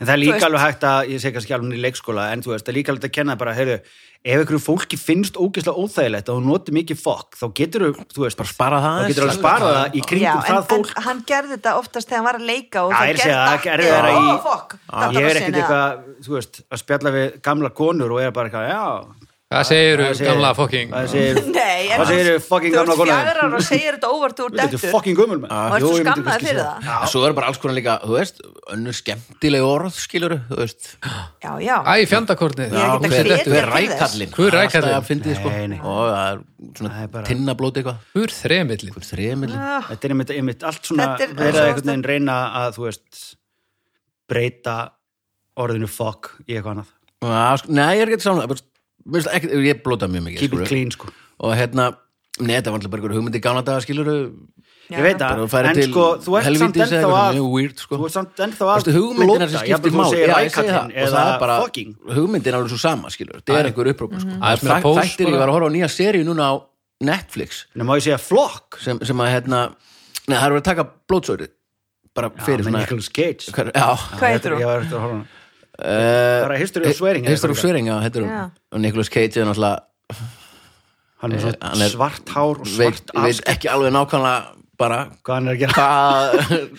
[SPEAKER 2] En það er
[SPEAKER 3] Þú
[SPEAKER 2] líka
[SPEAKER 3] veist-
[SPEAKER 2] alveg hægt að, ég segi kannski alveg í leikskóla, en þú veist, það er líka alveg hægt að kenna bara, heyrðu, ef einhverju fólki finnst ógeðslega óþægilegt og hún noti mikið fokk, þá getur þú, þú veist, bara
[SPEAKER 1] spara það
[SPEAKER 2] þá getur
[SPEAKER 1] aðeins.
[SPEAKER 2] alveg sparað það í kringum
[SPEAKER 3] en,
[SPEAKER 2] það fólk.
[SPEAKER 3] en hann gerði þetta oftast þegar hann var að leika og
[SPEAKER 2] Já,
[SPEAKER 3] það
[SPEAKER 2] ég segi
[SPEAKER 3] gerði
[SPEAKER 2] það,
[SPEAKER 3] allt
[SPEAKER 2] gerði
[SPEAKER 3] í-
[SPEAKER 2] það í-
[SPEAKER 3] Ó, fuck,
[SPEAKER 2] Ég
[SPEAKER 3] þetta var
[SPEAKER 2] er ekkert
[SPEAKER 3] senið.
[SPEAKER 2] eitthvað, þú veist, að spjalla við gamla konur og er bara eitthvað, já,
[SPEAKER 4] það segir um
[SPEAKER 2] það segir-
[SPEAKER 4] gamla fokking
[SPEAKER 2] það segir,
[SPEAKER 3] Nei, en
[SPEAKER 2] það segir fucking gamla
[SPEAKER 3] Þú ert
[SPEAKER 2] konur.
[SPEAKER 3] fjagra ára og segir þetta óvart úr
[SPEAKER 2] Þetta
[SPEAKER 3] dettur
[SPEAKER 2] er fucking gömul með.
[SPEAKER 3] Og ert þú skammaði fyrir það?
[SPEAKER 1] En svo er bara alls konar líka, þú veist önnur skemmtileg orð, skilur þú veist
[SPEAKER 3] Já, já
[SPEAKER 4] æ,
[SPEAKER 3] Ég er
[SPEAKER 4] fjandakorni
[SPEAKER 3] ekkert að
[SPEAKER 1] hver- hver
[SPEAKER 3] hvetja til þess.
[SPEAKER 1] rækallinn
[SPEAKER 4] Hver er rækallinn?
[SPEAKER 1] Alltaf að fyndi, sko.
[SPEAKER 2] Nei, nei.
[SPEAKER 1] og það er
[SPEAKER 2] Það
[SPEAKER 1] svona
[SPEAKER 2] er bara- Ah.
[SPEAKER 1] tinnablót eitthvað
[SPEAKER 4] hver þremillin
[SPEAKER 1] Hver þremillin
[SPEAKER 2] Þetta er einmitt, einmitt allt svona
[SPEAKER 3] Þetta er-
[SPEAKER 2] verið
[SPEAKER 3] svo-
[SPEAKER 2] að einhvern veginn reyna að, þú veist, breyta orðinu fuck í eitthvað annað.
[SPEAKER 1] Já, sko, Nei, ég er ekki samlega bara- mér finnst ekki- Ég blóta mjög mikið
[SPEAKER 2] Keep it
[SPEAKER 1] skilurðu.
[SPEAKER 2] clean, sko.
[SPEAKER 1] Og hérna, nei, þetta var alltaf bara einhver hugmynd í gamla daga skilur
[SPEAKER 2] Ég veit
[SPEAKER 1] Bara
[SPEAKER 2] það,
[SPEAKER 1] að færa
[SPEAKER 2] en
[SPEAKER 1] til
[SPEAKER 2] sko, þú ert samt
[SPEAKER 1] helvítis eða
[SPEAKER 2] ennþá
[SPEAKER 1] eitthvað
[SPEAKER 2] að,
[SPEAKER 1] mjög weird, sko.
[SPEAKER 2] þú ert samt ennþá að
[SPEAKER 1] Veistu, hugmyndina sem
[SPEAKER 2] blóta,
[SPEAKER 1] skiptir
[SPEAKER 2] jafnvel þú
[SPEAKER 1] máli
[SPEAKER 2] segir
[SPEAKER 1] Já, ég segi
[SPEAKER 2] rækallinn
[SPEAKER 1] það. Og það
[SPEAKER 2] eða
[SPEAKER 1] er bara,
[SPEAKER 2] fucking.
[SPEAKER 1] hugmyndin er alveg svo sama skilur það er einhver upprópa sko.
[SPEAKER 4] Aðeins meira
[SPEAKER 1] Þæ-
[SPEAKER 4] pós,
[SPEAKER 1] þættir
[SPEAKER 4] bara.
[SPEAKER 1] ég var að horfa á nýja seríu núna á Netflix
[SPEAKER 2] Nei, má ég segja flokk?
[SPEAKER 1] sem, sem að hérna nei, það er verið að taka blótsöri bara fyrir
[SPEAKER 2] Já, með
[SPEAKER 1] svona
[SPEAKER 2] Nicolas Cage.
[SPEAKER 1] hver, já,
[SPEAKER 3] Hvað heitir
[SPEAKER 2] Ég
[SPEAKER 3] þú?
[SPEAKER 2] var eftir að horfa á hana.
[SPEAKER 1] uh,
[SPEAKER 2] Bara History of Swearing, eða
[SPEAKER 1] History of
[SPEAKER 2] eitthvað.
[SPEAKER 1] Swearing, já, heitir hún
[SPEAKER 3] Já.
[SPEAKER 1] og Nicolas Cage er náttúrulega
[SPEAKER 2] Hann er
[SPEAKER 1] Eh, hann er-
[SPEAKER 2] svona svart hár og
[SPEAKER 1] veit,
[SPEAKER 2] svart
[SPEAKER 1] veit
[SPEAKER 2] afskætt.
[SPEAKER 1] ekki alveg nákvæmlega bara
[SPEAKER 2] Hvað hann er að gera?
[SPEAKER 1] hvað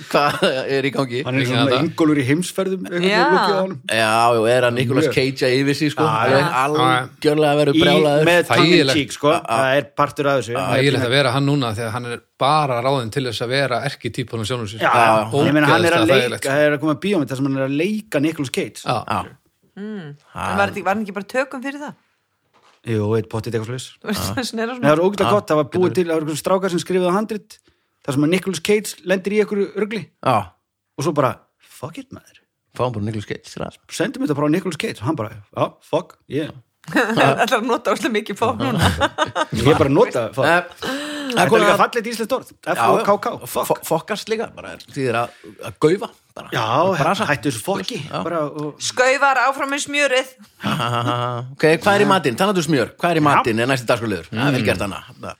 [SPEAKER 1] hva er í gangi
[SPEAKER 2] Hann er
[SPEAKER 4] Líka
[SPEAKER 2] svona
[SPEAKER 4] þetta.
[SPEAKER 2] yngulur í heimsferðum, einhvern
[SPEAKER 3] Já.
[SPEAKER 2] veginn lukkið á honum.
[SPEAKER 1] Já, og er að Nicolas
[SPEAKER 2] Mjög.
[SPEAKER 1] Cage að yfir sig sko,
[SPEAKER 2] Já,
[SPEAKER 1] alveg
[SPEAKER 2] já.
[SPEAKER 1] algjörlega verið
[SPEAKER 2] Í,
[SPEAKER 1] brjálaður
[SPEAKER 2] með
[SPEAKER 4] Þægilegt.
[SPEAKER 2] tongue-in-cheek, sko. Það er partur af þessu.
[SPEAKER 4] ægilegt að vera hann núna þegar hann er bara ráðin til þess að vera erki típan og sjónum sér
[SPEAKER 2] Já,
[SPEAKER 4] Ógeðslega
[SPEAKER 2] ég meina hann er að leika,
[SPEAKER 4] þægilegt. sko.
[SPEAKER 2] það er að koma bíómið þar sem hann er að leika Nicolas Cage.
[SPEAKER 4] Já.
[SPEAKER 1] Já,
[SPEAKER 3] Var þetta ekki- var hann ekki bara tökum fyrir það?
[SPEAKER 2] Jú, eitt potið eitthvað slags.
[SPEAKER 3] Þú veist, það svona er
[SPEAKER 2] Nei, það var
[SPEAKER 3] svona
[SPEAKER 2] ógætlega gott, það var búið til, það var einhverjum strákar sem skrifaði á handrit, þar sem að Nicolas Cage lendir í einhverju örgli
[SPEAKER 1] já,
[SPEAKER 2] og svo bara, fuck it maður,
[SPEAKER 1] fáum bara Nicolas Cage til það
[SPEAKER 2] sendum þetta bara á Nicolas Cage og hann bara, já, fuck, yeah.
[SPEAKER 3] Það er að nota óslega mikið fá núna
[SPEAKER 2] Ég er bara að nota, það, fuck.
[SPEAKER 1] Það
[SPEAKER 2] Þetta
[SPEAKER 1] er
[SPEAKER 2] er líka
[SPEAKER 1] að
[SPEAKER 2] fallið íslenskt orð, F-O-K-K, fuck.
[SPEAKER 1] Fokkast líka, bara er- þýðir að, að gaufa bara,
[SPEAKER 2] Já,
[SPEAKER 1] Að brasa.
[SPEAKER 2] hættu þessu fokki, bara, og,
[SPEAKER 3] Skaufar áfram með smjörið
[SPEAKER 1] Ha, ha, ha, ha. Ok, hvað er í matinn? Talandi um smjör, hvað er í matinn? Er næsti dagskurliður, mm. vel gert hana uh, og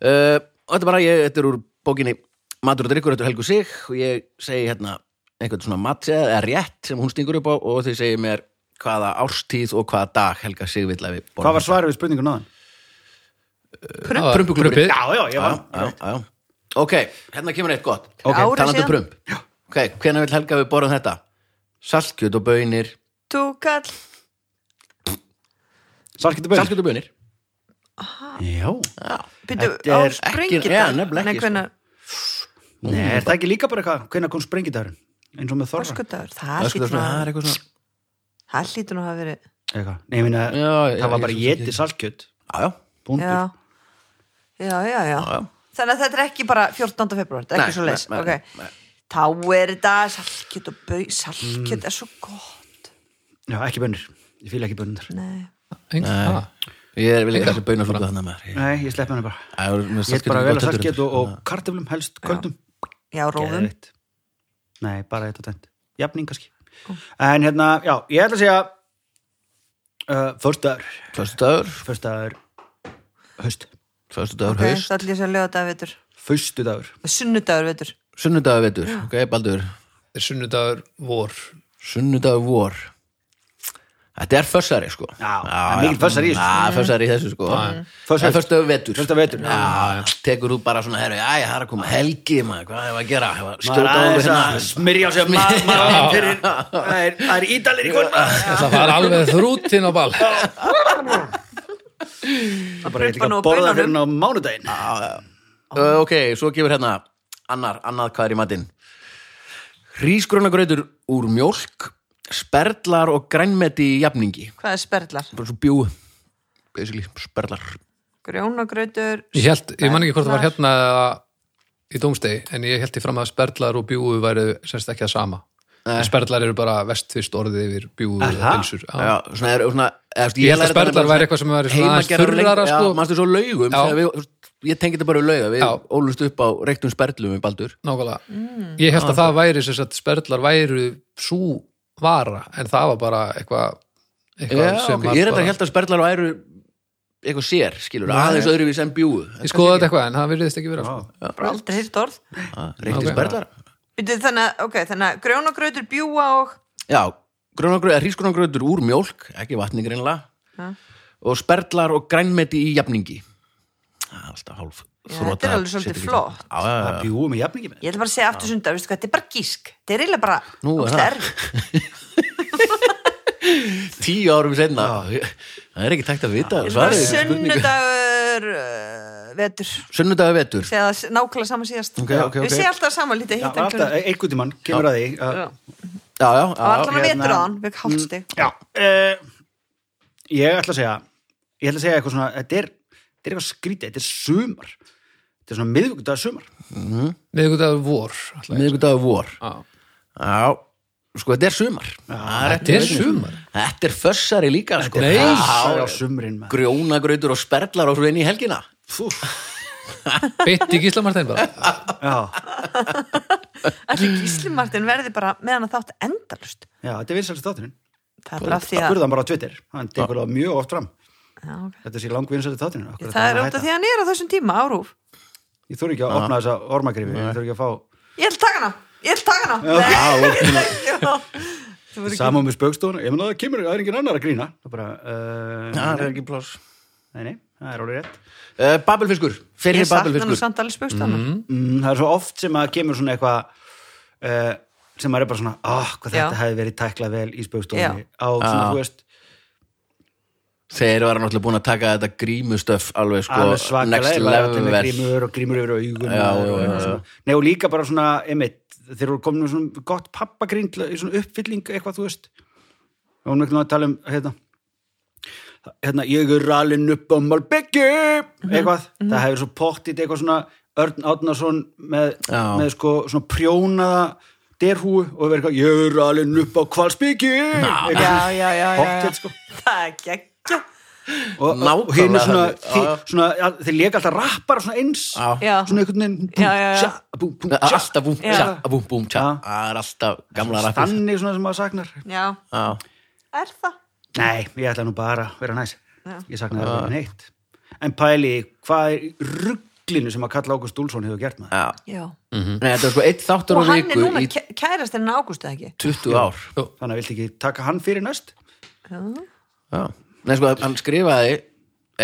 [SPEAKER 1] Þetta er bara, ég, þetta er úr bókinni Matur og drikkur, þetta er Helgu Sig og ég segi hérna einhvern svona matseð eða rétt sem hún stingur upp á og þau segi mér hvaða árstíð og hvaða dag Helga Sig vill að við borðum.
[SPEAKER 2] hvað var svarið við spurningun á hann?
[SPEAKER 4] Já,
[SPEAKER 1] Prumpuklúbburinn.
[SPEAKER 4] prumpið.
[SPEAKER 2] Já, já, ég
[SPEAKER 1] já,
[SPEAKER 2] var,
[SPEAKER 1] já, já. Ok, hérna kemur eitt gott
[SPEAKER 3] Ok. Ári
[SPEAKER 1] Talandi um
[SPEAKER 3] síðan.
[SPEAKER 1] prump Ok, hvenær vil Helga við borðum þetta? Saltkjöt og bönir
[SPEAKER 3] Túkall
[SPEAKER 2] salkið til
[SPEAKER 1] Saltkjöt og bönir
[SPEAKER 2] bönn. Já,
[SPEAKER 3] Býtu
[SPEAKER 2] Þetta
[SPEAKER 3] á
[SPEAKER 2] er ekki- sko.
[SPEAKER 3] sprengidag
[SPEAKER 1] já, nefnilega
[SPEAKER 3] Nei,
[SPEAKER 1] ekki,
[SPEAKER 3] hvenær
[SPEAKER 2] Nei, er það ekki líka bara eitthvað, hvenær kom sprengidagur? eins og með þorra,
[SPEAKER 3] Öskudagur
[SPEAKER 1] Það
[SPEAKER 3] Það
[SPEAKER 1] er
[SPEAKER 3] hlýtur nú
[SPEAKER 1] svona, það
[SPEAKER 3] að-
[SPEAKER 1] er eitthvað svona
[SPEAKER 3] það hlýtur nú að hafa verið
[SPEAKER 2] eitthvað, nei, ég minna,
[SPEAKER 1] Já, já,
[SPEAKER 2] það var
[SPEAKER 1] ég
[SPEAKER 2] bara
[SPEAKER 1] svo sem
[SPEAKER 2] jeti salkjöt,
[SPEAKER 1] Já, já,
[SPEAKER 2] búndur.
[SPEAKER 3] Já, já, já, já.
[SPEAKER 1] já.
[SPEAKER 3] Þannig að þetta er ekki bara 14. februar, þetta er
[SPEAKER 1] Nei,
[SPEAKER 3] ekki svo leys
[SPEAKER 1] nei, nei,
[SPEAKER 3] Þá er þetta salkjöt og bau,
[SPEAKER 1] Mm.
[SPEAKER 3] salkjöt er svo gott
[SPEAKER 2] Já, ekki bönnur, ég fíla ekki bönnur
[SPEAKER 3] Nei,
[SPEAKER 4] Engu- ha.
[SPEAKER 1] Ég er vel ekki þessi bönar svona þannig að maður
[SPEAKER 2] Nei, ég slepp henni bara
[SPEAKER 1] Það er- mér
[SPEAKER 2] Ég
[SPEAKER 1] saltkjöt
[SPEAKER 2] er bara
[SPEAKER 1] er
[SPEAKER 2] að
[SPEAKER 1] gott
[SPEAKER 2] vela
[SPEAKER 1] heldur
[SPEAKER 2] salkett
[SPEAKER 1] þetta.
[SPEAKER 2] og, og kartöflum helst köldum
[SPEAKER 3] já, róðum
[SPEAKER 2] Geðveikt. Nei, bara þetta tænt Jafning kannski En hérna, já, ég ætla að segja uh, Föstudagur
[SPEAKER 1] Föstudagur,
[SPEAKER 2] Föstudagur Haust
[SPEAKER 1] föstudagur
[SPEAKER 3] okay,
[SPEAKER 1] haust
[SPEAKER 3] Það ætlum ég að löga þetta veitur
[SPEAKER 2] Föstudagur
[SPEAKER 3] Sunnudagur veitur
[SPEAKER 1] Sunnudagur vetur, ok, Baldur
[SPEAKER 4] er sunnudagur vor
[SPEAKER 1] Sunnudagur vor Þetta er fössari sko
[SPEAKER 2] Já, það er mikill fössari í þessu.
[SPEAKER 1] Já, fössari í þessu sko Það
[SPEAKER 2] Fössari.
[SPEAKER 1] er Föstudagur vetur
[SPEAKER 2] Föstudagur vetur.
[SPEAKER 1] Já, tekur þú bara svona, herru, já, það er að koma helgi maður, hvað hefur að gera Ég var að
[SPEAKER 2] Maður
[SPEAKER 1] Skjóta á
[SPEAKER 2] aðeins
[SPEAKER 1] okkur
[SPEAKER 2] að
[SPEAKER 1] hérna
[SPEAKER 2] smyrja á sig maður maður fyrir Það er- það er ídalir í kvöld maður.
[SPEAKER 4] það var alveg þrútin á ball
[SPEAKER 2] Það er bara ég ætla
[SPEAKER 3] Prumpan
[SPEAKER 2] ekki
[SPEAKER 3] og
[SPEAKER 2] að borða
[SPEAKER 3] baununum.
[SPEAKER 2] fyrir á mánudaginn
[SPEAKER 1] Ö, Ok, svo gefur hérna annar, annað hvað er í matinn Rísgrunagrautur úr mjólk sperlar og grænmeti í jafningi
[SPEAKER 3] Hvað er sperlar?
[SPEAKER 1] bara svo bjú basically, sperlar
[SPEAKER 3] Grjónagrautur
[SPEAKER 4] Ég held, ég man ekki hvort það var
[SPEAKER 3] Sperlar.
[SPEAKER 4] hérna eða í dómstegi, en ég held ég fram að sperlar og bjúu væri semst ekki að sama en sperlar eru bara vestfyrst orðið yfir bjúu og
[SPEAKER 2] Aha.
[SPEAKER 4] pilsur Já.
[SPEAKER 1] Já, svona er, svona, eða,
[SPEAKER 4] Ég held að sperlar væri eitthvað sem væri svona aðeins þurrara, sko.
[SPEAKER 1] Já, mannstu svo laugum
[SPEAKER 4] Já.
[SPEAKER 1] þegar við, þú veist, Ég tengi þetta bara við lauga, við
[SPEAKER 4] Já.
[SPEAKER 1] ólust upp á reyktum sperlum í Baldur
[SPEAKER 4] Nákvæmlega. Ég held að það væri sem sagt sperlar væri svo vara en það var bara eitthvað eitthvað
[SPEAKER 1] Já,
[SPEAKER 4] sem
[SPEAKER 1] ok,
[SPEAKER 4] var
[SPEAKER 1] Ég er þetta
[SPEAKER 4] bara-
[SPEAKER 1] held að sperlar væru eitthvað sér, skilur,
[SPEAKER 4] Nei.
[SPEAKER 1] aðeins öðruvís en bjúu
[SPEAKER 4] Ég skoða þetta eitthvað en það virðist ekki vera sko.
[SPEAKER 2] Vá.
[SPEAKER 3] Bara aldrei hýrt orð
[SPEAKER 1] Reyktum
[SPEAKER 4] Ok.
[SPEAKER 1] Ah, sperlar
[SPEAKER 3] Býtu, þannig, að- ok, þannig að grjónagrautur bjúa og
[SPEAKER 1] Já, hrískunagröður úr mjólk ekki vatni greinlega
[SPEAKER 3] Já.
[SPEAKER 1] og sperlar og grænmeti í jafningi Það er Alltaf hálf
[SPEAKER 3] Já,
[SPEAKER 1] þrota
[SPEAKER 3] þetta er alveg svolítið
[SPEAKER 1] setting.
[SPEAKER 3] flott.
[SPEAKER 1] Já, já, já.
[SPEAKER 2] Það bjúum í jafningi með
[SPEAKER 3] ég ætla bara að segja aftur sunda, veistu hvað, þetta er bara gísk þetta er eiginlega bara,
[SPEAKER 1] Nú, er
[SPEAKER 3] ógeðslega
[SPEAKER 1] það.
[SPEAKER 3] erfitt.
[SPEAKER 1] Tíu árum senna Það er ekki tækt að vita
[SPEAKER 3] Þetta er
[SPEAKER 1] svarið
[SPEAKER 3] bara
[SPEAKER 1] við spurningu.
[SPEAKER 3] sunnudagur uh, vetur,
[SPEAKER 1] Sunnudagur vetur
[SPEAKER 3] segja það s- nákvæmlega saman síðast
[SPEAKER 1] Ok, ok,
[SPEAKER 3] við
[SPEAKER 1] ok.
[SPEAKER 3] segja alltaf saman lítið
[SPEAKER 2] Já,
[SPEAKER 3] hittan
[SPEAKER 2] alltaf,
[SPEAKER 3] klunum.
[SPEAKER 2] einhvern tímann kemur að því að,
[SPEAKER 3] Já.
[SPEAKER 1] Já, já, já,
[SPEAKER 3] og allan að
[SPEAKER 1] já.
[SPEAKER 2] hérna.
[SPEAKER 3] vetur á hann, við
[SPEAKER 1] Mm.
[SPEAKER 3] hálfstig
[SPEAKER 2] Já, uh, ég ætla að segja ég ætla að segja eitthvað svona þetta er, þetta er eitthvað skrítið, þetta er sumar þetta er svona miðvíkudagur sumar
[SPEAKER 4] miðvikudagur vor alltaf.
[SPEAKER 1] Miðvikudagur vor
[SPEAKER 4] Já.
[SPEAKER 1] Já, sko þetta er sumar Það er
[SPEAKER 4] Þetta er
[SPEAKER 1] rétt.
[SPEAKER 4] sumar
[SPEAKER 1] Þetta er fössari líka sko.
[SPEAKER 4] Nei.
[SPEAKER 1] Já,
[SPEAKER 2] á sumrin maður.
[SPEAKER 1] Grjónagrautur og sperlar og svo inn í helgina
[SPEAKER 2] Fú,
[SPEAKER 4] Beitt í Gíslamartin bara
[SPEAKER 2] já,
[SPEAKER 3] allir gíslimartin verði bara meðan að þátt endalust
[SPEAKER 2] já, þetta er vinsalist þátturinn
[SPEAKER 3] það er bara af því að
[SPEAKER 2] Akkur það bara á Twitter, hann tekur það mjög oft fram
[SPEAKER 3] Já, ok.
[SPEAKER 2] Þetta sé langvinsalist þátturinn Af hverju
[SPEAKER 3] það
[SPEAKER 2] ætti
[SPEAKER 3] er
[SPEAKER 2] hann að
[SPEAKER 3] út af
[SPEAKER 2] hætta?
[SPEAKER 3] því að hann er á þessum tíma árúf
[SPEAKER 2] Ég þurfi ekki að opna þessa ormagrifi Ég þurfi ekki að fá
[SPEAKER 3] ég ætla að taka hana, ég ætla að taka hana Nei, ég ætla ekki að- Þú verður ekki-
[SPEAKER 2] Samum með spaukstofuna, ég meina það kemur, það er engin annar að grína Það er bara, uh,
[SPEAKER 1] er ekki pláss
[SPEAKER 2] nei, nei, það er alveg rétt
[SPEAKER 1] uh, Babelfiskur,
[SPEAKER 3] Ég
[SPEAKER 1] fyrir
[SPEAKER 3] sakna nú
[SPEAKER 1] Babelfiskur
[SPEAKER 3] samt alveg spugstana
[SPEAKER 2] mm, Það er svo oft sem að kemur svona eitthvað uh, sem maður er bara svona, ah, hvað
[SPEAKER 3] Já.
[SPEAKER 2] þetta hefði verið tæklað vel í spaukstofunni
[SPEAKER 3] Já.
[SPEAKER 2] á svona,
[SPEAKER 1] Já.
[SPEAKER 2] þú veist,
[SPEAKER 1] Þeir eru náttúrulega búin að taka þetta grímustöf alveg sko
[SPEAKER 2] alveg
[SPEAKER 1] next
[SPEAKER 2] svakalega var allir
[SPEAKER 1] level
[SPEAKER 2] með grímur og grímur yfir augun
[SPEAKER 1] Já,
[SPEAKER 2] og,
[SPEAKER 1] já,
[SPEAKER 2] og,
[SPEAKER 1] já,
[SPEAKER 2] og, og, Nei, og líka bara svona, einmitt þeir eru komin með svona gott pappagrín til að- í svona uppfylling eitthvað, þú veist og hún veikin að tala um, hérna hérna, ég er alinn upp á Malbyggi
[SPEAKER 3] Mhm,
[SPEAKER 2] eitthvað, það hefur svo pottið eitthvað svona Örn Átnason með,
[SPEAKER 1] Já.
[SPEAKER 2] með sko svona prjónaða derhúu og verið eitthvað, ég er alinn upp á Kvalsbyggi
[SPEAKER 3] já, já, já, já, já.
[SPEAKER 2] pottið sko
[SPEAKER 3] það er geggja
[SPEAKER 2] og, og
[SPEAKER 1] Nákvæmlega
[SPEAKER 2] hinn er svona,
[SPEAKER 1] þannig.
[SPEAKER 2] þi,
[SPEAKER 1] Já, já.
[SPEAKER 2] svona ja, þeir leika alltaf rappar svona eins
[SPEAKER 1] Já.
[SPEAKER 3] Já.
[SPEAKER 2] svona einhvern veginn búm,
[SPEAKER 3] Já, já, já.
[SPEAKER 2] tja, búm, búm, tja.
[SPEAKER 1] Alltaf búm,
[SPEAKER 3] Já.
[SPEAKER 1] tja, búm, búm, tja
[SPEAKER 2] Já.
[SPEAKER 1] Það er alltaf gamla rappið
[SPEAKER 2] stanni svona sem maður saknar
[SPEAKER 3] já,
[SPEAKER 1] Já.
[SPEAKER 3] er það
[SPEAKER 2] nei, ég ætla nú bara að vera næs
[SPEAKER 3] Já.
[SPEAKER 2] ég sakna það ekki neitt en pæli, í hvað er í rugglinu sem að kalla Ágúst Úlfsson hefur gert maður
[SPEAKER 1] Já.
[SPEAKER 3] já.
[SPEAKER 1] Nei, þetta er sko eitt þáttur á
[SPEAKER 3] og hann er
[SPEAKER 1] viku
[SPEAKER 3] núna
[SPEAKER 1] í
[SPEAKER 3] í... kærast en ágústu ekki
[SPEAKER 1] 20 ár
[SPEAKER 2] þannig að viltu ekki taka hann fyrir næst
[SPEAKER 3] já,
[SPEAKER 1] Já. Nei, sko, hann skrifaði ég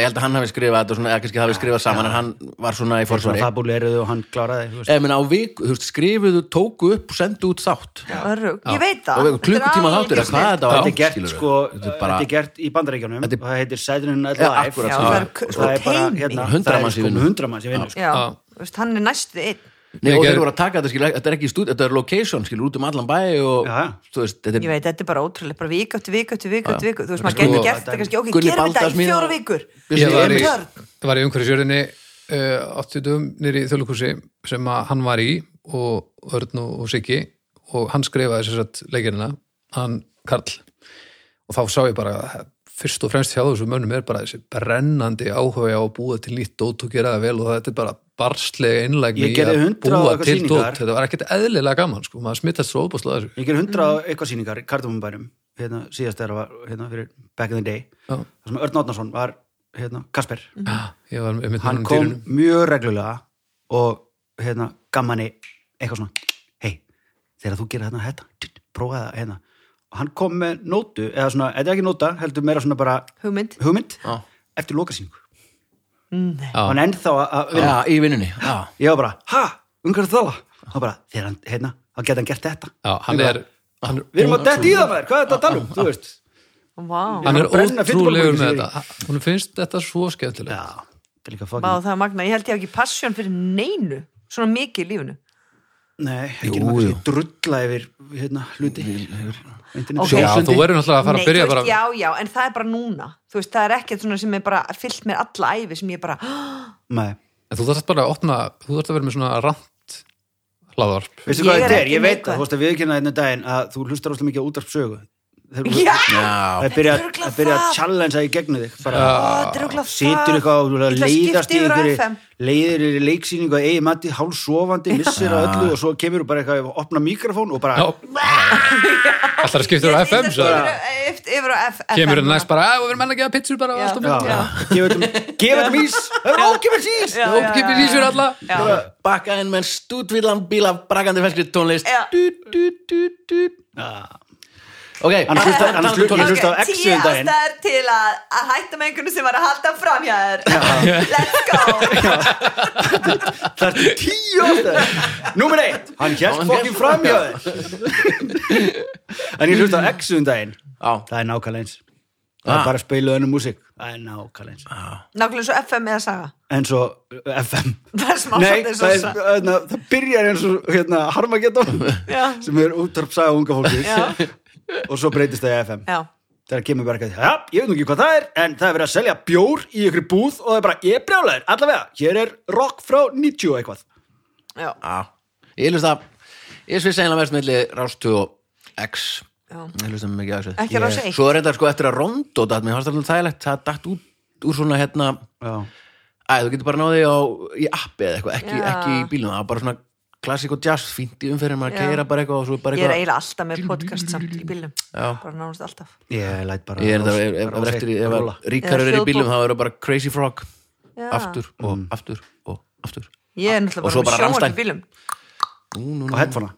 [SPEAKER 1] held að hann hafi skrifað þetta svona, eða kannski hafi skrifað saman en hann var svona í
[SPEAKER 2] svona
[SPEAKER 1] fórsvari
[SPEAKER 2] fabuleruðu og hann kláraði þú veist.
[SPEAKER 1] eða minna á vik, þú veist, skrifuðu, tóku upp og sendu út þátt
[SPEAKER 3] örugg. ég veit það
[SPEAKER 1] og við klukkutíma þáttur, eða hvað þetta var
[SPEAKER 2] þetta er gert
[SPEAKER 1] skilurðu?
[SPEAKER 2] sko,
[SPEAKER 1] þetta er
[SPEAKER 2] þetta
[SPEAKER 1] bara
[SPEAKER 2] er gert í bandaríkjanum
[SPEAKER 1] Þetta er-
[SPEAKER 2] og það heitir Saturday Night
[SPEAKER 1] Já,
[SPEAKER 2] Live
[SPEAKER 1] akkúrat,
[SPEAKER 3] Já, það er
[SPEAKER 2] og
[SPEAKER 3] sko
[SPEAKER 2] það er bara
[SPEAKER 3] teymi.
[SPEAKER 2] hérna,
[SPEAKER 1] Hundrað
[SPEAKER 2] það er
[SPEAKER 1] manns í
[SPEAKER 2] sko
[SPEAKER 1] vinnu.
[SPEAKER 2] hundramanns í vinnu sko.
[SPEAKER 3] já,
[SPEAKER 4] Já.
[SPEAKER 3] þú veist, hann er næstu einn
[SPEAKER 1] Nei, og þeir
[SPEAKER 4] Ég gerði-
[SPEAKER 1] voru að taka þetta, skilur, þetta er ekki stúd þetta er location, skilur, út um allan bæ og,
[SPEAKER 2] Já, já.
[SPEAKER 1] þú veist, þetta
[SPEAKER 3] ég
[SPEAKER 1] er
[SPEAKER 3] veit, þetta er bara ótrúlega, bara vik eftir vik eftir vik eftir vik þú veist, maður
[SPEAKER 1] Sko,
[SPEAKER 3] getur gert þetta kannski, ok,
[SPEAKER 1] Gunni
[SPEAKER 3] gerum þetta
[SPEAKER 1] Baldars
[SPEAKER 3] í
[SPEAKER 1] mín
[SPEAKER 3] fjóra
[SPEAKER 1] og-
[SPEAKER 3] vikur
[SPEAKER 4] Ég var í,
[SPEAKER 3] Björn.
[SPEAKER 4] ég var í umhverfisjörðinni uh, 80 dögum nýri í þjóðlíkursi sem að hann var í og Örn og, og Siggi og hann skrifaði sér satt leikirina hann Karl og þá sá ég bara að fyrst og fremst hjá þessu mönnum er bara þessi brennandi áhuga á að búa til nýtt dót og gera það vel og þetta er bara barslega innlægni
[SPEAKER 2] Ég
[SPEAKER 4] í
[SPEAKER 2] gerði
[SPEAKER 4] að
[SPEAKER 2] 100 og
[SPEAKER 4] búa
[SPEAKER 2] eitthvað
[SPEAKER 4] til
[SPEAKER 2] sýningar.
[SPEAKER 4] dót þetta var ekkert eðlilega gaman sko, maður smittast svo óbúslega þessu
[SPEAKER 2] Ég ger hundra mm. eitthvað sýningar í kardamumbærum hérna, síðast þegar það var hérna, fyrir Back in the Day
[SPEAKER 4] Já. Mm.
[SPEAKER 2] þar sem Örn Átnarsson var hérna, Kasper
[SPEAKER 4] Ah, ég var með
[SPEAKER 2] hann
[SPEAKER 4] minnum
[SPEAKER 2] kom
[SPEAKER 4] dýrunum
[SPEAKER 2] mjög reglulega og hérna, gammanni eitthvað svona hei, þegar þú gerir hérna þetta tít, prófa það hérna og hann kom með nótu, eða svona, þetta er ekki nóta heldur meira svona bara
[SPEAKER 3] hugmynd,
[SPEAKER 2] hugmynd
[SPEAKER 1] Já.
[SPEAKER 2] eftir lokasýningu
[SPEAKER 4] Já.
[SPEAKER 2] hann ennþá að- að vinna
[SPEAKER 1] já, í vinnunni já.
[SPEAKER 2] ég var bara, ha, um hverju það og bara, þegar hann, hérna, þá geti hann gert þetta
[SPEAKER 4] Já, hann er, hann,
[SPEAKER 2] við erum að detti í það maður, hvað er þetta að tala um, þú veist
[SPEAKER 3] vá
[SPEAKER 4] hann er
[SPEAKER 2] að brenna
[SPEAKER 4] ótrúlegur
[SPEAKER 2] fitubólgum,
[SPEAKER 4] með
[SPEAKER 2] Sigurður.
[SPEAKER 4] þetta hún finnst þetta svo skemmtilegt
[SPEAKER 2] Já, það er líka
[SPEAKER 3] Vá,
[SPEAKER 2] fucking
[SPEAKER 3] það er magna, ég held ég hafi ekki passjón fyrir neinu svona mikið í lífinu
[SPEAKER 2] Nei,
[SPEAKER 1] Jú,
[SPEAKER 2] ekki jú, maður
[SPEAKER 1] jú.
[SPEAKER 2] jú. drulla yfir hérna, hluti Internet
[SPEAKER 3] Ok.
[SPEAKER 4] Já,
[SPEAKER 2] sjónsundi.
[SPEAKER 4] þú verður náttúrulega að fara að
[SPEAKER 3] Nei,
[SPEAKER 4] byrja
[SPEAKER 3] þú
[SPEAKER 4] bara
[SPEAKER 3] veist, Já, já, en það er bara núna Þú veist, það er ekkert svona sem er bara fyllt mér alla ævi sem ég bara,
[SPEAKER 2] Nei.
[SPEAKER 4] En þú þarft bara að opna, þú þarft að vera með svona rant hlaðvarp
[SPEAKER 2] Veistu
[SPEAKER 3] Ég
[SPEAKER 2] hvað
[SPEAKER 3] er
[SPEAKER 2] þetta er?
[SPEAKER 3] ekki
[SPEAKER 2] Ég veit
[SPEAKER 3] neikvæð.
[SPEAKER 2] að þú veist að við ekki hérna daginn að þú hlustar óslega mikið á útvarpsögu Þeir,
[SPEAKER 3] já,
[SPEAKER 1] Já,
[SPEAKER 2] Það byrja
[SPEAKER 3] Þetta er örugglega
[SPEAKER 2] að byrja að
[SPEAKER 3] það.
[SPEAKER 2] challengea í gegnum þig bara
[SPEAKER 3] ó, þetta er okkur
[SPEAKER 2] situr eitthvað og
[SPEAKER 3] Ég ætla að
[SPEAKER 2] leiðast í
[SPEAKER 3] skipta yfir á
[SPEAKER 2] einhverju
[SPEAKER 3] FM.
[SPEAKER 2] leiðir í leiksýningu að eigi mati hálfsofandi, missir að öllu og svo kemur þú bara eitthvað að opna mikrofón og bara
[SPEAKER 4] Já, allar að skipta þér á FM svo
[SPEAKER 3] Yfir á F- FM
[SPEAKER 4] kemur það
[SPEAKER 3] núna.
[SPEAKER 4] næst bara, að við erum enn að gefa pizzu bara
[SPEAKER 3] Já.
[SPEAKER 4] allt og
[SPEAKER 2] Já.
[SPEAKER 4] mynd,
[SPEAKER 2] gefa þetta gefa þetta mís, það er ókipis ís
[SPEAKER 3] Já,
[SPEAKER 4] og
[SPEAKER 3] já,
[SPEAKER 4] kipir
[SPEAKER 3] já,
[SPEAKER 4] í sér alla
[SPEAKER 3] Já,
[SPEAKER 1] bakka inn með stútvillan bíl af brakandi ferskri tónlist
[SPEAKER 3] Já.
[SPEAKER 1] dú, dú, dú, dú. Ok,
[SPEAKER 2] Annars hlusta-
[SPEAKER 1] tal-
[SPEAKER 2] annars
[SPEAKER 1] talandi um tónlist.
[SPEAKER 2] hlusta- Ég hlusta á
[SPEAKER 3] Ok,
[SPEAKER 2] Exit
[SPEAKER 3] tíu
[SPEAKER 2] um daginn.
[SPEAKER 3] ástæður til að, að hætta með einhvern sem var að halda fram hjá þér Let's go
[SPEAKER 2] það er tíu ástæður Númer eitt, hann
[SPEAKER 1] Já,
[SPEAKER 2] hérst
[SPEAKER 1] hann
[SPEAKER 2] fokkin
[SPEAKER 1] hélt-
[SPEAKER 2] fram hjá þér En ég hlusta á Exu um daginn
[SPEAKER 1] Já.
[SPEAKER 2] Það er nákvæmlega eins Það
[SPEAKER 1] Ah.
[SPEAKER 2] er bara að spila önnum músík Það er nákvæmlega eins
[SPEAKER 3] Nákvæmlega svo FM eða saga
[SPEAKER 2] En svo uh, FM
[SPEAKER 3] Það er smá
[SPEAKER 2] Nei,
[SPEAKER 3] svolítið
[SPEAKER 2] það, er,
[SPEAKER 3] svo-
[SPEAKER 2] öðna, það byrjar eins og hérna, Harmageddon
[SPEAKER 3] Já.
[SPEAKER 2] sem er útarp saga unga fólki og svo breytist það í FM
[SPEAKER 3] Já,
[SPEAKER 2] þegar kemur bara eitthvað, ja, ég veit nú ekki hvað það er en það er verið að selja bjór í ykkur búð og það er bara, ég er brjálæður, allavega hér er rock frá 90 og eitthvað
[SPEAKER 3] já,
[SPEAKER 1] Já, ég hlusta Ég svissi einlega mest milli Rástu og X
[SPEAKER 3] já
[SPEAKER 1] Ég hlusta mikið á X
[SPEAKER 3] Ekki Rás eitt.
[SPEAKER 1] Svo er þetta sko eftir að Rondo datt Mér fannst alltaf þægilegt Það datt út úr svona hérna
[SPEAKER 2] Já.
[SPEAKER 1] Æ, þú getur bara náði á í appi eða eitthvað ekki,
[SPEAKER 3] Já.
[SPEAKER 1] ekki í bílum, það var bara svona klassik og jazz fínt í umferðin, maður
[SPEAKER 3] Já.
[SPEAKER 1] keira bara eitthvað og svo bara
[SPEAKER 3] Ég er
[SPEAKER 1] eitthvað
[SPEAKER 3] eiginlega alltaf með podcast samt í bílum Bara nánast alltaf
[SPEAKER 2] Ég læt bara
[SPEAKER 1] Ég er
[SPEAKER 2] rás-
[SPEAKER 1] þetta, ef- ef- ef
[SPEAKER 2] rás
[SPEAKER 1] eftir,
[SPEAKER 2] eitt
[SPEAKER 1] ef
[SPEAKER 2] rúlla.
[SPEAKER 1] ríkarur
[SPEAKER 3] Eða
[SPEAKER 1] er í bílum
[SPEAKER 3] hljóðbók.
[SPEAKER 1] þá eru bara Crazy Frog
[SPEAKER 3] Já.
[SPEAKER 1] aftur og
[SPEAKER 2] Mm.
[SPEAKER 1] aftur og aftur
[SPEAKER 3] Ég er
[SPEAKER 1] Og svo
[SPEAKER 3] náttúrulega
[SPEAKER 1] bara
[SPEAKER 3] bara með sjónvarp
[SPEAKER 1] Rammstein.
[SPEAKER 3] í bílum
[SPEAKER 1] Nú, nú,
[SPEAKER 2] og
[SPEAKER 1] nú,
[SPEAKER 2] headphona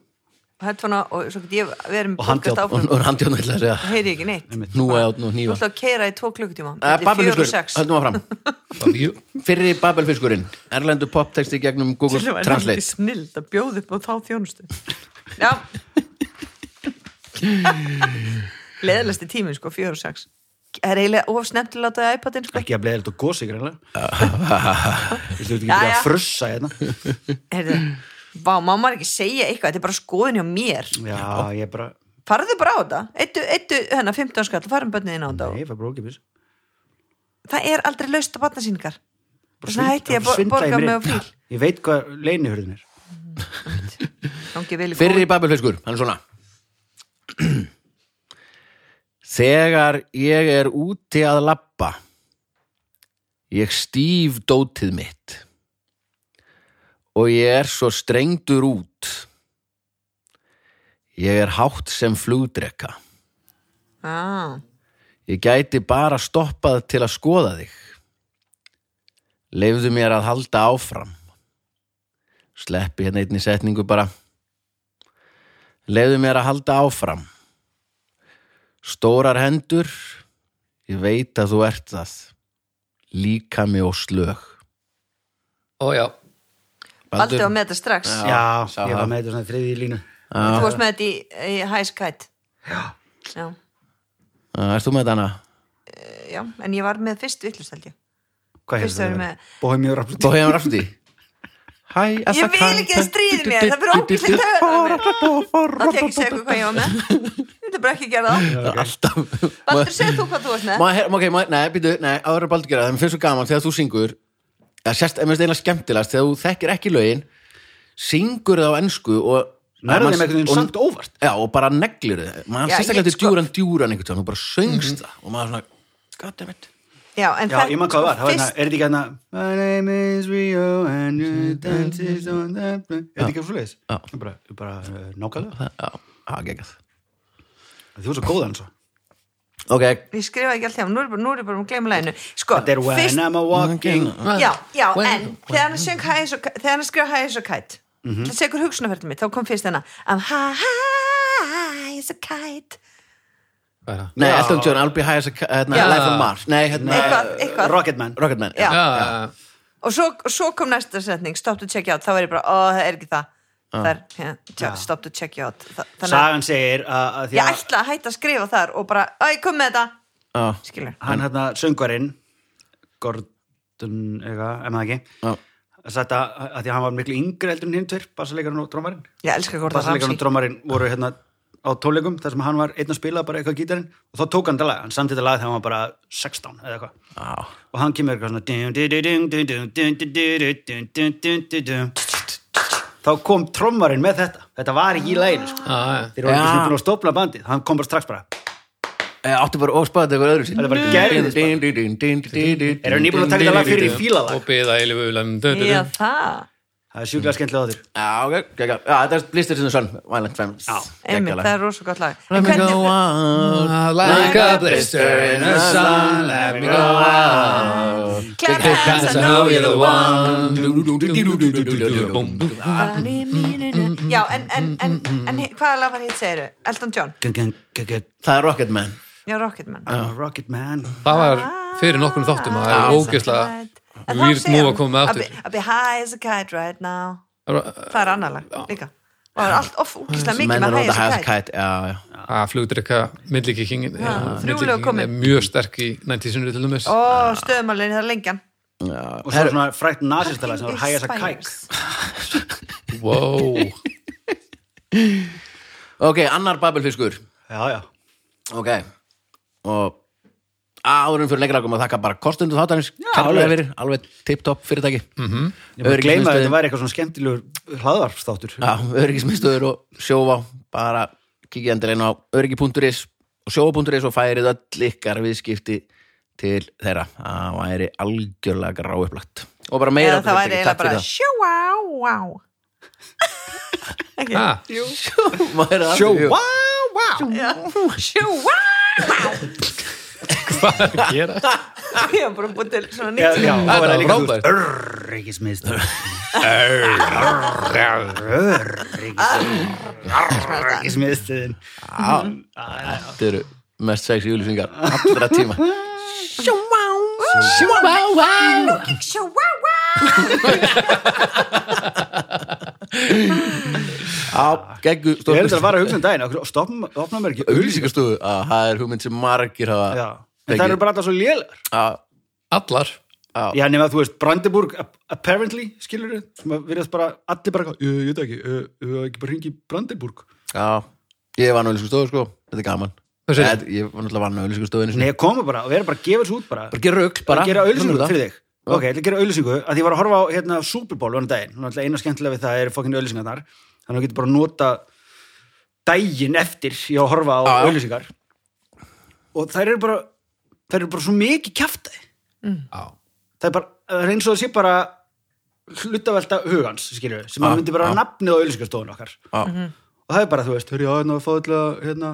[SPEAKER 3] Headphone og svo get ég verið með
[SPEAKER 2] Og handjárn.
[SPEAKER 3] podcast
[SPEAKER 1] og
[SPEAKER 3] áfram
[SPEAKER 1] nú er handjóðn ætla að segja
[SPEAKER 3] Heyri ég ekki neitt
[SPEAKER 1] Nú er átn og
[SPEAKER 3] Þú
[SPEAKER 1] nýva
[SPEAKER 3] ætla að keira í tvo klukkutíma
[SPEAKER 2] Eh,
[SPEAKER 1] Babelfiskur,
[SPEAKER 3] Babelfiskur
[SPEAKER 1] höldum áfram
[SPEAKER 4] Já.
[SPEAKER 1] Fyrri Babelfiskurinn, erlendu poptexti gegnum Google Translate
[SPEAKER 3] snild að bjóða upp á þá þjónustu Já Leðalasti tíminn sko, 4 og 6 Það er eiginlega of snemmt til að láta það iPadin sko.
[SPEAKER 2] ekki að bleið þetta gósi greinlega Þú veit ekki
[SPEAKER 3] Já,
[SPEAKER 2] að
[SPEAKER 3] já.
[SPEAKER 2] frussa hérna
[SPEAKER 3] Heyrðu, Vá, má maður ekki segja eitthvað Þetta er bara skoðin hjá mér
[SPEAKER 2] Já, ég bara,
[SPEAKER 3] Farðu bara á þetta Eittu, eittu, hennar, 15 skall, farum bönnið inn á þetta
[SPEAKER 2] nei, ég fæ bara ókipis
[SPEAKER 3] Það er aldrei laust á batnasýningar
[SPEAKER 2] Bara
[SPEAKER 3] Svona
[SPEAKER 2] svindla-
[SPEAKER 3] hætti ég að
[SPEAKER 2] bara
[SPEAKER 3] bo-
[SPEAKER 2] svindla í
[SPEAKER 3] borga
[SPEAKER 2] mér
[SPEAKER 3] mig
[SPEAKER 2] inn.
[SPEAKER 3] á fíl
[SPEAKER 2] Ég veit hvað leinihörðin er
[SPEAKER 3] Gangi vel í
[SPEAKER 1] Fyrri babelfiskur, hann er svona Þegar ég er úti að labba ég stíf dótið mitt og ég er svo strengdur út ég er hátt sem flugdreka
[SPEAKER 3] kór. ah,
[SPEAKER 1] ég gæti bara stoppað til að skoða þig leifðu mér að halda áfram sleppi hérna einni setningu bara leifðu mér að halda áfram stórar hendur ég veit að þú ert það líka mig og slög
[SPEAKER 4] Ó já,
[SPEAKER 3] Baldur var með þetta strax
[SPEAKER 1] Já.
[SPEAKER 2] Já,
[SPEAKER 1] sá
[SPEAKER 2] ég
[SPEAKER 1] það.
[SPEAKER 2] var með þetta svona þriði línu
[SPEAKER 3] Þú varst með þetta í, í High Skite já.
[SPEAKER 1] Erst þú með þetta hana?
[SPEAKER 3] Já, en ég var með fyrst vittlust held ég
[SPEAKER 2] Hvað
[SPEAKER 3] Fyrst
[SPEAKER 2] hefur það
[SPEAKER 3] erum við-
[SPEAKER 2] verið? Bohemian Rhapsody
[SPEAKER 1] Bóðið hann rafti Hæ,
[SPEAKER 3] Ég vil ekki að stríði mér, það fyrir ógæslega töður Það tek ekki segja hvað ég var með Þetta er bara ekki að gera það
[SPEAKER 1] Alltaf
[SPEAKER 3] Baldur, segð þú hvað þú varst með
[SPEAKER 1] Má, her, ok, má, nei, býtu, nei, áður að baldur gera það, mér finnst svo gaman þegar þú syngur eða sérst, mér finnst eiginlega skemmtilegast þegar þú þekkir ekki lögin syngur það á ennsku og
[SPEAKER 2] Nærðum
[SPEAKER 1] og-
[SPEAKER 2] einhvern veginn samt óvart
[SPEAKER 1] Já, og bara neglir þið maður
[SPEAKER 3] Já,
[SPEAKER 1] sérstaklega
[SPEAKER 3] ég
[SPEAKER 1] til
[SPEAKER 3] sko-
[SPEAKER 1] djúran
[SPEAKER 3] Mhm.
[SPEAKER 1] djúran einhvern tíðan, þú bara söngst það og maður svona, goddammit
[SPEAKER 3] Já, en
[SPEAKER 2] Já,
[SPEAKER 3] þetta-
[SPEAKER 2] ég man hvað það var, það
[SPEAKER 3] sko,
[SPEAKER 2] var hérna,
[SPEAKER 3] fyrst-
[SPEAKER 2] er þetta ekki hérna My name is Rio and you dances on the Er þetta ekki svo leiðis?
[SPEAKER 1] Já.
[SPEAKER 2] Bara, bara eh, nákvæmlega
[SPEAKER 1] Já, það geggjað
[SPEAKER 2] Þú er svo góð hans
[SPEAKER 1] Ok,
[SPEAKER 3] Ég skrifaði ekki alltaf, nú er ég bara- nú er ég bara að gleyma læginu Sko,
[SPEAKER 2] Þetta er when I'm a walking
[SPEAKER 3] Já, já, en þegar hann söng hæ svo, þegar hann skrifa hæ svo kæt
[SPEAKER 2] Mhm.
[SPEAKER 3] það segur hugsunarferðin mitt, þá kom fyrst hennar I'm high as a kite
[SPEAKER 4] hvað er það?
[SPEAKER 1] nei, Elton John, I'll be high as a hérna,
[SPEAKER 3] Já.
[SPEAKER 1] Life on Mars, nei, hérna
[SPEAKER 3] Eitthvað, eitthvað
[SPEAKER 2] Rocketman
[SPEAKER 1] Rocketman,
[SPEAKER 3] Já.
[SPEAKER 4] Já,
[SPEAKER 3] Og svo, og svo kom næsta setning, stop to check you out þá er ég bara, ó, það er ekki það
[SPEAKER 4] Ah.
[SPEAKER 3] það er, ja, tjá, stop to check you out Þa- þannig að
[SPEAKER 2] Sagan segir að að því
[SPEAKER 3] ég
[SPEAKER 2] að
[SPEAKER 3] ætla að hætta að skrifa þar og bara, æ, kom með þetta
[SPEAKER 1] Já.
[SPEAKER 3] skilur,
[SPEAKER 2] hann hérna söngarinn Gordon, eitthvað, ef maður ekki
[SPEAKER 1] Já.
[SPEAKER 2] sagt að, að því að hann var miklu yngri heldur en hinn tveir, bassleikarinn og drómarinn
[SPEAKER 3] Ég elska hvort það
[SPEAKER 2] bassleikarinn og drómarinn voru hérna á tónleikum þar sem hann var einn að spila bara eitthvað gítarinn og þá tók hann þetta lag, hann samt þetta lag þegar hann var bara 16 eða eitthvað
[SPEAKER 1] Já.
[SPEAKER 2] og hann kemur eitthvað svona dun, dun, dun, dun, dun, dun, dun, dun, dun, dun, dun, dun, dun. þá kom trommarinn með þetta þetta var ekki í læginu sko.
[SPEAKER 4] já,
[SPEAKER 2] þeir voru ekki
[SPEAKER 1] Já.
[SPEAKER 2] svona búin að stopla bandið hann kom bara strax bara,
[SPEAKER 1] Eh, átti bara og spáði eitthvað öðru sín
[SPEAKER 2] Það er bara geðveikt
[SPEAKER 1] Er
[SPEAKER 2] eru nýbúin að taka þetta lag fyrir í fílalag
[SPEAKER 4] og beða eilifuglan
[SPEAKER 3] Já, það
[SPEAKER 2] það er sjúklega skemmtilega á þér
[SPEAKER 1] Já, ok, ok, ok. Já, þetta er listir sinni sönn Violent Femmes
[SPEAKER 2] Já.
[SPEAKER 3] Einmitt, það er rosa gott lag En
[SPEAKER 1] Let me
[SPEAKER 3] hvernig-
[SPEAKER 1] go out
[SPEAKER 4] Like a blister in the sun Let me go
[SPEAKER 1] Ah,
[SPEAKER 4] out
[SPEAKER 3] Clap your hands, I
[SPEAKER 4] Because I
[SPEAKER 3] know
[SPEAKER 4] know you're the one
[SPEAKER 1] Boom.
[SPEAKER 3] Já, en, en, en,
[SPEAKER 4] Mm,
[SPEAKER 3] en hvaða lag var hitt segiru? Elton John,
[SPEAKER 2] Gun, gun, gun, gun.
[SPEAKER 1] Það er Rocketman
[SPEAKER 3] já, Rocketman
[SPEAKER 4] Ah,
[SPEAKER 2] I'm a rocket man
[SPEAKER 4] Það var fyrir nokkrum þáttum og það
[SPEAKER 1] Já.
[SPEAKER 4] er ógeðslega weird move að koma með aftur.
[SPEAKER 3] I'll be high as a kite right now
[SPEAKER 4] Það
[SPEAKER 3] Það er annar lag, líka Og það er allt of úkislega mikið
[SPEAKER 1] Menn
[SPEAKER 3] með
[SPEAKER 1] er
[SPEAKER 3] high
[SPEAKER 1] nota
[SPEAKER 3] as
[SPEAKER 1] hæð
[SPEAKER 3] a kite
[SPEAKER 1] kæt Já, já
[SPEAKER 4] flugdrykka myndlíkikingin
[SPEAKER 3] þrjúlega komin.
[SPEAKER 4] er mjög sterk í 90-sunni til dæmis
[SPEAKER 3] Ó,
[SPEAKER 2] Ah.
[SPEAKER 3] stöðumálinn, það er lengjan
[SPEAKER 2] og svo svona frækt nazistalag sem var hægast að kæk
[SPEAKER 3] Spiders.
[SPEAKER 4] Wow
[SPEAKER 1] Ok, annar babelfiskur
[SPEAKER 2] já, já,
[SPEAKER 1] Ok Og áðurum fyrir lengra að þakka bara kostundu þáttanins
[SPEAKER 2] Já,
[SPEAKER 1] Kærlega
[SPEAKER 2] alveg. Mhm.
[SPEAKER 1] fyrir, alveg tipp-topp fyrirtæki
[SPEAKER 2] ég maður gleyma að þetta
[SPEAKER 1] Öryggismiðstöðin
[SPEAKER 2] væri eitthvað svona skemmtilegur hlaðvarpstáttur
[SPEAKER 1] Já, öryggismiðstöður og sjóvá Bara kikið endur einu á öryggi.is og sjóvá.is og færið öll ykkar viðskipti til þeirra Það væri algjörlega gráupplagt Og bara meira
[SPEAKER 3] Eða það væri
[SPEAKER 1] fyrirtæki.
[SPEAKER 3] eiginlega
[SPEAKER 1] Takk fyrir
[SPEAKER 3] bara
[SPEAKER 1] það.
[SPEAKER 3] Sjóá, á
[SPEAKER 4] Ha,
[SPEAKER 1] Maður er aftur-
[SPEAKER 2] sjó,
[SPEAKER 1] Jú.
[SPEAKER 2] vá, vá
[SPEAKER 3] Sjóá
[SPEAKER 4] Hvað er að gera?
[SPEAKER 3] Ég var bara búin til svona
[SPEAKER 2] já,
[SPEAKER 3] nýtt
[SPEAKER 2] já, þá var
[SPEAKER 4] Þetta
[SPEAKER 2] það
[SPEAKER 4] var
[SPEAKER 2] líka þú
[SPEAKER 4] frábært.
[SPEAKER 2] veist, öryggismiðstöð öryggismiðstöðin
[SPEAKER 1] Þetta eru mest sexy júlisingar allra tíma Sjóvá Sjóvá
[SPEAKER 3] Sjóá,
[SPEAKER 1] Já, geggu
[SPEAKER 2] ég heldur að fara að hugsa um daginn af hverju stopn- opna mér ekki
[SPEAKER 1] Ölsingastofu, það er hugmynd sem margir hafa
[SPEAKER 2] Já. en það eru bara alltaf svo lélegar
[SPEAKER 1] Já,
[SPEAKER 4] Allar
[SPEAKER 2] já, nema að þú veist, Brandenburg ap- apparently, skilur við, sem að virðast bara allir bara, eitthvað, ég ég veit ekki ég ég veit ekki bara hringi í Brandenburg
[SPEAKER 1] já Ég vann á ölsingastofu, sko, þetta er gaman
[SPEAKER 4] Hvað segirðu?
[SPEAKER 1] Þetta- Ég var náttúrulega vann á ölsingastofu
[SPEAKER 2] nei, ég koma bara og vera bara að gefa þessu út bara
[SPEAKER 1] Bara gera rugg, bara
[SPEAKER 2] að gera auðlýsingu
[SPEAKER 1] Svona er
[SPEAKER 2] fyrir þig ok, ég ætla að gera auðlýsingu að ég var að horfa á hérna, Super Bowl vann daginn Nú, náttúrulega eina skemmtilega við það er fokkin auðlýsingarnar þannig að þú getur bara að nota daginn eftir ég á að horfa á
[SPEAKER 1] Já, já.
[SPEAKER 2] auðlýsingar og þær eru bara þær eru bara svo mikið kjaftaði
[SPEAKER 4] Já.
[SPEAKER 2] það er bara, það er eins og það sé bara hlutavelta hugans skilur við, sem
[SPEAKER 1] Já,
[SPEAKER 2] að myndi bara
[SPEAKER 1] já.
[SPEAKER 2] nafnið á auðlýsingarstofun okkar
[SPEAKER 1] Já.
[SPEAKER 2] og það er bara, þú veist, hörru, já, hérna, fá allega, hérna,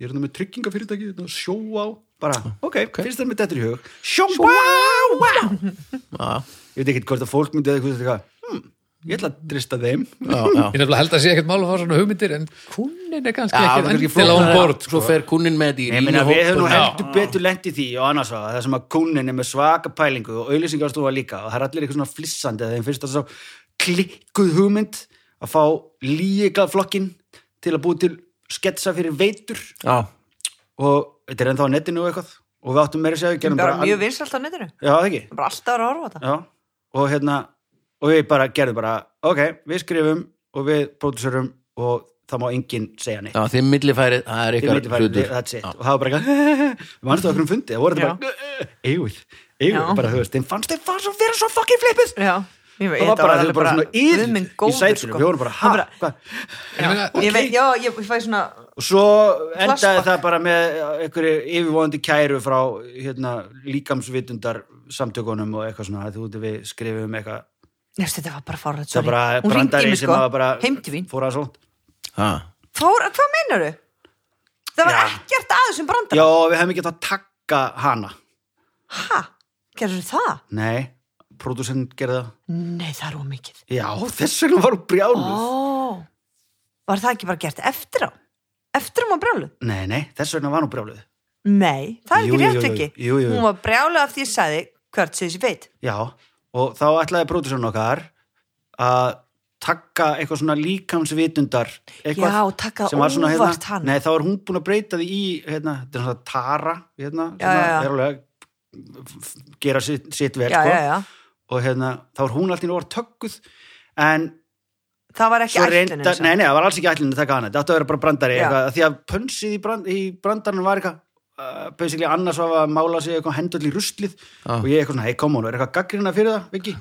[SPEAKER 2] ég er hérna með tryggingafyrirtæki, hérna, sjó á, bara, ok, finnst það með þetta í hug, sjó á,
[SPEAKER 1] Já,
[SPEAKER 2] ég veit ekki hvort að fólk myndi eða eitthvað, eitthvað, hm, ég ætla að drista þeim
[SPEAKER 1] já, já
[SPEAKER 4] Ég nefnilega held að sé ekkert mál að fá svona hugmyndir en kunnin er kannski
[SPEAKER 1] Já, það
[SPEAKER 4] ekki
[SPEAKER 1] er kannski
[SPEAKER 4] endilega on
[SPEAKER 1] flóknara.
[SPEAKER 4] board
[SPEAKER 1] Svo fer kunnin með þetta í
[SPEAKER 2] ég meina við höfum nú
[SPEAKER 1] línuhóp og-
[SPEAKER 2] heldur betur lent í því og annars að það sem að kúnin er með svaka pælingu og auðlýsingarstofa líka og það er allir eitthvað svona flissandi að þeim finnst það svo klikkuð hugmynd að fá líka flokkin til að búi til sketsa fyrir veitur
[SPEAKER 1] Já,
[SPEAKER 2] og þetta er ennþá á netinu og eitthvað og við áttum meira að segja, við gerum
[SPEAKER 3] bara
[SPEAKER 2] bara
[SPEAKER 3] mjög vinsalt á netinu
[SPEAKER 2] já, það ekki,
[SPEAKER 3] Bara alltaf að horfa á þetta
[SPEAKER 2] já, og hérna og við bara gerðum bara, ok, við skrifum og við pródúsurum og það má enginn segja neitt
[SPEAKER 1] já, þið millifærið, það er
[SPEAKER 2] Þið
[SPEAKER 1] ykkar
[SPEAKER 2] vitið bara,
[SPEAKER 1] hlutur
[SPEAKER 2] that's it. og það var bara eitthvað mannstu okkur um fundi, það voru þetta bara eigið, eigið,
[SPEAKER 3] Já.
[SPEAKER 2] bara þú veist þeim fannst þeim fannst að vera svo fucking flippið
[SPEAKER 3] Já, ég veit,
[SPEAKER 2] það var bara, þau
[SPEAKER 3] alveg
[SPEAKER 2] voru bara svona
[SPEAKER 3] guð
[SPEAKER 2] yður
[SPEAKER 3] minn
[SPEAKER 2] í
[SPEAKER 3] góður,
[SPEAKER 2] sætinu,
[SPEAKER 3] sko.
[SPEAKER 2] við vorum bara, ha,
[SPEAKER 3] Það bara-
[SPEAKER 2] hvað
[SPEAKER 4] En ég meina,
[SPEAKER 3] Ég veit, já, ég ég fæ svona
[SPEAKER 2] og svo endaði
[SPEAKER 3] Flashback.
[SPEAKER 2] það bara með eh, einhverju yfirvóðandi kæru frá hérna, líkamsvitundar samtökunum og eitthvað svona, þú veit við skrifum eitthvað,
[SPEAKER 3] Nefst, þetta var bara fárlega
[SPEAKER 2] það var bara
[SPEAKER 3] Hún hringdi í
[SPEAKER 2] brandari
[SPEAKER 3] mig,
[SPEAKER 2] sem
[SPEAKER 3] sko,
[SPEAKER 2] var bara
[SPEAKER 3] heim til vín
[SPEAKER 2] fór að svona
[SPEAKER 1] Já,
[SPEAKER 3] Fór, hvað meinar þau? Það var
[SPEAKER 2] Já.
[SPEAKER 3] ekkert að þessum brandar
[SPEAKER 2] já, við hefum ekki að taka hana
[SPEAKER 3] Ha? Gerður það?
[SPEAKER 2] nei, pródúsinn gerði það
[SPEAKER 3] Nei, það er ómikið
[SPEAKER 2] já, þess vegna var hún brjáluð
[SPEAKER 3] Ó, var það ekki bara gert eftir á? Eftir á maður brjáluð?
[SPEAKER 2] Nei, nei, þess vegna var hún brjáluð.
[SPEAKER 3] Nei, það er
[SPEAKER 2] Jú,
[SPEAKER 3] ekki
[SPEAKER 2] jú,
[SPEAKER 3] rétt
[SPEAKER 2] jú,
[SPEAKER 3] ekki
[SPEAKER 2] jú, jú, jú.
[SPEAKER 3] Hún var brjáluð af því ég sagði hvert sér sér veit
[SPEAKER 2] Já, og þá ætlaði pródúsarinn okkar að taka eitthvað svona líkamsvitundar eitthvað
[SPEAKER 3] Já, taka
[SPEAKER 2] sem var svona,
[SPEAKER 3] óvart
[SPEAKER 2] hérna,
[SPEAKER 3] hana.
[SPEAKER 2] Nei, þá er hún búin að breyta því í hérna, þetta er svona tara hérna,
[SPEAKER 3] Já,
[SPEAKER 2] sem
[SPEAKER 3] já, já.
[SPEAKER 2] er alveg að f- gera sitt, sitt vel
[SPEAKER 3] Já,
[SPEAKER 2] sko.
[SPEAKER 3] já, já
[SPEAKER 2] og hérna, þá er hún allt í nóg var tökkuð en
[SPEAKER 3] það var ekki
[SPEAKER 2] svo
[SPEAKER 3] ætlunin
[SPEAKER 2] reynda,
[SPEAKER 3] samt.
[SPEAKER 2] nei, nei, það var alls ekki ætlunin að taka hana, þetta átti að vera bara brandari
[SPEAKER 3] Já.
[SPEAKER 2] eitthvað, því að pönsið í, brand, í brandarinn var eitthvað uh, basically annars var að mála sig eitthvað hendull í ruslið og ég eitthvað svona, hei, kom hún, er eitthvað gaggrina fyrir það, Viki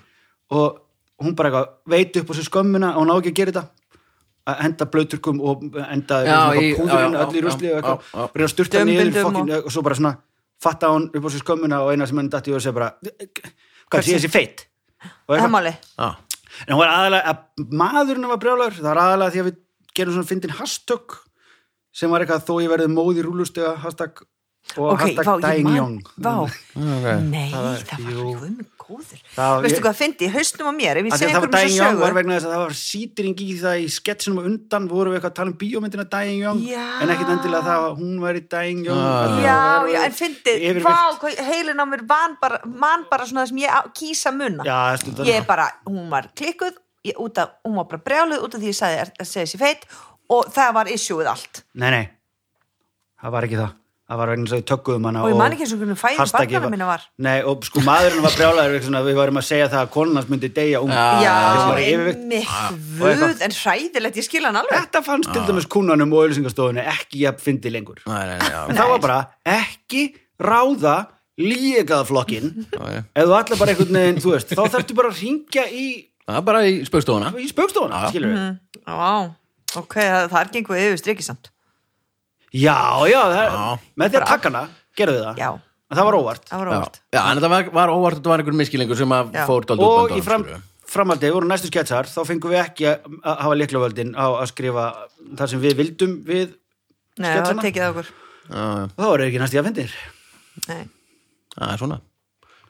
[SPEAKER 2] og hún bara eitthvað veit upp á sér skömmuna og hún á ekki að gera þetta að henda blauturkum og henda
[SPEAKER 1] Já, í- já,
[SPEAKER 2] púðurinn
[SPEAKER 1] já,
[SPEAKER 2] öll í
[SPEAKER 1] já,
[SPEAKER 2] ruslið og
[SPEAKER 1] já, já.
[SPEAKER 2] eitthvað reyna að sturta niður
[SPEAKER 3] Dömbindum
[SPEAKER 2] fokkin, og svo bara svona fatta hún upp á sér skömmuna og eina sem henni dætti og segja bara hvað sé þessi feitt Og
[SPEAKER 3] Það er
[SPEAKER 2] eitthvað-
[SPEAKER 3] máli.
[SPEAKER 1] Já,
[SPEAKER 2] En hún var aðalega, að maðurinn var brjálagur, það var aðalega því að við gerum svona fyndin hashtag sem var eitthvað þó ég verði móð í rúlustega hashtag og
[SPEAKER 3] Ok,
[SPEAKER 2] hashtag
[SPEAKER 3] vá, ég
[SPEAKER 2] dying
[SPEAKER 3] man,
[SPEAKER 2] young. Mm,
[SPEAKER 3] vá,
[SPEAKER 1] ok
[SPEAKER 3] nei, það
[SPEAKER 2] Það
[SPEAKER 3] var,
[SPEAKER 2] var-
[SPEAKER 3] það
[SPEAKER 2] jú.
[SPEAKER 3] góður.
[SPEAKER 2] Það-
[SPEAKER 3] Veistu
[SPEAKER 2] ég-
[SPEAKER 3] hvað, fyndi, í hausnum á mér, ef ég
[SPEAKER 2] Af því að
[SPEAKER 3] segi um
[SPEAKER 2] Það var
[SPEAKER 3] einhverjum
[SPEAKER 2] dying young var
[SPEAKER 3] þessu sögu,
[SPEAKER 2] vegna þess að það var sýtring í það í sketsinum og undan vorum við eitthvað að tala um bíómyndina dying young
[SPEAKER 3] Já.
[SPEAKER 2] en ekkit endilega það að hún var í dying young.
[SPEAKER 1] Ah.
[SPEAKER 2] Að það
[SPEAKER 3] Já,
[SPEAKER 2] var
[SPEAKER 3] já, en fyndið,
[SPEAKER 2] yfirvirkt.
[SPEAKER 3] vá, hvað heilin á mér van bara, man bara svona það sem ég á- kýs að munna.
[SPEAKER 2] Já, stundum.
[SPEAKER 3] ég bara, hún var klikkuð, ég, út af, hún var bara brjáluð út af því ég sagði að segja sér feitt og það var issueð allt.
[SPEAKER 2] Nei, nei, það var ekki það. Það var vegna þess að við tökkuðum hana
[SPEAKER 3] Og ég man ekki eins og hvernig fæðið
[SPEAKER 2] Hashtagið
[SPEAKER 3] barnana minna var.
[SPEAKER 2] Nei, og sko maðurinn var brjálæður svona, við varum að segja það að konan hans myndi deyja um
[SPEAKER 1] Já.
[SPEAKER 3] Já,
[SPEAKER 2] var yfirvirkt. og eitthvað.
[SPEAKER 3] einmitt, en hræðilegt, ég skil hann alveg.
[SPEAKER 2] Þetta fannst til dæmis kúnanum og auðlýsingastofunni ekki jafn fyndi lengur
[SPEAKER 1] Nei, nei, nei, já,
[SPEAKER 2] En það var bara ekki ráða líkaðaflokkin
[SPEAKER 1] já, já.
[SPEAKER 2] ef þú allar bara einhvern veginn, þú veist þá þarftu bara að ringja í,
[SPEAKER 1] Það er bara í spaukstofuna
[SPEAKER 2] í spaukstofuna,
[SPEAKER 1] Já.
[SPEAKER 2] skilur við
[SPEAKER 3] Vá, ok, það, það er gengur yfir strikisamt.
[SPEAKER 2] Já, já, það,
[SPEAKER 1] Já.
[SPEAKER 2] með því að taka hana gerðu þið það,
[SPEAKER 3] Já,
[SPEAKER 2] en það var óvart
[SPEAKER 3] það var
[SPEAKER 1] Já,
[SPEAKER 3] óvart.
[SPEAKER 1] já, en það var, var óvart að það var einhver miskilingur sem að
[SPEAKER 3] Já.
[SPEAKER 1] fór dálítið
[SPEAKER 2] og í
[SPEAKER 1] honum,
[SPEAKER 2] fram,
[SPEAKER 1] skilurðu.
[SPEAKER 2] framhaldi voru næstu sketsar þá fengum við ekki að að hafa líklavöldin á að skrifa það sem við vildum við
[SPEAKER 3] Nei, það var
[SPEAKER 2] sketsana.
[SPEAKER 3] tekið af okkur.
[SPEAKER 1] Já, já,
[SPEAKER 2] þá eru ekki næstu að fyndir
[SPEAKER 3] Nei.
[SPEAKER 1] það er svona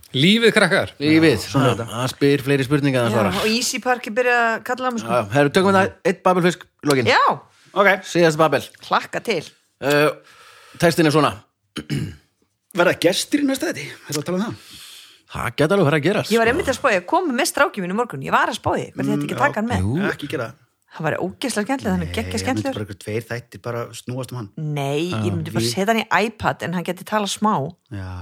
[SPEAKER 4] Lífið krakkar
[SPEAKER 1] Lífið,
[SPEAKER 2] svona
[SPEAKER 1] Já, það spyr fleiri spurningar en
[SPEAKER 3] Já,
[SPEAKER 1] svara
[SPEAKER 3] og Easy Parki byrjaði að kalla það mig sko.
[SPEAKER 1] Já, Herru, tökum við það eitt babelfisk í lokin
[SPEAKER 3] Já,
[SPEAKER 2] Ok,
[SPEAKER 1] Síðast babel
[SPEAKER 3] hlakka til.
[SPEAKER 1] uh, Testin er svona
[SPEAKER 2] verða gestir í næsta þetta, erum við að tala um það
[SPEAKER 1] Það geta alveg verið að gerast
[SPEAKER 3] Ég var
[SPEAKER 1] sko.
[SPEAKER 3] einmitt að spója, komið með strákjum minn í morgun, ég var að spója, verði þetta ekki að taka hann með?
[SPEAKER 1] Jú.
[SPEAKER 2] ekki gera það
[SPEAKER 3] Það var ógeðslega skemmtilega, þannig
[SPEAKER 2] Mm,
[SPEAKER 3] geggja
[SPEAKER 2] Ég myndi
[SPEAKER 3] skemmtilega.
[SPEAKER 2] bara ykkur tveir þættir bara snúast um hann
[SPEAKER 3] Nei, ég myndi bara
[SPEAKER 2] við-
[SPEAKER 3] setja hann í iPad en hann geti tala smá,
[SPEAKER 2] Já,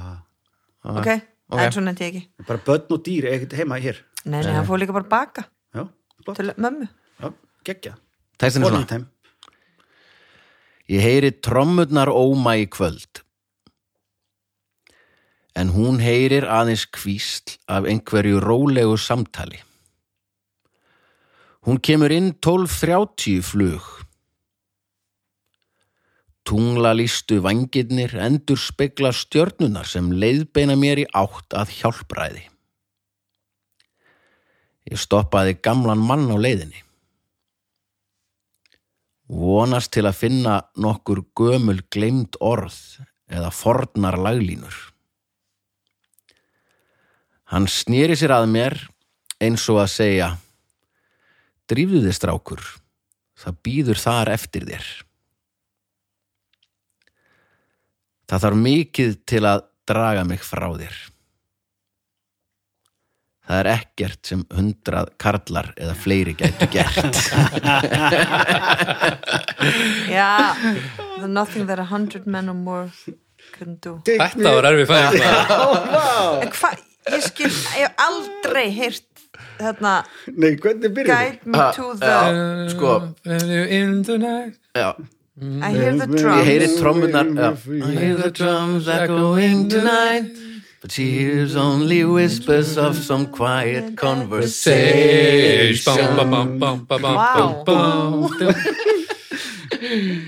[SPEAKER 3] ok?
[SPEAKER 1] ok.
[SPEAKER 3] En svo nefndi ég ekki.
[SPEAKER 2] bara börn og dýr ekkert heima hér
[SPEAKER 3] Nei, nei, hann fór líka bara að baka
[SPEAKER 2] Já, flott,
[SPEAKER 3] til mömmu.
[SPEAKER 2] já, geggja
[SPEAKER 1] Textinn er svona
[SPEAKER 2] One time.
[SPEAKER 1] Ég heyri trommurnar óma í kvöld En hún heyrir aðeins kvísl af einhverju rólegu samtali Hún kemur inn 12.30 flug Tungla lístu vangirnir endur spekla stjörnunar sem leiðbeina mér í átt að hjálpræði. Ég stoppaði gamlan mann á leiðinni vonast til að finna nokkur gömul gleymd orð eða fornar laglínur. Hann snýri sér að mér eins og að segja Drífðu þið strákur, það býður þar eftir þér. Það þarf mikið til að draga mig frá þér. Það er ekkert sem hundrað karlar eða fleiri gætu gert.
[SPEAKER 3] Já, the nothing that a hundred men or more couldn't do.
[SPEAKER 4] Þetta var erfið fæðing maður.
[SPEAKER 3] En hvað, ég skil, ég hef aldrei heyrt þarna,
[SPEAKER 2] Nei, hvernig byrjar
[SPEAKER 3] guide me to the,
[SPEAKER 1] Já, sko,
[SPEAKER 4] When you in the night
[SPEAKER 1] já,
[SPEAKER 3] I hear the
[SPEAKER 1] ég
[SPEAKER 3] drums.
[SPEAKER 1] heyri trommunar já. I hear the drums echoing tonight But she hears only whispers of some quiet
[SPEAKER 4] Sage Bam,
[SPEAKER 1] conversation
[SPEAKER 4] bam, bam, bam, bam,
[SPEAKER 3] Vá.
[SPEAKER 4] bam, bam, bam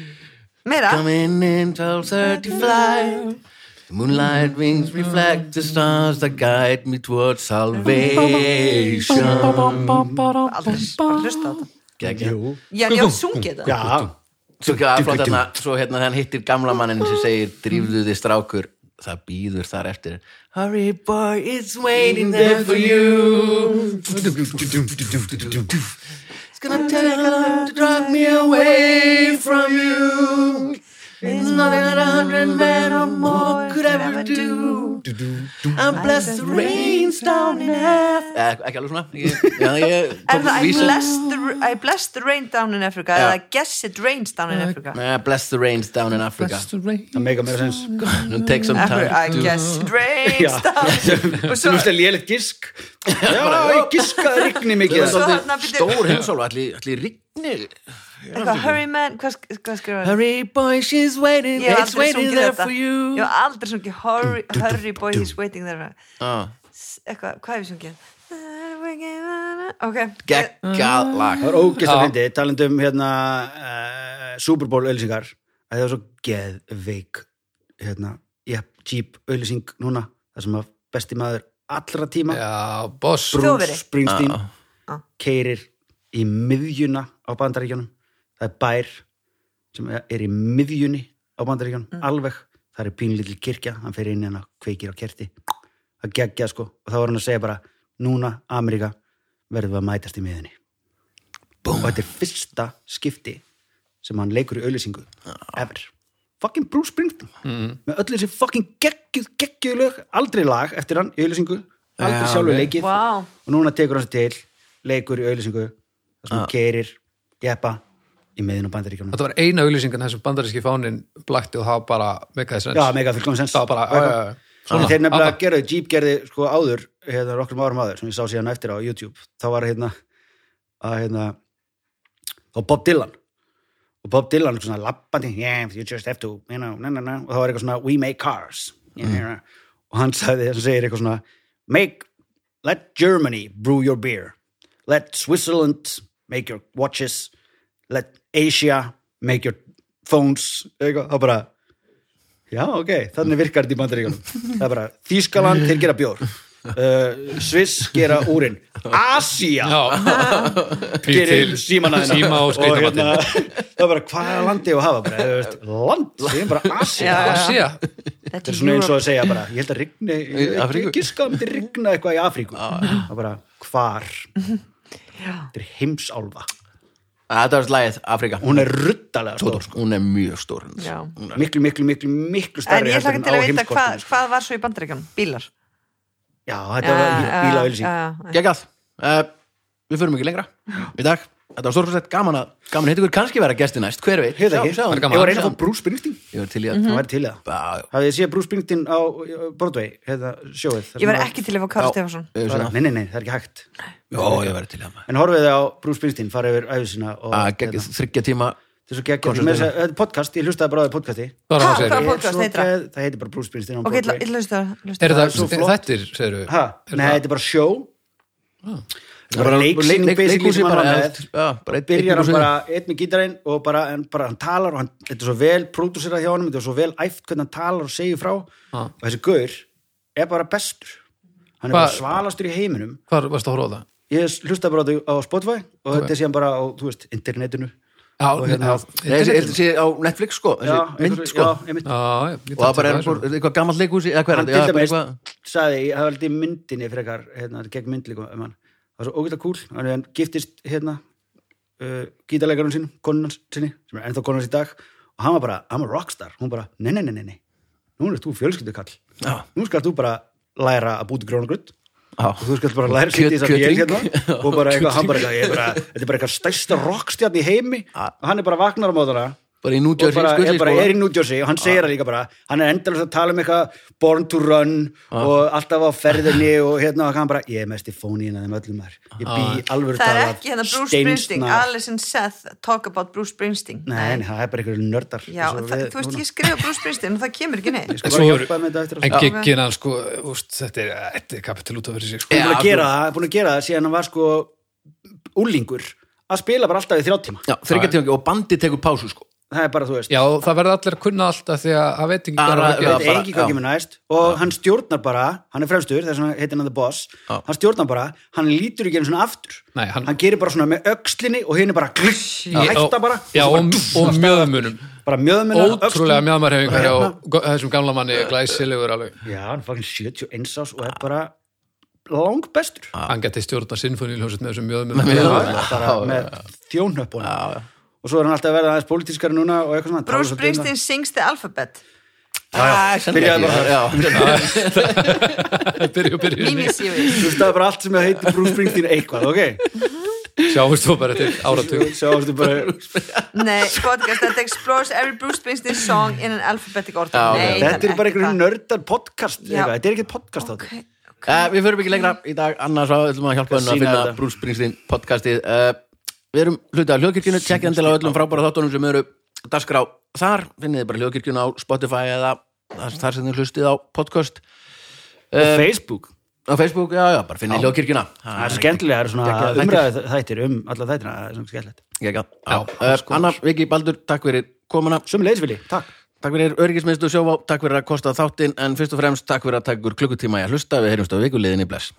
[SPEAKER 3] Meira?
[SPEAKER 1] Coming in 12.35 The moonlight rings reflect the stars that guide me towards salvation
[SPEAKER 3] aldrei bara hlusta á þetta
[SPEAKER 1] Gekja
[SPEAKER 3] já, en ég hef sungið það
[SPEAKER 2] Já,
[SPEAKER 1] Svo, gaf- flott, hérna, svo hérna þann hittir gamla mannin sem segir drífðu þið strákur það býður þar eftir Hurry boy, it's waiting there for you It's gonna take a lot to drive me away from you
[SPEAKER 5] It's more than a hundred men or more could ever do. And bless the rains down in Africa.
[SPEAKER 1] Eh, ekki alveg svona ég, já, ég
[SPEAKER 3] Er það I
[SPEAKER 1] vísa-
[SPEAKER 3] bless, the, I bless the rain down in Africa
[SPEAKER 1] Já.
[SPEAKER 3] eða guess it rains down in Africa
[SPEAKER 1] Eh, bless the rains down in Africa
[SPEAKER 4] Best rain
[SPEAKER 2] það meika meira sens
[SPEAKER 1] It'll take some time
[SPEAKER 3] I
[SPEAKER 1] to-
[SPEAKER 3] guess it rains
[SPEAKER 2] Já.
[SPEAKER 3] down og
[SPEAKER 2] sem
[SPEAKER 3] svo,
[SPEAKER 2] er lélitt gisk já, ég giska að rigni mikið hérna.
[SPEAKER 3] svo
[SPEAKER 2] það
[SPEAKER 3] þarna byrju
[SPEAKER 1] Stór heimsólu, allir, allir rigni
[SPEAKER 3] eitthvað hurry man, hvað, sk- hvað skrifa hann?
[SPEAKER 5] Hurry, boy, she's waiting.
[SPEAKER 3] Ég hef
[SPEAKER 5] It's
[SPEAKER 3] aldrei
[SPEAKER 5] waiting
[SPEAKER 3] sungið
[SPEAKER 5] there
[SPEAKER 3] þetta
[SPEAKER 5] for
[SPEAKER 3] Ég
[SPEAKER 5] you.
[SPEAKER 3] hef aldrei sungið Hurry, hurry boy he's waiting there
[SPEAKER 1] ah,
[SPEAKER 3] S- eitthvað, hvað hef ég sungið? Ok
[SPEAKER 1] Gekkað lag
[SPEAKER 2] var ógæst að
[SPEAKER 4] Já.
[SPEAKER 2] fyndi talandi um hérna uh, Super Bowl öllisingar að það var svo geðveik hérna, jep, jeep öllising núna það sem að besti maður allra tíma
[SPEAKER 4] Já, boss
[SPEAKER 3] Þjóðveri.
[SPEAKER 2] Bruce Springsteen
[SPEAKER 1] Já.
[SPEAKER 3] Já.
[SPEAKER 2] keirir í miðjuna á bandaríkjunum það er bær sem er í miðjunni á bandaríkjunum,
[SPEAKER 1] Mm.
[SPEAKER 2] alveg það er pínlítil kirkja, hann fer inn hérna kveikir á kerti, það geggja sko og þá var hann að segja bara, núna Ameríka verðum við að mætast í miðjunni Boom. og þetta er fyrsta skipti sem hann leikur í auðlýsingu ever, fucking Bruce Springsteen
[SPEAKER 1] Mm-hmm.
[SPEAKER 2] með öll þessi fucking geggjuð geggjuð lög, aldrei lag eftir hann í auðlýsingu, aldrei
[SPEAKER 1] Já,
[SPEAKER 2] sjálfur
[SPEAKER 1] ok.
[SPEAKER 2] leikið
[SPEAKER 3] Vá.
[SPEAKER 2] og núna tekur hann sér til, leikur í auðlýsingu þar sem hann keirir, jeppa í miðjunum bandaríkjunum
[SPEAKER 4] Þetta var eina auðlýsingan þessum bandaríski fánin blakti og það bara meikaði sens
[SPEAKER 2] Já, mega fullkomum sens
[SPEAKER 4] Það var bara, já, já, já,
[SPEAKER 2] Svona, þeir nefnilega
[SPEAKER 4] áfram.
[SPEAKER 2] gerðu, Jeep gerði sko áður hérna nokkrum árum áður sem ég sá síðan eftir á YouTube þá var hérna að hérna og Bob Dylan og Bob Dylan er svona lappandi yeah, you just have to, you know, na, na, na. og það var eitthvað svona we make cars yeah, og hann sagði, hann segir eitthvað svona make, let Germany brew your beer let Switzerland make your watches let Asia make your phones eitthvað, þá bara Já, ok, þannig virkar þetta í bandaríkjunum Það er bara, Þýskaland, þeir gera bjór uh, Sviss gera úrin Asía Ah, gerir símanaðina
[SPEAKER 4] Síma og skreytamatinn.
[SPEAKER 2] hérna, Það er bara, hvað er landið að hafa? Bara, þú veist, land, það er bara Asía
[SPEAKER 3] Já, já.
[SPEAKER 4] Asía
[SPEAKER 2] Þetta er svona eins og að segja bara, ég held að rigni
[SPEAKER 1] Í Afríku?
[SPEAKER 2] Ég giska að myndi rigna eitthvað í Afríku Það er bara, hvar? Þetta er heimsálfa
[SPEAKER 1] Ah, Þetta var slagið Afrika
[SPEAKER 2] Hún er ruttalega stór sko.
[SPEAKER 1] Hún er mjög stór hún.
[SPEAKER 3] Já.
[SPEAKER 2] Miklu, miklu, miklu, miklu
[SPEAKER 3] En
[SPEAKER 2] starri
[SPEAKER 3] ég hlaka til að vita hvað,
[SPEAKER 2] sko.
[SPEAKER 3] hvað var svo í bandaríkjunum, bílar
[SPEAKER 2] Já, þetta var bílaölsing
[SPEAKER 3] bílaauðlýsing
[SPEAKER 1] Gekkað uh, Við förum ekki lengra í dag Þetta var stórfæsett gaman að Gaman heitir ykkur kannski vera gesti næst Hver veit
[SPEAKER 2] Hefur það ekki?
[SPEAKER 1] Sjá,
[SPEAKER 4] Það er
[SPEAKER 1] sjá,
[SPEAKER 4] gaman.
[SPEAKER 2] Ég var reyna að
[SPEAKER 1] sjá.
[SPEAKER 2] fá Bruce Springsteen
[SPEAKER 1] Ég var til í að
[SPEAKER 2] Það væri til í það
[SPEAKER 1] Bá,
[SPEAKER 2] Hafið þið séð Bruce Springsteen á uh, Broadway, hefða sjóið? þar
[SPEAKER 3] Ég
[SPEAKER 2] sem
[SPEAKER 3] var
[SPEAKER 2] að-
[SPEAKER 3] ekki til að fá Karl
[SPEAKER 1] Já.
[SPEAKER 3] Stefansson
[SPEAKER 1] ég
[SPEAKER 2] Bara,
[SPEAKER 1] svona.
[SPEAKER 2] Nei, nei, nei, það er ekki hægt.
[SPEAKER 1] Jó, ég var til í að
[SPEAKER 2] En horfið þið á Bruce Springsteen, fara yfir æfisina og...
[SPEAKER 1] Að gegn þryggja tíma
[SPEAKER 2] Þetta er svo geggjast. Með þess að þetta er podcast, ég hlustaði bara á því podcasti.
[SPEAKER 4] Það
[SPEAKER 3] Ha,
[SPEAKER 4] var hann
[SPEAKER 3] hvað
[SPEAKER 4] segir
[SPEAKER 3] podcast
[SPEAKER 2] Svo
[SPEAKER 3] heitir það?
[SPEAKER 2] geð- Það heitir bara Bruce Springsteen á
[SPEAKER 3] Ok,
[SPEAKER 2] Broadway.
[SPEAKER 3] ég hlustu
[SPEAKER 4] Er
[SPEAKER 3] það
[SPEAKER 4] það,
[SPEAKER 2] svo flott.
[SPEAKER 4] þettir, segir við
[SPEAKER 2] Ha, nei, þetta er bara sjó.
[SPEAKER 1] Ah.
[SPEAKER 2] Þetta er bara leiksýning basically
[SPEAKER 1] Leikhúsi
[SPEAKER 2] sem hann
[SPEAKER 1] bara
[SPEAKER 2] var
[SPEAKER 1] eða,
[SPEAKER 2] með.
[SPEAKER 1] já, bara einn-
[SPEAKER 2] Byrjar hann
[SPEAKER 1] leikhúsi.
[SPEAKER 2] bara einn með gítarinn og bara, en bara hann talar og hann, þetta er svo vel pródúserað hjá honum, þetta er svo vel æft hvernig hann talar og segir frá
[SPEAKER 1] Ah.
[SPEAKER 4] Ha.
[SPEAKER 2] og þessi gaur er bara bestur. Hann er
[SPEAKER 4] Hva-
[SPEAKER 2] bara svalastur í heiminum
[SPEAKER 4] Hvar varst að horfa á það?
[SPEAKER 2] ég hlusta bara á þau á Spotify og þetta er síðan bara á, þú veist, internetinu Og
[SPEAKER 4] Já,
[SPEAKER 2] hérna-
[SPEAKER 4] já,
[SPEAKER 1] Nei, þessi- Þetta sé á Netflix sko þessi Mynd
[SPEAKER 2] eitthvað-
[SPEAKER 1] sko
[SPEAKER 2] já, einmitt.
[SPEAKER 4] já, ég
[SPEAKER 1] Og það
[SPEAKER 4] tek
[SPEAKER 1] bara er
[SPEAKER 4] það svona.
[SPEAKER 1] einhver- eitthvað gammalt leikhúsi eða hver er
[SPEAKER 2] hann
[SPEAKER 1] þetta?
[SPEAKER 2] til
[SPEAKER 1] Já, bara
[SPEAKER 2] dæmis
[SPEAKER 1] eitthvað-
[SPEAKER 2] sagði, ég hafði aldrei myndinni frekar, hérna, þetta er gegn mynd líka um hann það var svo ógæta kúl, hann er hann giftist hérna, uh, gítarleikarun sín konunans sinni, sem er ennþá konunans í dag og hann var bara, hann var rockstar hún bara, nei, nei, nei, nei, nei, nú er þú fjölskyldukall
[SPEAKER 1] Já.
[SPEAKER 2] nú skalt þú bara læra að búti grónagrönd
[SPEAKER 1] Já.
[SPEAKER 2] og þú skalt bara læra að
[SPEAKER 1] Kjöt-
[SPEAKER 2] sitja í þess að vél
[SPEAKER 1] kjötring.
[SPEAKER 2] hérna og bara eitthvað, hann bara eitthvað, ég er bara þetta er bara eitthvað stærsta rockstjarn í heimi og hann er bara vagnar á mótana
[SPEAKER 1] Bara í sko,
[SPEAKER 2] og
[SPEAKER 1] nútjörn
[SPEAKER 4] sko,
[SPEAKER 2] bara, er, bara er í New Jersey og hann segir það líka bara hann er endalast að tala um eitthvað born to run
[SPEAKER 4] Ah.
[SPEAKER 2] og alltaf á ferðinni og hérna og hann bara, ég er mest í fóníin að þeim öllum þar ég bý
[SPEAKER 4] Ah.
[SPEAKER 2] alvöru
[SPEAKER 3] Það er
[SPEAKER 2] talað
[SPEAKER 3] ekki hérna Bruce
[SPEAKER 2] steinsnar-
[SPEAKER 3] Springsteen Alice and Seth talk about Bruce Springsteen
[SPEAKER 2] nei, nei, það er bara einhverju nördar
[SPEAKER 3] Já,
[SPEAKER 2] eins og
[SPEAKER 3] það,
[SPEAKER 2] við
[SPEAKER 3] þú veist,
[SPEAKER 2] núna.
[SPEAKER 3] ég skrifa Bruce Springsteen og það kemur ekki neitt
[SPEAKER 2] Sko
[SPEAKER 4] En
[SPEAKER 2] bara
[SPEAKER 4] svo
[SPEAKER 2] hjálpaði með þetta eftir á
[SPEAKER 4] En
[SPEAKER 2] sko.
[SPEAKER 4] giggina, sko, úst, þetta er, þetta er kapital út af fyrir sig, sko.
[SPEAKER 2] Hann er búin
[SPEAKER 1] Já,
[SPEAKER 2] að gera það, hann er búin að gera það síðan hann var sko úlingur að spila bara alltaf í þrjá tíma
[SPEAKER 1] Þryggja tíma og bandi tekur pásu sko
[SPEAKER 2] það er bara, þú veist,
[SPEAKER 4] Já, það verða allir að kunna allt af því að að veit ekki hvað er
[SPEAKER 1] Bara-
[SPEAKER 4] að gera.
[SPEAKER 1] bara-
[SPEAKER 2] veit ekki
[SPEAKER 1] já.
[SPEAKER 2] hvað kemur næst og hann stjórnar bara, hann er fremstur þess að heitir hann The Boss,
[SPEAKER 1] Já.
[SPEAKER 2] hann stjórnar bara hann lítur ekki einu svona aftur
[SPEAKER 4] Nei, hann-
[SPEAKER 2] gerir bara svona með öxlinni og hinn er bara kliss,
[SPEAKER 4] Ég-
[SPEAKER 2] hætta
[SPEAKER 4] og-
[SPEAKER 2] bara
[SPEAKER 4] Já,
[SPEAKER 2] og,
[SPEAKER 4] og, og
[SPEAKER 2] svo
[SPEAKER 4] mjöðmunum.
[SPEAKER 2] bara mjöðmunna
[SPEAKER 4] Ótrúlega mjöðmarhefingar hjá
[SPEAKER 2] Hérna.
[SPEAKER 4] go- þessum gamla manni glæsilegur alveg.
[SPEAKER 2] já, hann er fucking 71 ás og er bara lang bestur
[SPEAKER 4] Hann geti stjórna sinfóníuljónsett með
[SPEAKER 2] Já,
[SPEAKER 4] þessum
[SPEAKER 2] bara
[SPEAKER 4] mjöðmunum.
[SPEAKER 2] með þjónöpunum og svo er hann alltaf að verða aðeins pólitískari núna og eitthvað svona talar svolítið
[SPEAKER 3] Bruce
[SPEAKER 2] um það.
[SPEAKER 3] Springsteen sings the alphabet
[SPEAKER 2] Byrjaði bara
[SPEAKER 1] Ah, já,
[SPEAKER 4] byrju, byrju,
[SPEAKER 3] miniseries
[SPEAKER 2] Þú veist það er bara allt sem heitir Bruce Springsteen eitthvað, ok?
[SPEAKER 4] sjáumst þú bara til áratug
[SPEAKER 2] Sjáumstu bara,
[SPEAKER 3] nei, podcast that explores every Bruce Springsteen song in an alphabetic order
[SPEAKER 1] Já,
[SPEAKER 3] nei,
[SPEAKER 1] ok.
[SPEAKER 2] þetta er bara einhverjum
[SPEAKER 3] nörd
[SPEAKER 2] nördar podcast
[SPEAKER 3] Já.
[SPEAKER 2] eitthvað, þetta er ekkert podcast okay.
[SPEAKER 3] okay.
[SPEAKER 1] Uh, við förum ekki lengra í dag, annars á ætlum við að hjálpa hennu að
[SPEAKER 2] Sýna
[SPEAKER 1] finna
[SPEAKER 2] þetta.
[SPEAKER 1] Bruce Springsteen podcastið. Uh, við erum hlutið af hljóðkirkjunu, tjekkið endilega á öllum frábæra þáttunum sem eru dagskrá þar, finnið þið bara hljóðkirkjunu á Spotify eða þar, þar sem þið hlustið á podcast.
[SPEAKER 2] á Facebook
[SPEAKER 1] Á Facebook, já, já, bara finnið hljóðkirkjuna.
[SPEAKER 2] Það er skemmtilega, það
[SPEAKER 1] Geggjaðir
[SPEAKER 2] eru svona
[SPEAKER 1] þættir.
[SPEAKER 2] umræðu þættir um alla þættina, það er svona skemmtilegt.
[SPEAKER 1] Gekka, já. Uh, Annar, Viki, Baldur, takk fyrir komuna.
[SPEAKER 2] Sumleis, Vili, takk.
[SPEAKER 1] Takk fyrir öryggismiðstu sjófá, takk fyrir að kosta þáttinn, en fyrst og fremst takk fyrir að taka ykkur klukkutíma í að hlusta, við heyrjumst á vikuliðinni, bless.